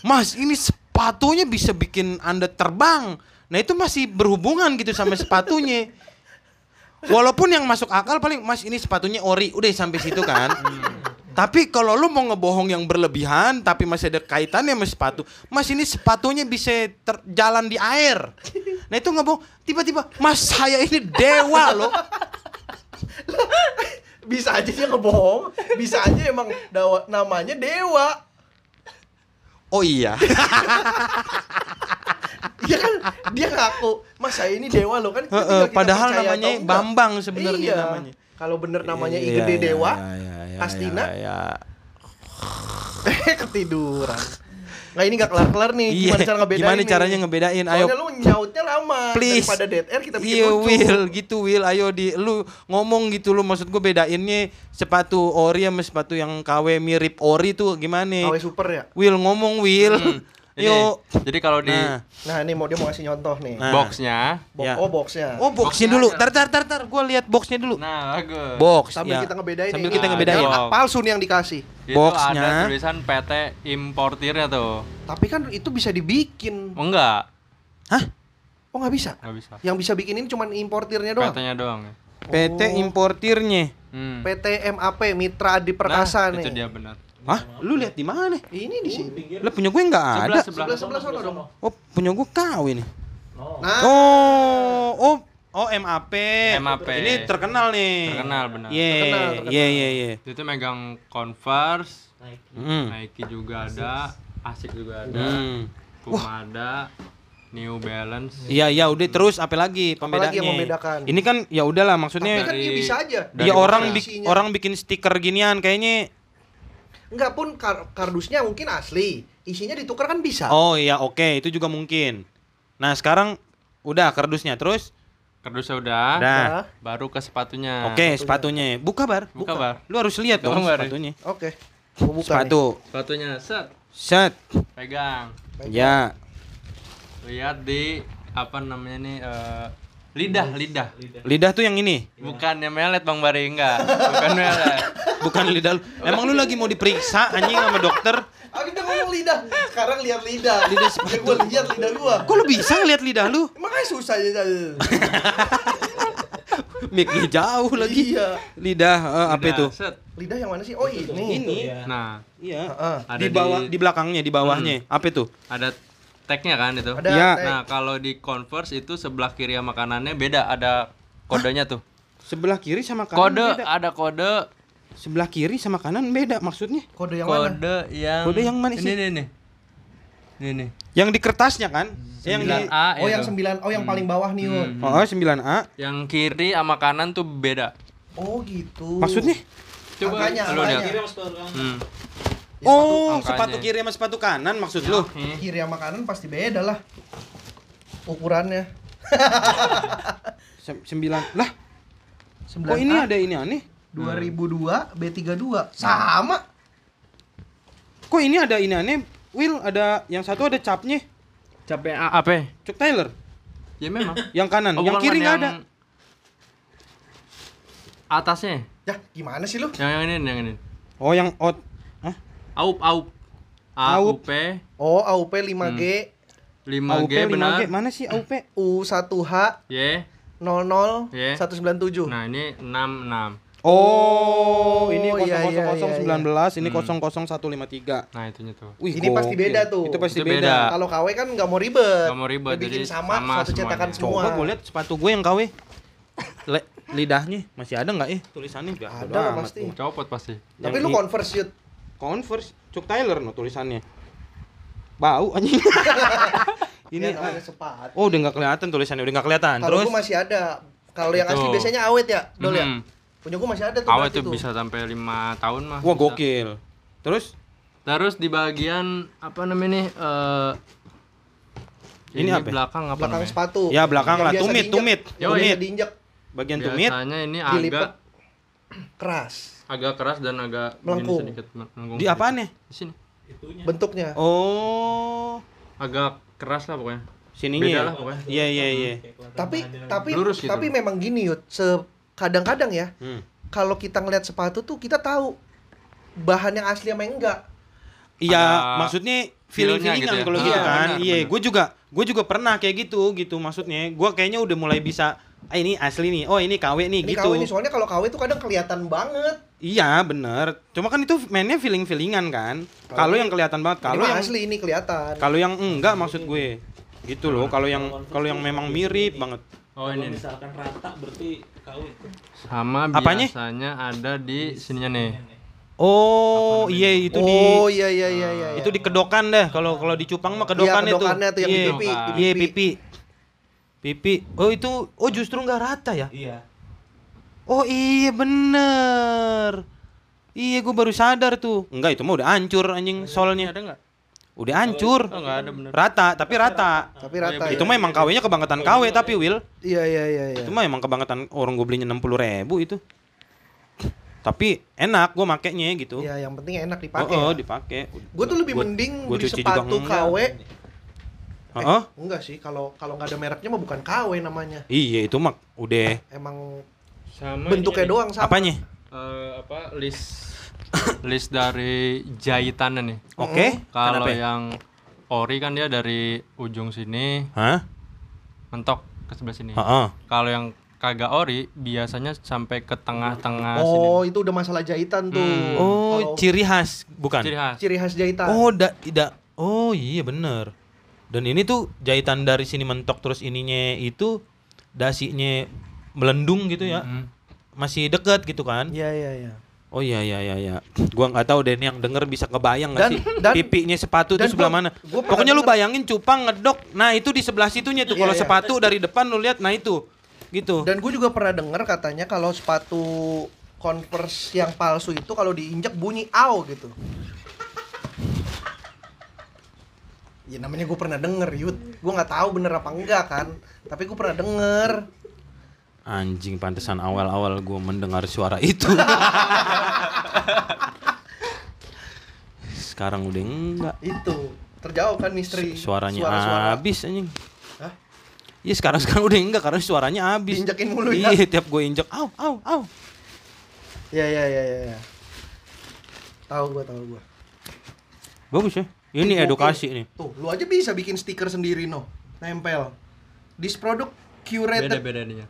[SPEAKER 2] Mas, ini sepatunya bisa bikin Anda terbang. Nah, itu masih berhubungan gitu sama sepatunya. Walaupun yang masuk akal paling Mas ini sepatunya ori, udah sampai situ kan. Tapi kalau lu mau ngebohong yang berlebihan tapi masih ada kaitannya sama sepatu, Mas ini sepatunya bisa ter- jalan di air. Nah, itu ngebohong tiba-tiba Mas saya ini dewa loh.
[SPEAKER 1] Bisa aja dia ngebohong, bisa aja emang dawa- namanya dewa.
[SPEAKER 2] Oh iya.
[SPEAKER 1] Iya kan dia ngaku, Mas saya ini dewa loh kan.
[SPEAKER 2] Heeh,
[SPEAKER 1] ketika kita
[SPEAKER 2] padahal
[SPEAKER 1] percaya
[SPEAKER 2] namanya
[SPEAKER 1] atau enggak.
[SPEAKER 2] Bambang sebenarnya
[SPEAKER 1] Iya.
[SPEAKER 2] namanya.
[SPEAKER 1] Kalau bener namanya
[SPEAKER 2] Iya,
[SPEAKER 1] IGD
[SPEAKER 2] iya,
[SPEAKER 1] Dewa,
[SPEAKER 2] iya, iya, iya,
[SPEAKER 1] Kastina.
[SPEAKER 2] iya,
[SPEAKER 1] eh ketiduran. Nah ini gak kelar-kelar nih.
[SPEAKER 2] Iya.
[SPEAKER 1] Gimana cara ngebedain?
[SPEAKER 2] Gimana
[SPEAKER 1] nih?
[SPEAKER 2] caranya ngebedain? Ayo.
[SPEAKER 1] Soalnya lu nyautnya lama.
[SPEAKER 2] Please.
[SPEAKER 1] Daripada dead air kita bikin
[SPEAKER 2] Iya
[SPEAKER 1] lucu.
[SPEAKER 2] Will, gitu Will, ayo di lu ngomong gitu lu maksud gue bedainnya sepatu ori sama sepatu yang KW mirip ori tuh gimana?
[SPEAKER 1] KW super ya.
[SPEAKER 2] Will ngomong Will.
[SPEAKER 3] Hmm, Ini,
[SPEAKER 2] Yuk.
[SPEAKER 3] jadi kalau di
[SPEAKER 2] Nah.
[SPEAKER 1] Nah ini mau dia mau ngasih nyontoh nih.
[SPEAKER 2] Nah.
[SPEAKER 3] boxnya,
[SPEAKER 1] Bo-
[SPEAKER 2] Ya.
[SPEAKER 1] Oh boxnya.
[SPEAKER 2] Oh, boxnya
[SPEAKER 3] Boxnya
[SPEAKER 2] dulu.
[SPEAKER 3] aja.
[SPEAKER 2] Tar tar tar tar, gua lihat boxnya dulu.
[SPEAKER 3] nah bagus.
[SPEAKER 2] Box.
[SPEAKER 1] Sambil
[SPEAKER 2] ya.
[SPEAKER 1] kita ngebedain
[SPEAKER 2] Sambil
[SPEAKER 1] nih.
[SPEAKER 2] kita
[SPEAKER 3] Nah,
[SPEAKER 2] ngebedain.
[SPEAKER 3] jawab.
[SPEAKER 1] Jangan palsu nih yang dikasih.
[SPEAKER 3] itu
[SPEAKER 2] boxnya.
[SPEAKER 3] ada tulisan PT importirnya tuh. Oh,
[SPEAKER 1] Tapi kan itu bisa dibikin.
[SPEAKER 3] Enggak,
[SPEAKER 2] Hah?
[SPEAKER 1] Oh nggak bisa.
[SPEAKER 3] nggak bisa.
[SPEAKER 1] Yang bisa bikin ini cuman importirnya doang.
[SPEAKER 3] PT-nya doang. ya.
[SPEAKER 2] PT
[SPEAKER 1] Oh.
[SPEAKER 2] importirnya.
[SPEAKER 3] Hmm.
[SPEAKER 1] PT MAP Mitra Adi Perkasa
[SPEAKER 3] nah,
[SPEAKER 1] nih.
[SPEAKER 3] Itu dia benar.
[SPEAKER 2] Hah? Lu lihat di mana?
[SPEAKER 1] Ini di sini.
[SPEAKER 4] pinggir
[SPEAKER 2] Lah punya gue nggak ada.
[SPEAKER 3] Sebelah, sebelah.
[SPEAKER 1] Sebelah sebelah sono dong.
[SPEAKER 2] Oh, punya gue KW nih.
[SPEAKER 4] no
[SPEAKER 1] Nah,
[SPEAKER 2] Oh, oh, oh MAP.
[SPEAKER 3] MAP.
[SPEAKER 2] Ini terkenal nih.
[SPEAKER 3] Terkenal, benar.
[SPEAKER 2] Ye,
[SPEAKER 1] Terkenal, terkenal.
[SPEAKER 2] ye, ye, ye.
[SPEAKER 3] Itu megang Converse,
[SPEAKER 4] naik
[SPEAKER 2] Hmm.
[SPEAKER 3] Nike juga ada, Asics juga ada,
[SPEAKER 2] Hmm.
[SPEAKER 3] Puma ada, New Balance.
[SPEAKER 2] Iya, ya udah terus apa lagi pembedanya?
[SPEAKER 1] Apalagi yang membedakan?
[SPEAKER 2] Ini kan ya udahlah
[SPEAKER 1] tapi
[SPEAKER 2] maksudnya
[SPEAKER 1] kan dia bisa aja.
[SPEAKER 2] ya
[SPEAKER 3] dari
[SPEAKER 2] orang
[SPEAKER 1] bik
[SPEAKER 2] bik- orang bikin stiker ginian kayaknya.
[SPEAKER 1] Enggak pun kar- kardusnya mungkin asli, isinya ditukar kan bisa.
[SPEAKER 2] Oh iya, oke, itu juga mungkin. Nah, sekarang udah kardusnya terus.
[SPEAKER 3] Kardusnya udah,
[SPEAKER 2] Udah.
[SPEAKER 1] Nah,
[SPEAKER 3] baru ke sepatunya.
[SPEAKER 2] Oke, sepatunya. Buka, Bar.
[SPEAKER 3] Nah, Buka, Bar.
[SPEAKER 2] Lu harus lihat
[SPEAKER 3] Buka,
[SPEAKER 2] dong
[SPEAKER 3] Bar.
[SPEAKER 2] sepatunya.
[SPEAKER 1] Oke. Gua buka
[SPEAKER 2] Sepatu.
[SPEAKER 3] Sepatunya set,
[SPEAKER 2] Set.
[SPEAKER 3] pegang.
[SPEAKER 2] Ya.
[SPEAKER 3] Lihat di apa namanya nih eh, lidah, lidah.
[SPEAKER 2] Lidah tuh yang ini.
[SPEAKER 3] Bukannya melet Bang Bari enggak. Bukan melet.
[SPEAKER 2] Bukan lidah lu. Emang lu lagi mau diperiksa anjing sama dokter?
[SPEAKER 1] nih. Ah, kita ngomong lidah. Sekarang lihat lidah.
[SPEAKER 2] Lidah
[SPEAKER 1] Lidah
[SPEAKER 2] sepatu.
[SPEAKER 1] Gua lihat lidah gua.
[SPEAKER 2] Kok lu bisa ngeliat lidah lu?
[SPEAKER 1] Makanya susah ya, aja.
[SPEAKER 2] Miknya jauh lagi.
[SPEAKER 1] Iya.
[SPEAKER 2] Lidah eh, apa
[SPEAKER 3] Lidah,
[SPEAKER 2] itu?
[SPEAKER 3] set.
[SPEAKER 1] Lidah yang mana sih? Oh, ini.
[SPEAKER 2] Ini.
[SPEAKER 3] Nah,
[SPEAKER 2] Iya.
[SPEAKER 1] Heeh.
[SPEAKER 3] ada
[SPEAKER 2] Di bawah di
[SPEAKER 3] di, Hmm.
[SPEAKER 2] belakangnya, di bawahnya. Apa itu?
[SPEAKER 3] ada tag-nya kan itu.
[SPEAKER 1] Ada
[SPEAKER 2] Iya.
[SPEAKER 1] tag.
[SPEAKER 3] Nah, kalau di Converse itu sebelah kiri sama kanannya beda, ada kodenya tuh.
[SPEAKER 2] Sebelah kiri sama kanan
[SPEAKER 3] Kode
[SPEAKER 2] beda.
[SPEAKER 3] ada kode
[SPEAKER 2] Sebelah kiri sama kanan beda maksudnya.
[SPEAKER 1] kode yang mana?
[SPEAKER 3] kode yang
[SPEAKER 2] Kode yang mana sih?
[SPEAKER 3] Ini nih nih. Ini nih.
[SPEAKER 2] Yang di kertasnya kan? Yang di
[SPEAKER 3] 9A
[SPEAKER 1] Oh, yang
[SPEAKER 3] itu.
[SPEAKER 1] 9. Oh, yang paling
[SPEAKER 3] Hmm.
[SPEAKER 1] bawah nih, Yun.
[SPEAKER 2] Oh, 9A.
[SPEAKER 3] Yang kiri sama kanan tuh beda.
[SPEAKER 1] Oh, gitu.
[SPEAKER 2] Maksudnya?
[SPEAKER 3] Coba
[SPEAKER 1] Angkanya,
[SPEAKER 2] Iya.
[SPEAKER 3] lu lihat.
[SPEAKER 1] angkanya.
[SPEAKER 4] kiri harus pelan
[SPEAKER 3] Hmm.
[SPEAKER 2] oh,
[SPEAKER 3] angkanya.
[SPEAKER 2] sepatu Ya. kiri sama sepatu kanan maksud lu.
[SPEAKER 3] Hmm.
[SPEAKER 1] kiri sama kanan pasti beda lah ukurannya.
[SPEAKER 2] Se- Sembilan. Lah,
[SPEAKER 1] 9
[SPEAKER 2] kok ini ada ini aneh?
[SPEAKER 1] 2002 B32 sama.
[SPEAKER 2] Kok ini ada ini aneh? Will ada yang satu ada capnya.
[SPEAKER 3] Capek A apa?
[SPEAKER 2] Cuk Taylor.
[SPEAKER 3] Ya memang.
[SPEAKER 2] Yang kanan,
[SPEAKER 3] Oh,
[SPEAKER 2] yang
[SPEAKER 3] bukan,
[SPEAKER 2] kiri
[SPEAKER 3] bukan,
[SPEAKER 2] nggak ada.
[SPEAKER 3] yang Atasnya.
[SPEAKER 1] Ya, gimana sih lu?
[SPEAKER 3] Yang yang ini yang ini.
[SPEAKER 2] Oh, yang out. Hah?
[SPEAKER 3] Aup aup.
[SPEAKER 2] Aup.
[SPEAKER 3] AUP
[SPEAKER 1] Oh, AUP 5G
[SPEAKER 3] Hmm. 5G
[SPEAKER 2] AUP, 5G.
[SPEAKER 3] benar. Hmm.
[SPEAKER 2] Mana sih AUP?
[SPEAKER 1] U1H
[SPEAKER 3] Y.
[SPEAKER 1] 00
[SPEAKER 3] Iya.
[SPEAKER 1] 197.
[SPEAKER 3] Nah, ini 66.
[SPEAKER 2] Oh, ini
[SPEAKER 1] Oh, iya, iya, iya,
[SPEAKER 2] 000019, ini
[SPEAKER 3] Hmm.
[SPEAKER 2] 00153.
[SPEAKER 3] Nah, itunya tuh.
[SPEAKER 2] Wih,
[SPEAKER 1] Ini pasti
[SPEAKER 2] gokil.
[SPEAKER 1] beda tuh.
[SPEAKER 2] Itu pasti
[SPEAKER 3] Itu
[SPEAKER 2] beda.
[SPEAKER 3] beda.
[SPEAKER 1] Kalau KW kan nggak mau ribet.
[SPEAKER 3] Nggak mau ribet,
[SPEAKER 1] Dibikin
[SPEAKER 3] jadi
[SPEAKER 1] sama,
[SPEAKER 3] sama
[SPEAKER 1] satu
[SPEAKER 3] semuanya.
[SPEAKER 1] cetakan semua.
[SPEAKER 2] Coba gue lihat sepatu gue yang KW. Le- lidahnya masih ada nggak ya tulisannya? Udah,
[SPEAKER 1] Ada
[SPEAKER 2] bodo
[SPEAKER 1] lah
[SPEAKER 2] amat
[SPEAKER 1] pasti.
[SPEAKER 2] gua.
[SPEAKER 3] Copot pasti.
[SPEAKER 1] Tapi
[SPEAKER 2] Yang
[SPEAKER 1] lu
[SPEAKER 2] ini.
[SPEAKER 1] converse Yud.
[SPEAKER 2] Converse, Cuk Taylor no tulisannya. Bau anjing.
[SPEAKER 1] Ya,
[SPEAKER 2] ini
[SPEAKER 1] kalau
[SPEAKER 3] eh.
[SPEAKER 1] ada
[SPEAKER 3] Nah,
[SPEAKER 1] sepatu.
[SPEAKER 2] Oh, udah nggak kelihatan tulisannya, udah nggak kelihatan.
[SPEAKER 1] Kalau
[SPEAKER 2] Terus
[SPEAKER 1] gua masih ada. Kalau yang asli
[SPEAKER 3] Itu.
[SPEAKER 1] biasanya awet ya, Dol ya.
[SPEAKER 3] Mhm.
[SPEAKER 1] Punya gua masih ada tuh.
[SPEAKER 3] Awet
[SPEAKER 1] berarti
[SPEAKER 3] tuh bisa sampai 5 tahun mah.
[SPEAKER 2] wah
[SPEAKER 3] bisa.
[SPEAKER 2] gokil. Terus
[SPEAKER 3] Terus di bagian apa namanya nih? eh,
[SPEAKER 2] Ini apa?
[SPEAKER 3] belakang apa
[SPEAKER 1] Belakang
[SPEAKER 3] namanya?
[SPEAKER 1] sepatu.
[SPEAKER 2] Ya, belakang
[SPEAKER 1] Yang
[SPEAKER 2] lah.
[SPEAKER 1] biasa
[SPEAKER 2] Tumit,
[SPEAKER 1] diinjek.
[SPEAKER 2] tumit,
[SPEAKER 1] Yang biasa
[SPEAKER 2] tumit.
[SPEAKER 1] diinjek
[SPEAKER 2] bagian tumit
[SPEAKER 3] Biasanya ini
[SPEAKER 1] Dilipet.
[SPEAKER 3] agak
[SPEAKER 1] keras
[SPEAKER 3] agak keras dan agak gini
[SPEAKER 1] Melengkung.
[SPEAKER 3] sedikit melengkung.
[SPEAKER 2] di
[SPEAKER 3] sedikit.
[SPEAKER 2] apaan ya?
[SPEAKER 3] Di sini. Ya.
[SPEAKER 4] itunya
[SPEAKER 1] bentuknya.
[SPEAKER 2] Oh,
[SPEAKER 3] Agak keras lah pokoknya.
[SPEAKER 2] sininya.
[SPEAKER 3] Beda
[SPEAKER 2] ya?
[SPEAKER 3] lah pokoknya.
[SPEAKER 2] Iya, iya, iya.
[SPEAKER 4] Kayak kelihatan
[SPEAKER 1] tapi
[SPEAKER 4] bahannya lagi.
[SPEAKER 1] tapi
[SPEAKER 3] Lurus gitu.
[SPEAKER 1] tapi memang gini yud se kadang-kadang ya
[SPEAKER 2] Hmm.
[SPEAKER 1] kalau kita ngeliat sepatu tuh kita tahu bahan yang asli sama yang enggak
[SPEAKER 2] Iya,
[SPEAKER 3] Ada
[SPEAKER 2] maksudnya feeling
[SPEAKER 3] feel-nya
[SPEAKER 2] feelingan
[SPEAKER 3] gitu ya.
[SPEAKER 2] kalau
[SPEAKER 3] Iya,
[SPEAKER 2] gitu kan.
[SPEAKER 3] benar,
[SPEAKER 2] Iya,
[SPEAKER 3] benar.
[SPEAKER 2] gue juga gue juga pernah kayak gitu gitu maksudnya. Gue kayaknya udah mulai bisa ah ini asli nih. Oh, ini KW nih
[SPEAKER 1] ini
[SPEAKER 2] gitu.
[SPEAKER 1] KW ini soalnya kalau KW tuh kadang kelihatan banget
[SPEAKER 2] Iya, bener Cuma kan itu mainnya feeling-feelingan kan. Kalau yang kelihatan banget,
[SPEAKER 1] kalau
[SPEAKER 2] kalau yang
[SPEAKER 1] asli ini kelihatan
[SPEAKER 2] kalau yang enggak maksud gue. Gitu loh, kalau yang kalau yang memang mirip banget.
[SPEAKER 3] Oh,
[SPEAKER 4] kalau
[SPEAKER 3] ini. nih.
[SPEAKER 4] misalkan rata berarti KW itu
[SPEAKER 3] Sama
[SPEAKER 2] Apanya?
[SPEAKER 3] biasanya ada di sininya nih.
[SPEAKER 2] Oh, iya itu di Ah.
[SPEAKER 1] oh iya iya iya iya
[SPEAKER 2] itu
[SPEAKER 1] iya.
[SPEAKER 2] di kedokan deh. Kalau kalau di cupang mah
[SPEAKER 1] Iya,
[SPEAKER 2] kedokan itu.
[SPEAKER 1] kedokannya tuh yang di
[SPEAKER 2] Iya.
[SPEAKER 1] pipi, di
[SPEAKER 2] Iya,
[SPEAKER 1] pipi.
[SPEAKER 2] pipi. Pipi. Oh, itu oh justru nggak rata ya?
[SPEAKER 4] iya
[SPEAKER 2] Oh iya bener. Iya gue baru sadar tuh. Enggak itu mah udah hancur anjing solnya.
[SPEAKER 3] Ada nggak?
[SPEAKER 2] Udah hancur.
[SPEAKER 3] Oh, nggak ada bener.
[SPEAKER 2] Rata tapi rata.
[SPEAKER 1] Tapi rata. ya.
[SPEAKER 2] Itu mah emang KW-nya
[SPEAKER 3] Oh,
[SPEAKER 2] kebangetan KW tapi Will.
[SPEAKER 1] Iya iya iya iya.
[SPEAKER 2] Itu mah emang kebangetan orang gue belinya 60 ribu itu. Tapi enak gue makainya gitu.
[SPEAKER 1] Iya, yang penting enak dipakai.
[SPEAKER 2] Oh, oh
[SPEAKER 1] ya.
[SPEAKER 2] dipakai.
[SPEAKER 1] Gue tuh lebih
[SPEAKER 2] Gua-
[SPEAKER 1] mending
[SPEAKER 2] gua
[SPEAKER 1] beli
[SPEAKER 2] cuci juga
[SPEAKER 1] sepatu
[SPEAKER 2] enggak.
[SPEAKER 1] KW. Eh,
[SPEAKER 2] Heeh.
[SPEAKER 1] enggak sih, kalau kalau nggak ada mereknya mah bukan KW namanya.
[SPEAKER 2] Iya itu mak udah
[SPEAKER 1] Emang
[SPEAKER 3] Sama
[SPEAKER 1] bentuknya
[SPEAKER 3] ini,
[SPEAKER 1] doang sama.
[SPEAKER 2] apanya?
[SPEAKER 3] eh, apa list list dari jahitannya nih.
[SPEAKER 2] Oke.
[SPEAKER 3] Kalau ya.
[SPEAKER 2] Kenapa? ya?
[SPEAKER 3] yang ori kan dia dari ujung sini
[SPEAKER 2] Hah?
[SPEAKER 3] Hmm. mentok ke sebelah sini.
[SPEAKER 2] Heeh.
[SPEAKER 3] Kalau yang kagak ori biasanya sampai ke tengah-tengah sini.
[SPEAKER 1] Oh, itu udah masalah jahitan tuh.
[SPEAKER 2] Oh,
[SPEAKER 1] Kalau
[SPEAKER 2] ciri khas bukan.
[SPEAKER 3] Ciri khas.
[SPEAKER 1] ciri khas jahitan.
[SPEAKER 2] Oh, da, tidak. Oh, iya bener. Dan ini tuh jahitan dari sini mentok terus ininya itu dasinya melendung gitu ya.
[SPEAKER 3] Mm.
[SPEAKER 2] Masih deket gitu kan?
[SPEAKER 1] Iya iya iya.
[SPEAKER 2] Oh iya iya iya iya. Gua nggak tahu deh ini yang denger bisa kebayang nggak
[SPEAKER 1] Dan-
[SPEAKER 2] sih
[SPEAKER 1] dan-
[SPEAKER 2] pipinya sepatu
[SPEAKER 1] dan
[SPEAKER 2] tuh sebelah
[SPEAKER 1] gua-
[SPEAKER 2] mana?
[SPEAKER 1] gua pernah
[SPEAKER 2] Pokoknya lu
[SPEAKER 1] denger-
[SPEAKER 2] bayangin cupang ngedok. Nah, itu di sebelah situnya tuh
[SPEAKER 1] Iya,
[SPEAKER 2] kalau
[SPEAKER 1] iya.
[SPEAKER 2] sepatu dari depan lu lihat nah itu. Gitu.
[SPEAKER 1] Dan gue juga pernah dengar katanya kalau sepatu Converse yang palsu itu kalau diinjek bunyi au gitu. Ya namanya gue pernah denger, Yud. Gue nggak tahu bener apa enggak kan. Tapi gue pernah denger.
[SPEAKER 2] Anjing pantesan awal-awal gue mendengar suara itu. Sekarang udah enggak.
[SPEAKER 1] Itu terjawab kan misteri.
[SPEAKER 2] Suaranya
[SPEAKER 1] Suara-suara.
[SPEAKER 2] habis anjing.
[SPEAKER 1] Hah?
[SPEAKER 2] Iya sekarang sekarang udah enggak karena suaranya habis.
[SPEAKER 1] Diinjekin mulu ya.
[SPEAKER 2] Iya tiap gue injek, au au au.
[SPEAKER 1] Ya ya ya ya. ya. Tahu gue tahu gue.
[SPEAKER 2] Bagus ya. Ini
[SPEAKER 1] Oke.
[SPEAKER 2] edukasi nih.
[SPEAKER 1] Tuh, lu aja bisa bikin stiker sendiri, no. Nempel. This product curated.
[SPEAKER 3] Beda-beda ininya.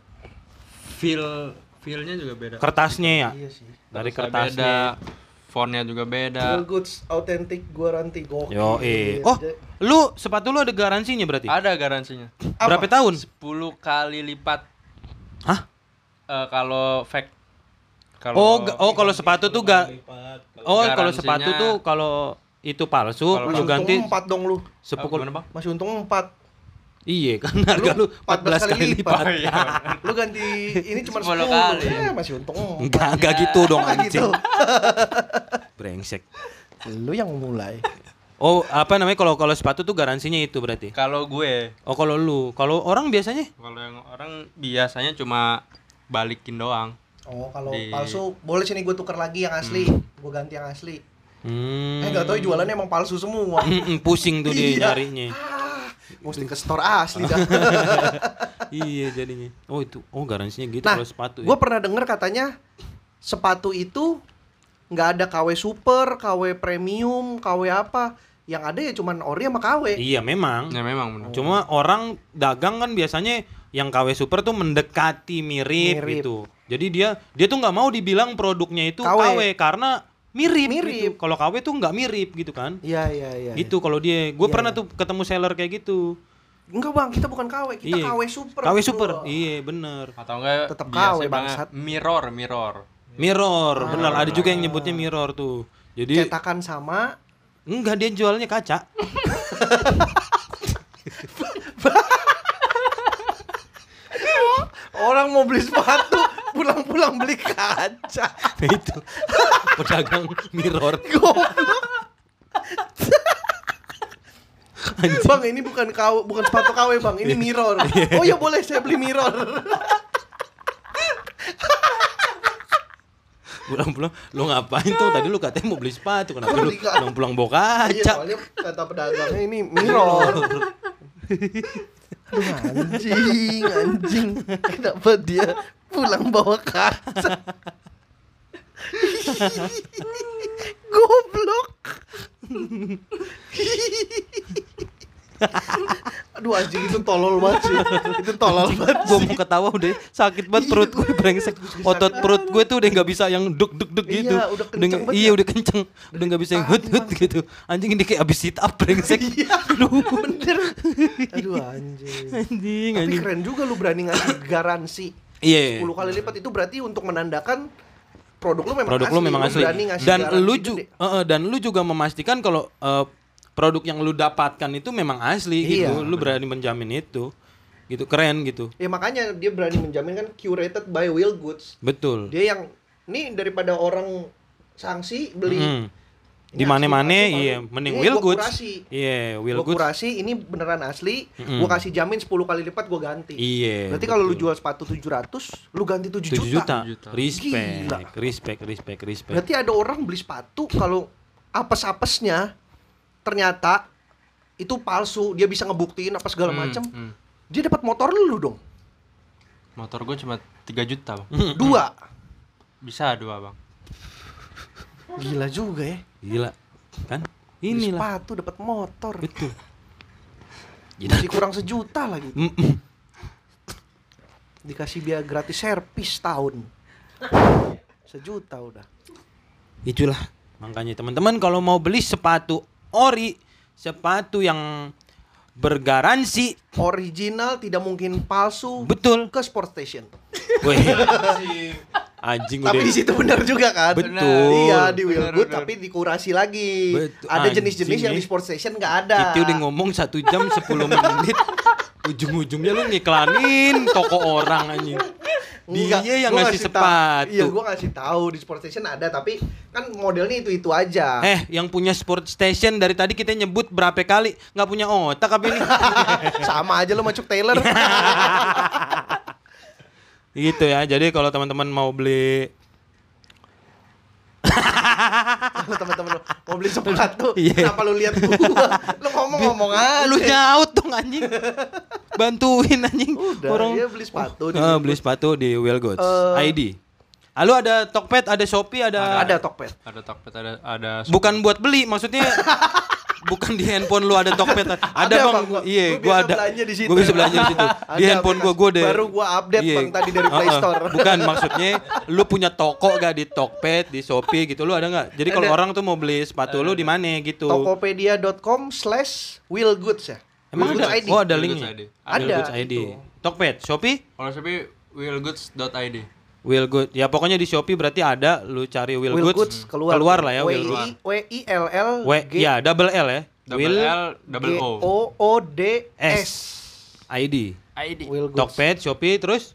[SPEAKER 3] Feel feel-nya juga beda.
[SPEAKER 2] Kertasnya ya.
[SPEAKER 1] Iya sih.
[SPEAKER 2] Dari kertasnya.
[SPEAKER 3] Kertasnya Beda. Fontnya juga
[SPEAKER 1] Real
[SPEAKER 3] beda.
[SPEAKER 1] goods, authentic, guaranteed, gokil.
[SPEAKER 2] Yo
[SPEAKER 1] iya,
[SPEAKER 2] eh. Oh, lu sepatu lu ada garansinya berarti?
[SPEAKER 3] Ada garansinya.
[SPEAKER 1] Apa?
[SPEAKER 2] Berapa tahun?
[SPEAKER 3] 10 kali lipat
[SPEAKER 2] Hah?
[SPEAKER 3] eh, kalau fake. Kalau Eh,
[SPEAKER 2] Oh, ga- oh kalau sepatu tuh ga
[SPEAKER 4] lipat kalau
[SPEAKER 2] Oh, kalau
[SPEAKER 3] Garansinya-
[SPEAKER 2] sepatu tuh kalau itu palsu
[SPEAKER 3] Kalau
[SPEAKER 2] lu
[SPEAKER 1] Masih
[SPEAKER 2] ganti
[SPEAKER 1] untung 4 dong lu.
[SPEAKER 3] Apa,
[SPEAKER 2] sepukul
[SPEAKER 3] gimana, Bang?
[SPEAKER 1] Masih untung 4.
[SPEAKER 2] Iya kan harga lu 14 kali lipat.
[SPEAKER 3] Oh, iya.
[SPEAKER 1] Lu ganti ini cuma 10,
[SPEAKER 3] 10 kali.
[SPEAKER 1] Eh, masih untung.
[SPEAKER 2] Enggak, enggak gitu
[SPEAKER 3] Iya.
[SPEAKER 2] dong
[SPEAKER 1] Nggak
[SPEAKER 2] anjing.
[SPEAKER 1] gitu.
[SPEAKER 2] Brengsek.
[SPEAKER 1] lu yang mulai.
[SPEAKER 2] Oh, apa namanya kalau kalau sepatu tuh garansinya itu berarti.
[SPEAKER 3] Kalau gue,
[SPEAKER 2] Oh, kalau lu, kalau orang biasanya
[SPEAKER 3] kalau yang orang biasanya cuma balikin doang.
[SPEAKER 1] Oh, kalau
[SPEAKER 3] Di-
[SPEAKER 1] palsu boleh sini gue tuker lagi yang asli. Gue ganti yang asli.
[SPEAKER 2] hmm,
[SPEAKER 1] Eh, enggak tahu jualannya emang palsu semua.
[SPEAKER 2] mm-mm, pusing tuh dia
[SPEAKER 1] Iya.
[SPEAKER 2] nyarinya.
[SPEAKER 1] Ah, mesti ke store asli dah.
[SPEAKER 2] iya jadinya. Oh, itu. Oh, garansinya gitu
[SPEAKER 1] Nah,
[SPEAKER 2] kalau sepatu. ya.
[SPEAKER 1] gue pernah denger katanya sepatu itu nggak ada KW super, KW premium, KW apa. Yang ada ya cuman ori sama KW.
[SPEAKER 2] Iya,
[SPEAKER 1] Hmm. Nah.
[SPEAKER 2] memang.
[SPEAKER 3] Ya memang benar.
[SPEAKER 2] Cuma orang dagang kan biasanya yang KW Super tuh mendekati mirip,
[SPEAKER 1] Mirip.
[SPEAKER 2] gitu. Jadi dia dia tuh nggak mau dibilang produknya itu
[SPEAKER 1] KW.
[SPEAKER 2] KW, karena mirip,
[SPEAKER 1] Mirip.
[SPEAKER 2] gitu. Kalau KW tuh nggak mirip gitu kan.
[SPEAKER 1] Iya, iya, iya.
[SPEAKER 2] gitu kalau dia gue
[SPEAKER 1] Iya,
[SPEAKER 2] pernah
[SPEAKER 1] iya.
[SPEAKER 2] tuh ketemu seller kayak gitu
[SPEAKER 1] Enggak bang, kita bukan KW, kita
[SPEAKER 2] Iya.
[SPEAKER 1] KW super.
[SPEAKER 2] KW
[SPEAKER 1] Bro.
[SPEAKER 2] super iya bener
[SPEAKER 3] Atau enggak
[SPEAKER 1] Tetap
[SPEAKER 3] biasa
[SPEAKER 1] Oh. KW,
[SPEAKER 3] banget,
[SPEAKER 1] bangsat.
[SPEAKER 3] Mirror, mirror.
[SPEAKER 2] mirror
[SPEAKER 1] Ah.
[SPEAKER 2] bener ada juga yang nyebutnya mirror tuh jadi
[SPEAKER 1] Cetakan sama.
[SPEAKER 2] enggak dia jualnya kaca
[SPEAKER 1] Orang mau beli sepatu, pulang-pulang beli kaca.
[SPEAKER 2] Nah, itu pedagang mirror
[SPEAKER 1] Goblok.
[SPEAKER 2] Anjing. Iya.
[SPEAKER 1] bang, ini bukan KW, bukan sepatu KW bang, ini mirror. Oh ya boleh, saya beli mirror.
[SPEAKER 2] pulang-pulang lu ngapain tuh tadi lu katanya mau beli sepatu kenapa
[SPEAKER 1] Kalau
[SPEAKER 2] lu
[SPEAKER 1] di ka-
[SPEAKER 2] pulang-pulang bawa
[SPEAKER 1] Iya,
[SPEAKER 2] kaca
[SPEAKER 1] soalnya kata pedagangnya ini mirror. Aduh, anjing, anjing. Kenapa dia pulang bawa kaca? Goblok. Aduh anjing itu tolol banget sih. Itu tolol banget.
[SPEAKER 2] gue mau ketawa udah sakit banget perut gue brengsek otot perut gue tuh udah nggak bisa yang duk duk duk
[SPEAKER 1] Iya,
[SPEAKER 2] gitu
[SPEAKER 1] udah kenceng
[SPEAKER 2] nggak-
[SPEAKER 1] banget
[SPEAKER 2] iya
[SPEAKER 1] ya.
[SPEAKER 2] udah kenceng udah nggak bisa yang hut hut gitu anjing ini kayak abis sit up brengsek
[SPEAKER 1] Iya,
[SPEAKER 2] Aduh.
[SPEAKER 1] bener. Aduh anjing.
[SPEAKER 2] anjing
[SPEAKER 1] Tapi
[SPEAKER 2] anjing
[SPEAKER 1] keren juga lu berani ngasih garansi.
[SPEAKER 2] iya
[SPEAKER 1] 10 kali lipat itu berarti untuk menandakan produk lu memang
[SPEAKER 2] produk
[SPEAKER 1] asli.
[SPEAKER 2] lu memang asli
[SPEAKER 1] berani ngasih
[SPEAKER 2] dan
[SPEAKER 1] garansi
[SPEAKER 2] lu
[SPEAKER 1] gede.
[SPEAKER 2] juga dan lu juga memastikan kalau eh, produk yang lu dapatkan itu memang asli
[SPEAKER 1] Iya.
[SPEAKER 2] gitu lu berani menjamin itu gitu keren gitu
[SPEAKER 1] Ya makanya dia berani menjamin kan curated by Will Goods.
[SPEAKER 2] betul
[SPEAKER 1] Dia yang nih daripada orang sanksi beli
[SPEAKER 2] Mm.
[SPEAKER 1] ini
[SPEAKER 2] di mana-mana
[SPEAKER 1] asli, asli,
[SPEAKER 2] iya
[SPEAKER 1] baru.
[SPEAKER 2] mending
[SPEAKER 1] Ini
[SPEAKER 2] Will
[SPEAKER 1] gua
[SPEAKER 2] Goods
[SPEAKER 1] kurasi.
[SPEAKER 2] iya Will
[SPEAKER 1] Gua
[SPEAKER 2] Goods
[SPEAKER 1] kurasi ini beneran asli,
[SPEAKER 2] Mm-mm.
[SPEAKER 1] gua kasih jamin 10 kali lipat gua ganti.
[SPEAKER 2] iya
[SPEAKER 1] Berarti kalau lu
[SPEAKER 2] betul.
[SPEAKER 1] jual sepatu 700, lu ganti 7,
[SPEAKER 2] 7
[SPEAKER 1] juta.
[SPEAKER 2] juta,
[SPEAKER 3] Juta.
[SPEAKER 2] respect
[SPEAKER 1] Gila.
[SPEAKER 2] respect respect respect
[SPEAKER 1] Berarti ada orang beli sepatu kalau apes-apesnya ternyata itu palsu, dia bisa ngebuktiin apa segala
[SPEAKER 2] Hmm,
[SPEAKER 1] macem
[SPEAKER 3] Hmm.
[SPEAKER 1] Dia dapat motor lu dong.
[SPEAKER 3] Motor gue cuma 3 juta bang.
[SPEAKER 1] Dua.
[SPEAKER 3] Bisa dua bang.
[SPEAKER 1] Gila juga ya.
[SPEAKER 2] gila kan
[SPEAKER 1] Beli
[SPEAKER 2] inilah
[SPEAKER 1] sepatu dapat motor.
[SPEAKER 2] betul
[SPEAKER 1] Masih kurang sejuta lagi.
[SPEAKER 2] Mm, mm.
[SPEAKER 1] Dikasih biaya gratis servis tahun. Sejuta udah.
[SPEAKER 2] itulah makanya teman-teman kalau mau beli sepatu ori sepatu yang bergaransi
[SPEAKER 1] Original tidak mungkin palsu.
[SPEAKER 2] betul
[SPEAKER 1] Ke sport station.
[SPEAKER 2] Weh. anjing
[SPEAKER 1] Iya. Tapi di
[SPEAKER 2] udah
[SPEAKER 1] situ benar juga kan.
[SPEAKER 2] Betul.
[SPEAKER 1] Iya di Will
[SPEAKER 3] Benar,
[SPEAKER 1] Good
[SPEAKER 3] benar.
[SPEAKER 1] tapi dikurasi lagi.
[SPEAKER 2] Betul.
[SPEAKER 1] Ada jenis-jenis
[SPEAKER 2] Anjing
[SPEAKER 1] yang di
[SPEAKER 2] nih.
[SPEAKER 1] sport station nggak ada.
[SPEAKER 2] kita udah ngomong satu jam 10 menit ujung-ujungnya lu ngiklanin toko orang anjing
[SPEAKER 1] Nggak,
[SPEAKER 2] dia yang
[SPEAKER 1] gua
[SPEAKER 2] ngasih
[SPEAKER 1] ta-
[SPEAKER 2] sepatu
[SPEAKER 1] Iya, gua ngasih tahu di sport station ada tapi kan modelnya itu-itu aja.
[SPEAKER 2] Eh, yang punya Sport Station dari tadi kita nyebut berapa kali nggak punya otak apa ini?
[SPEAKER 1] Sama aja lo macuk Taylor.
[SPEAKER 2] gitu ya. Jadi kalau teman-teman mau beli
[SPEAKER 1] Kalau teman-teman lo mau beli sepatu,
[SPEAKER 2] Iya.
[SPEAKER 1] kenapa lu lihat gua? Lu ngomong-ngomong aja.
[SPEAKER 2] lu nyaut dong anjing. Bantuin anjing.
[SPEAKER 1] Udah, dia beli sepatu di
[SPEAKER 2] Eh,
[SPEAKER 1] Will
[SPEAKER 2] beli sepatu di Will Goods.
[SPEAKER 1] Eh.
[SPEAKER 2] ID. Lalu ada Tokped, ada Shopee, ada,
[SPEAKER 1] ada Tokped.
[SPEAKER 3] Ada Tokped, ada ada.
[SPEAKER 2] Bukan buat beli, maksudnya bukan di handphone lu ada Tokped. Ada,
[SPEAKER 1] Ada,
[SPEAKER 2] bang,
[SPEAKER 1] Bang. Gua-
[SPEAKER 2] gua- iya,
[SPEAKER 1] gua
[SPEAKER 2] gua
[SPEAKER 1] biasa
[SPEAKER 2] ada.
[SPEAKER 1] belanja di situ.
[SPEAKER 2] Gua bisa belanja di situ. Di
[SPEAKER 1] Ada
[SPEAKER 2] handphone gua gua deh. Iya.
[SPEAKER 1] Baru gua update, Bang, tadi dari Play
[SPEAKER 2] Heeh.
[SPEAKER 1] Store.
[SPEAKER 2] Bukan maksudnya lu punya toko gak di Tokped, di Shopee gitu lu ada nggak? Jadi kalau
[SPEAKER 1] Ada.
[SPEAKER 2] orang tuh mau beli sepatu lu di mana gitu.
[SPEAKER 1] Tokopedia.com slash willgoods ya.
[SPEAKER 2] Emang ada?
[SPEAKER 1] Willgoods ID.
[SPEAKER 2] Oh, ada
[SPEAKER 3] Will
[SPEAKER 2] linknya.
[SPEAKER 3] Goods ID.
[SPEAKER 2] Will
[SPEAKER 1] Ada,
[SPEAKER 2] Goods ID.
[SPEAKER 1] gitu.
[SPEAKER 2] Tokped, Shopee,
[SPEAKER 3] Kalau Shopee willgoods.id.
[SPEAKER 2] Will Good. Ya pokoknya di Shopee berarti ada lu cari Will,
[SPEAKER 1] Will
[SPEAKER 2] Goods,
[SPEAKER 1] Goods keluar.
[SPEAKER 2] lah ya
[SPEAKER 1] W
[SPEAKER 2] Will Goods.
[SPEAKER 1] I W I L L
[SPEAKER 2] W
[SPEAKER 1] G
[SPEAKER 2] ya double L ya.
[SPEAKER 3] Double
[SPEAKER 2] Will
[SPEAKER 3] L double
[SPEAKER 1] G
[SPEAKER 3] O.
[SPEAKER 1] O O D S.
[SPEAKER 2] ID.
[SPEAKER 3] ID.
[SPEAKER 1] Will Goods.
[SPEAKER 2] Tokped, Shopee terus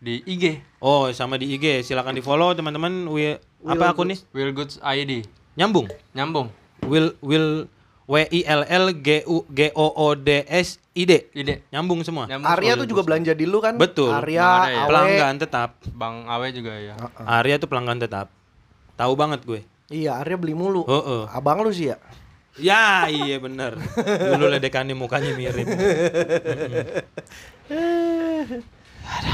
[SPEAKER 3] Di IG
[SPEAKER 2] Oh, sama di IG. Silakan di-follow teman-teman. Will, apa akun nih?
[SPEAKER 3] willgoods ID.
[SPEAKER 2] Nyambung.
[SPEAKER 3] Nyambung.
[SPEAKER 2] Will Will W I L L G U G O O D S I D.
[SPEAKER 3] ID.
[SPEAKER 2] Nyambung semua.
[SPEAKER 3] Nyambung.
[SPEAKER 1] Ah. Arya tuh juga belanja di lu kan?
[SPEAKER 2] Betul.
[SPEAKER 1] Arya,
[SPEAKER 3] Ada ya?
[SPEAKER 1] Awe.
[SPEAKER 2] Pelanggan tetap.
[SPEAKER 3] Bang Awe juga ya.
[SPEAKER 1] Ah.
[SPEAKER 2] Arya tuh pelanggan tetap. Tahu banget gue.
[SPEAKER 1] Iya, Arya beli mulu.
[SPEAKER 2] Heeh.
[SPEAKER 1] Abang lu sih ya.
[SPEAKER 2] Ya, iya bener. Dulu ledekannya mukanya mirip.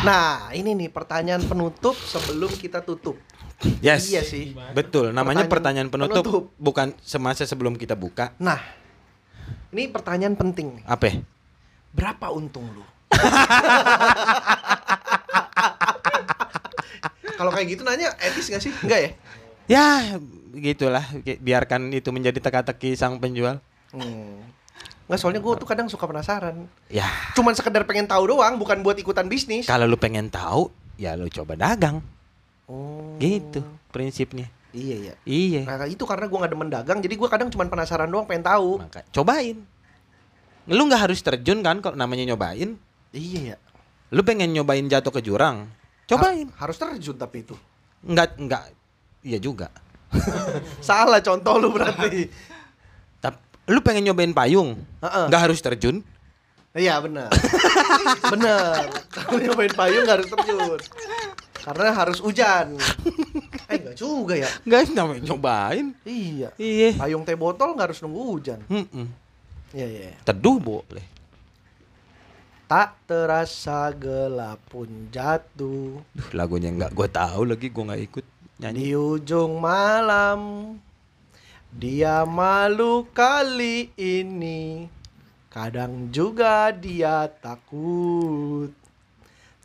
[SPEAKER 1] Nah, ini nih pertanyaan penutup sebelum kita tutup.
[SPEAKER 2] Yes.
[SPEAKER 1] Iya sih.
[SPEAKER 2] Betul. Namanya
[SPEAKER 1] Pertanyaan
[SPEAKER 2] pertanyaan, penutup,
[SPEAKER 1] penutup.
[SPEAKER 2] bukan semasa sebelum kita buka.
[SPEAKER 1] Nah, ini pertanyaan penting nih.
[SPEAKER 2] Apa? ya?
[SPEAKER 1] Berapa untung lu? Kalau kayak gitu nanya etis gak sih? Enggak ya?
[SPEAKER 2] Ya, gitulah. Biarkan itu menjadi teka-teki sang penjual.
[SPEAKER 1] Hmm. Enggak, soalnya gue tuh kadang suka penasaran.
[SPEAKER 2] Ya,
[SPEAKER 1] Cuman sekedar pengen tahu doang, bukan buat ikutan bisnis.
[SPEAKER 2] kalau lu pengen tahu, ya lu coba dagang.
[SPEAKER 1] Oh.
[SPEAKER 2] Gitu prinsipnya.
[SPEAKER 1] Iya, iya.
[SPEAKER 2] Iya.
[SPEAKER 1] Nah, itu karena gue gak demen dagang, jadi gue kadang cuman penasaran doang pengen tahu.
[SPEAKER 2] Maka cobain. Lu nggak harus terjun kan kalau namanya nyobain.
[SPEAKER 1] Iya, ya.
[SPEAKER 2] Lu pengen nyobain jatuh ke jurang. Cobain.
[SPEAKER 1] Ha- harus terjun tapi itu.
[SPEAKER 2] Enggak enggak iya juga.
[SPEAKER 1] Salah contoh lu berarti.
[SPEAKER 2] Tapi lu pengen nyobain payung.
[SPEAKER 1] Heeh.
[SPEAKER 2] Enggak harus terjun.
[SPEAKER 1] Iya, benar. benar. Kalau nyobain payung gak harus terjun. Karena harus hujan. Eh, enggak juga ya.
[SPEAKER 2] Enggak namanya nyobain.
[SPEAKER 1] Iya.
[SPEAKER 2] Iya.
[SPEAKER 1] Payung teh botol nggak harus nunggu hujan.
[SPEAKER 2] Mm-mm.
[SPEAKER 1] Iya, iya.
[SPEAKER 2] Teduh boleh.
[SPEAKER 1] Tak terasa gelap pun jatuh
[SPEAKER 2] Duh, lagunya enggak gua tahu lagi gua nggak ikut nyanyi.
[SPEAKER 1] di ujung malam. Dia malu kali ini. Kadang juga dia takut.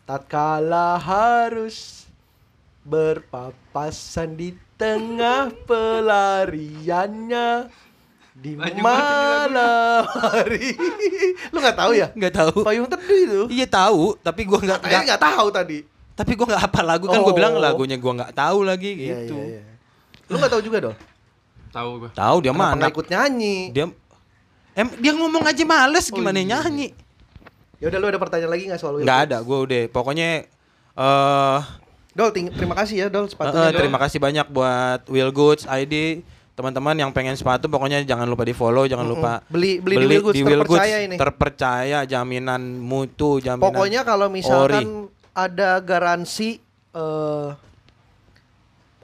[SPEAKER 1] Tatkala harus berpapasan di tengah pelariannya di
[SPEAKER 3] Baju mati
[SPEAKER 1] malam hari. Lu nggak tahu ya?
[SPEAKER 2] Enggak tahu.
[SPEAKER 1] Payung teduh itu.
[SPEAKER 2] Iya tahu, tapi gua enggak
[SPEAKER 1] Kayaknya nggak tahu tadi.
[SPEAKER 2] tapi gua enggak apa lagu kan gua
[SPEAKER 1] Oh.
[SPEAKER 2] bilang lagunya gua enggak tahu lagi
[SPEAKER 1] Iya,
[SPEAKER 2] gitu.
[SPEAKER 1] iya, iya. Lu nggak tahu juga dong?
[SPEAKER 3] Tahu gua.
[SPEAKER 2] Tahu dia
[SPEAKER 1] Kenapa
[SPEAKER 2] mana?
[SPEAKER 1] nggak ikut nyanyi?
[SPEAKER 2] Dia em dia ngomong aja males
[SPEAKER 1] Oh,
[SPEAKER 2] gimana
[SPEAKER 1] iya. Oh
[SPEAKER 2] nyanyi.
[SPEAKER 1] Ya udah lu ada pertanyaan lagi nggak soal Wilfried?
[SPEAKER 2] Nggak ada, gue udah. Pokoknya eh
[SPEAKER 1] Dol, ting- terima kasih ya Dol
[SPEAKER 2] eh,
[SPEAKER 1] sepatunya. Dol.
[SPEAKER 2] terima kasih banyak buat Will Goods ID teman-teman yang pengen sepatu pokoknya jangan lupa di follow jangan
[SPEAKER 1] Mm-mm.
[SPEAKER 2] lupa
[SPEAKER 1] Beli- beli di Will Goods, terpercaya ini.
[SPEAKER 2] terpercaya jaminan mutu jaminan
[SPEAKER 1] Pokoknya kalau
[SPEAKER 2] ori.
[SPEAKER 1] misalkan ada garansi eh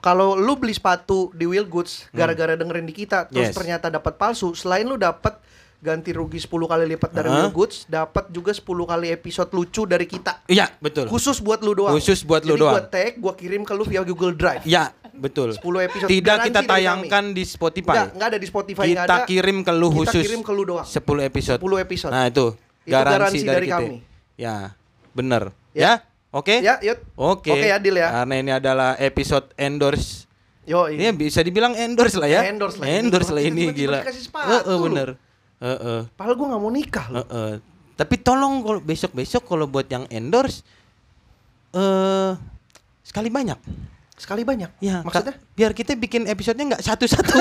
[SPEAKER 1] kalau lu beli sepatu di Will Goods gara-gara dengerin di kita terus
[SPEAKER 2] Hmm. Yes.
[SPEAKER 1] ternyata dapat palsu, selain lu dapat ganti rugi 10 kali lipat dari
[SPEAKER 2] Uh-huh.
[SPEAKER 1] Will Goods, dapat juga 10 kali episode lucu dari kita.
[SPEAKER 2] iya betul
[SPEAKER 1] Khusus buat lu doang.
[SPEAKER 2] Khusus buat lu
[SPEAKER 1] Jadi
[SPEAKER 2] doang.
[SPEAKER 1] Gua tag, gua kirim ke lu via Google Drive.
[SPEAKER 2] ya betul
[SPEAKER 1] 10 episode
[SPEAKER 2] tidak
[SPEAKER 1] garansi
[SPEAKER 2] kita
[SPEAKER 1] dari kami.
[SPEAKER 2] tayangkan di Spotify
[SPEAKER 1] Enggak, enggak ada di Spotify
[SPEAKER 2] Iya, kita
[SPEAKER 1] enggak ada.
[SPEAKER 2] kirim ke lu
[SPEAKER 1] Kita
[SPEAKER 2] khusus
[SPEAKER 1] kirim ke lu doang.
[SPEAKER 2] 10 episode
[SPEAKER 1] 10 episode.
[SPEAKER 2] nah itu
[SPEAKER 1] Itu
[SPEAKER 2] garansi,
[SPEAKER 1] garansi
[SPEAKER 2] dari,
[SPEAKER 1] dari
[SPEAKER 2] kita.
[SPEAKER 1] kami.
[SPEAKER 2] ya bener
[SPEAKER 1] Ya.
[SPEAKER 2] ya oke
[SPEAKER 1] Ya, yuk.
[SPEAKER 2] oke Ah.
[SPEAKER 1] Oke, Adil ya.
[SPEAKER 2] karena ini adalah episode endorse
[SPEAKER 1] Yo,
[SPEAKER 2] Ini bisa dibilang endorse lah ya.
[SPEAKER 1] Endorse lah ini.
[SPEAKER 2] Endorse lah
[SPEAKER 1] Kita
[SPEAKER 2] ini
[SPEAKER 1] tiba-tiba
[SPEAKER 2] gila.
[SPEAKER 1] dikasih sepatu.
[SPEAKER 2] Heeh, bener. Heeh,
[SPEAKER 1] Padahal gua nggak mau nikah lu.
[SPEAKER 2] heeh. Tapi tolong kalau besok-besok kalau buat yang endorse eh sekali banyak.
[SPEAKER 1] Sekali banyak.
[SPEAKER 2] Ya, Kak,
[SPEAKER 1] Maksudnya
[SPEAKER 2] biar kita bikin episodenya nggak satu-satu.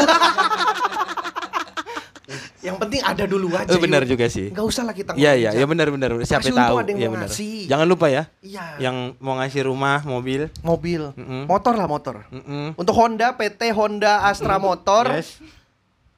[SPEAKER 1] yang penting ada dulu aja.
[SPEAKER 2] Eh, benar
[SPEAKER 1] yuk.
[SPEAKER 2] juga sih.
[SPEAKER 1] Nggak usah lah kita
[SPEAKER 2] Iya, iya,
[SPEAKER 1] ngajak.
[SPEAKER 2] ya benar benar. Siapa
[SPEAKER 1] Masih untung
[SPEAKER 2] tahu.
[SPEAKER 1] ada yang
[SPEAKER 2] Ya
[SPEAKER 1] mau
[SPEAKER 2] benar.
[SPEAKER 1] ngasih.
[SPEAKER 2] Jangan lupa ya.
[SPEAKER 1] Iya.
[SPEAKER 2] Yang mau ngasih rumah, mobil.
[SPEAKER 1] mobil,
[SPEAKER 2] Mm-mm.
[SPEAKER 1] motor lah motor.
[SPEAKER 2] Mm-mm.
[SPEAKER 1] Untuk Honda PT Honda Astra Motor.
[SPEAKER 2] Yes.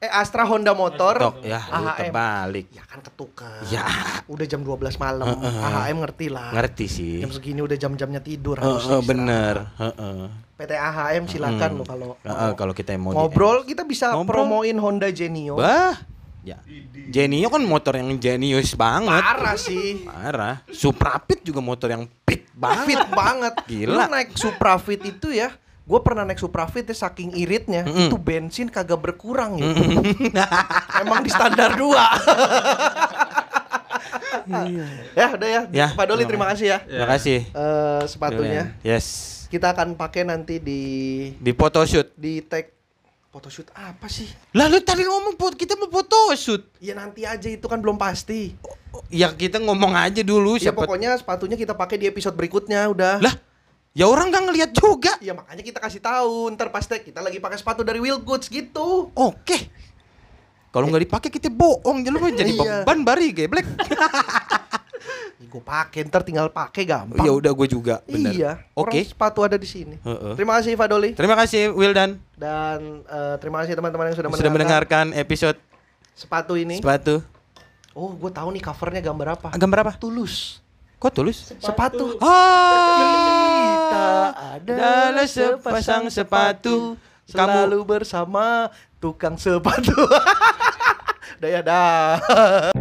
[SPEAKER 1] Eh Astra Honda Motor.
[SPEAKER 2] Tok, ya, lu
[SPEAKER 1] AHM.
[SPEAKER 2] terbalik.
[SPEAKER 1] Ya kan ketukar.
[SPEAKER 2] Ya.
[SPEAKER 1] Udah jam 12 malam. AHM ngerti lah.
[SPEAKER 2] Ngerti sih.
[SPEAKER 1] Jam segini udah jam-jamnya tidur
[SPEAKER 2] Heeh,
[SPEAKER 1] harusnya istirahat.
[SPEAKER 2] bener. Heeh.
[SPEAKER 1] PT AHM silakan
[SPEAKER 2] Mm.
[SPEAKER 1] lo kalau
[SPEAKER 2] Heeh,
[SPEAKER 1] mau.
[SPEAKER 2] kalau kita mau di-
[SPEAKER 1] ngobrol kita bisa
[SPEAKER 2] Ngobrol.
[SPEAKER 1] promoin Honda Genio.
[SPEAKER 2] Bah. Ya. Genio kan motor yang jenius banget.
[SPEAKER 1] Parah sih.
[SPEAKER 2] Parah. Suprapit juga motor yang
[SPEAKER 1] Fit
[SPEAKER 2] pit banget.
[SPEAKER 1] banget.
[SPEAKER 2] Gila.
[SPEAKER 1] Lu naik Suprafit itu ya. Gue pernah naik Suprafit ya saking iritnya,
[SPEAKER 2] Mm-mm.
[SPEAKER 1] itu bensin kagak berkurang ya. Emang di standar dua. ya udah ya.
[SPEAKER 2] Ya. Iya,
[SPEAKER 1] Pak Doli terima kasih ya.
[SPEAKER 2] Terima kasih.
[SPEAKER 1] Eh, sepatunya.
[SPEAKER 2] Keren. Yes.
[SPEAKER 1] Kita akan pakai nanti di
[SPEAKER 2] Di photoshoot.
[SPEAKER 1] di tag photoshoot apa sih?
[SPEAKER 2] Lalu tadi ngomong pot kita mau photoshoot.
[SPEAKER 1] Ya nanti aja itu kan belum pasti.
[SPEAKER 2] Oh, Ya kita ngomong aja dulu
[SPEAKER 1] Ya
[SPEAKER 2] siapa.
[SPEAKER 1] pokoknya sepatunya kita pakai di episode berikutnya udah.
[SPEAKER 2] Lah, ya orang nggak ngeliat juga.
[SPEAKER 1] Ya makanya kita kasih tahu ntar pas tag kita lagi pakai sepatu dari Will Goods gitu.
[SPEAKER 2] Oke. Kalau nggak dipakai kita bohong, jadi lu jadi
[SPEAKER 1] Iya.
[SPEAKER 2] beban bari geblek.
[SPEAKER 1] Gue pakai ntar tinggal pakai gampang.
[SPEAKER 2] ya udah gue juga, bener.
[SPEAKER 1] Iya. Orang
[SPEAKER 2] Oke.
[SPEAKER 1] sepatu ada di sini.
[SPEAKER 2] Heeh.
[SPEAKER 1] Terima kasih Fadoli
[SPEAKER 2] Terima kasih Wildan
[SPEAKER 1] dan eh, terima kasih teman-teman yang sudah,
[SPEAKER 2] sudah mendengarkan episode
[SPEAKER 1] sepatu ini.
[SPEAKER 2] sepatu.
[SPEAKER 1] oh, gue tahu nih covernya gambar apa.
[SPEAKER 2] Gambar apa?
[SPEAKER 1] Tulus.
[SPEAKER 2] Ah, Kok tulis?
[SPEAKER 1] Sepatu. Kita
[SPEAKER 2] Ah,
[SPEAKER 1] adalah sepasang sepatu
[SPEAKER 2] Kamu
[SPEAKER 1] selalu bersama tukang sepatu. Dah ya dah.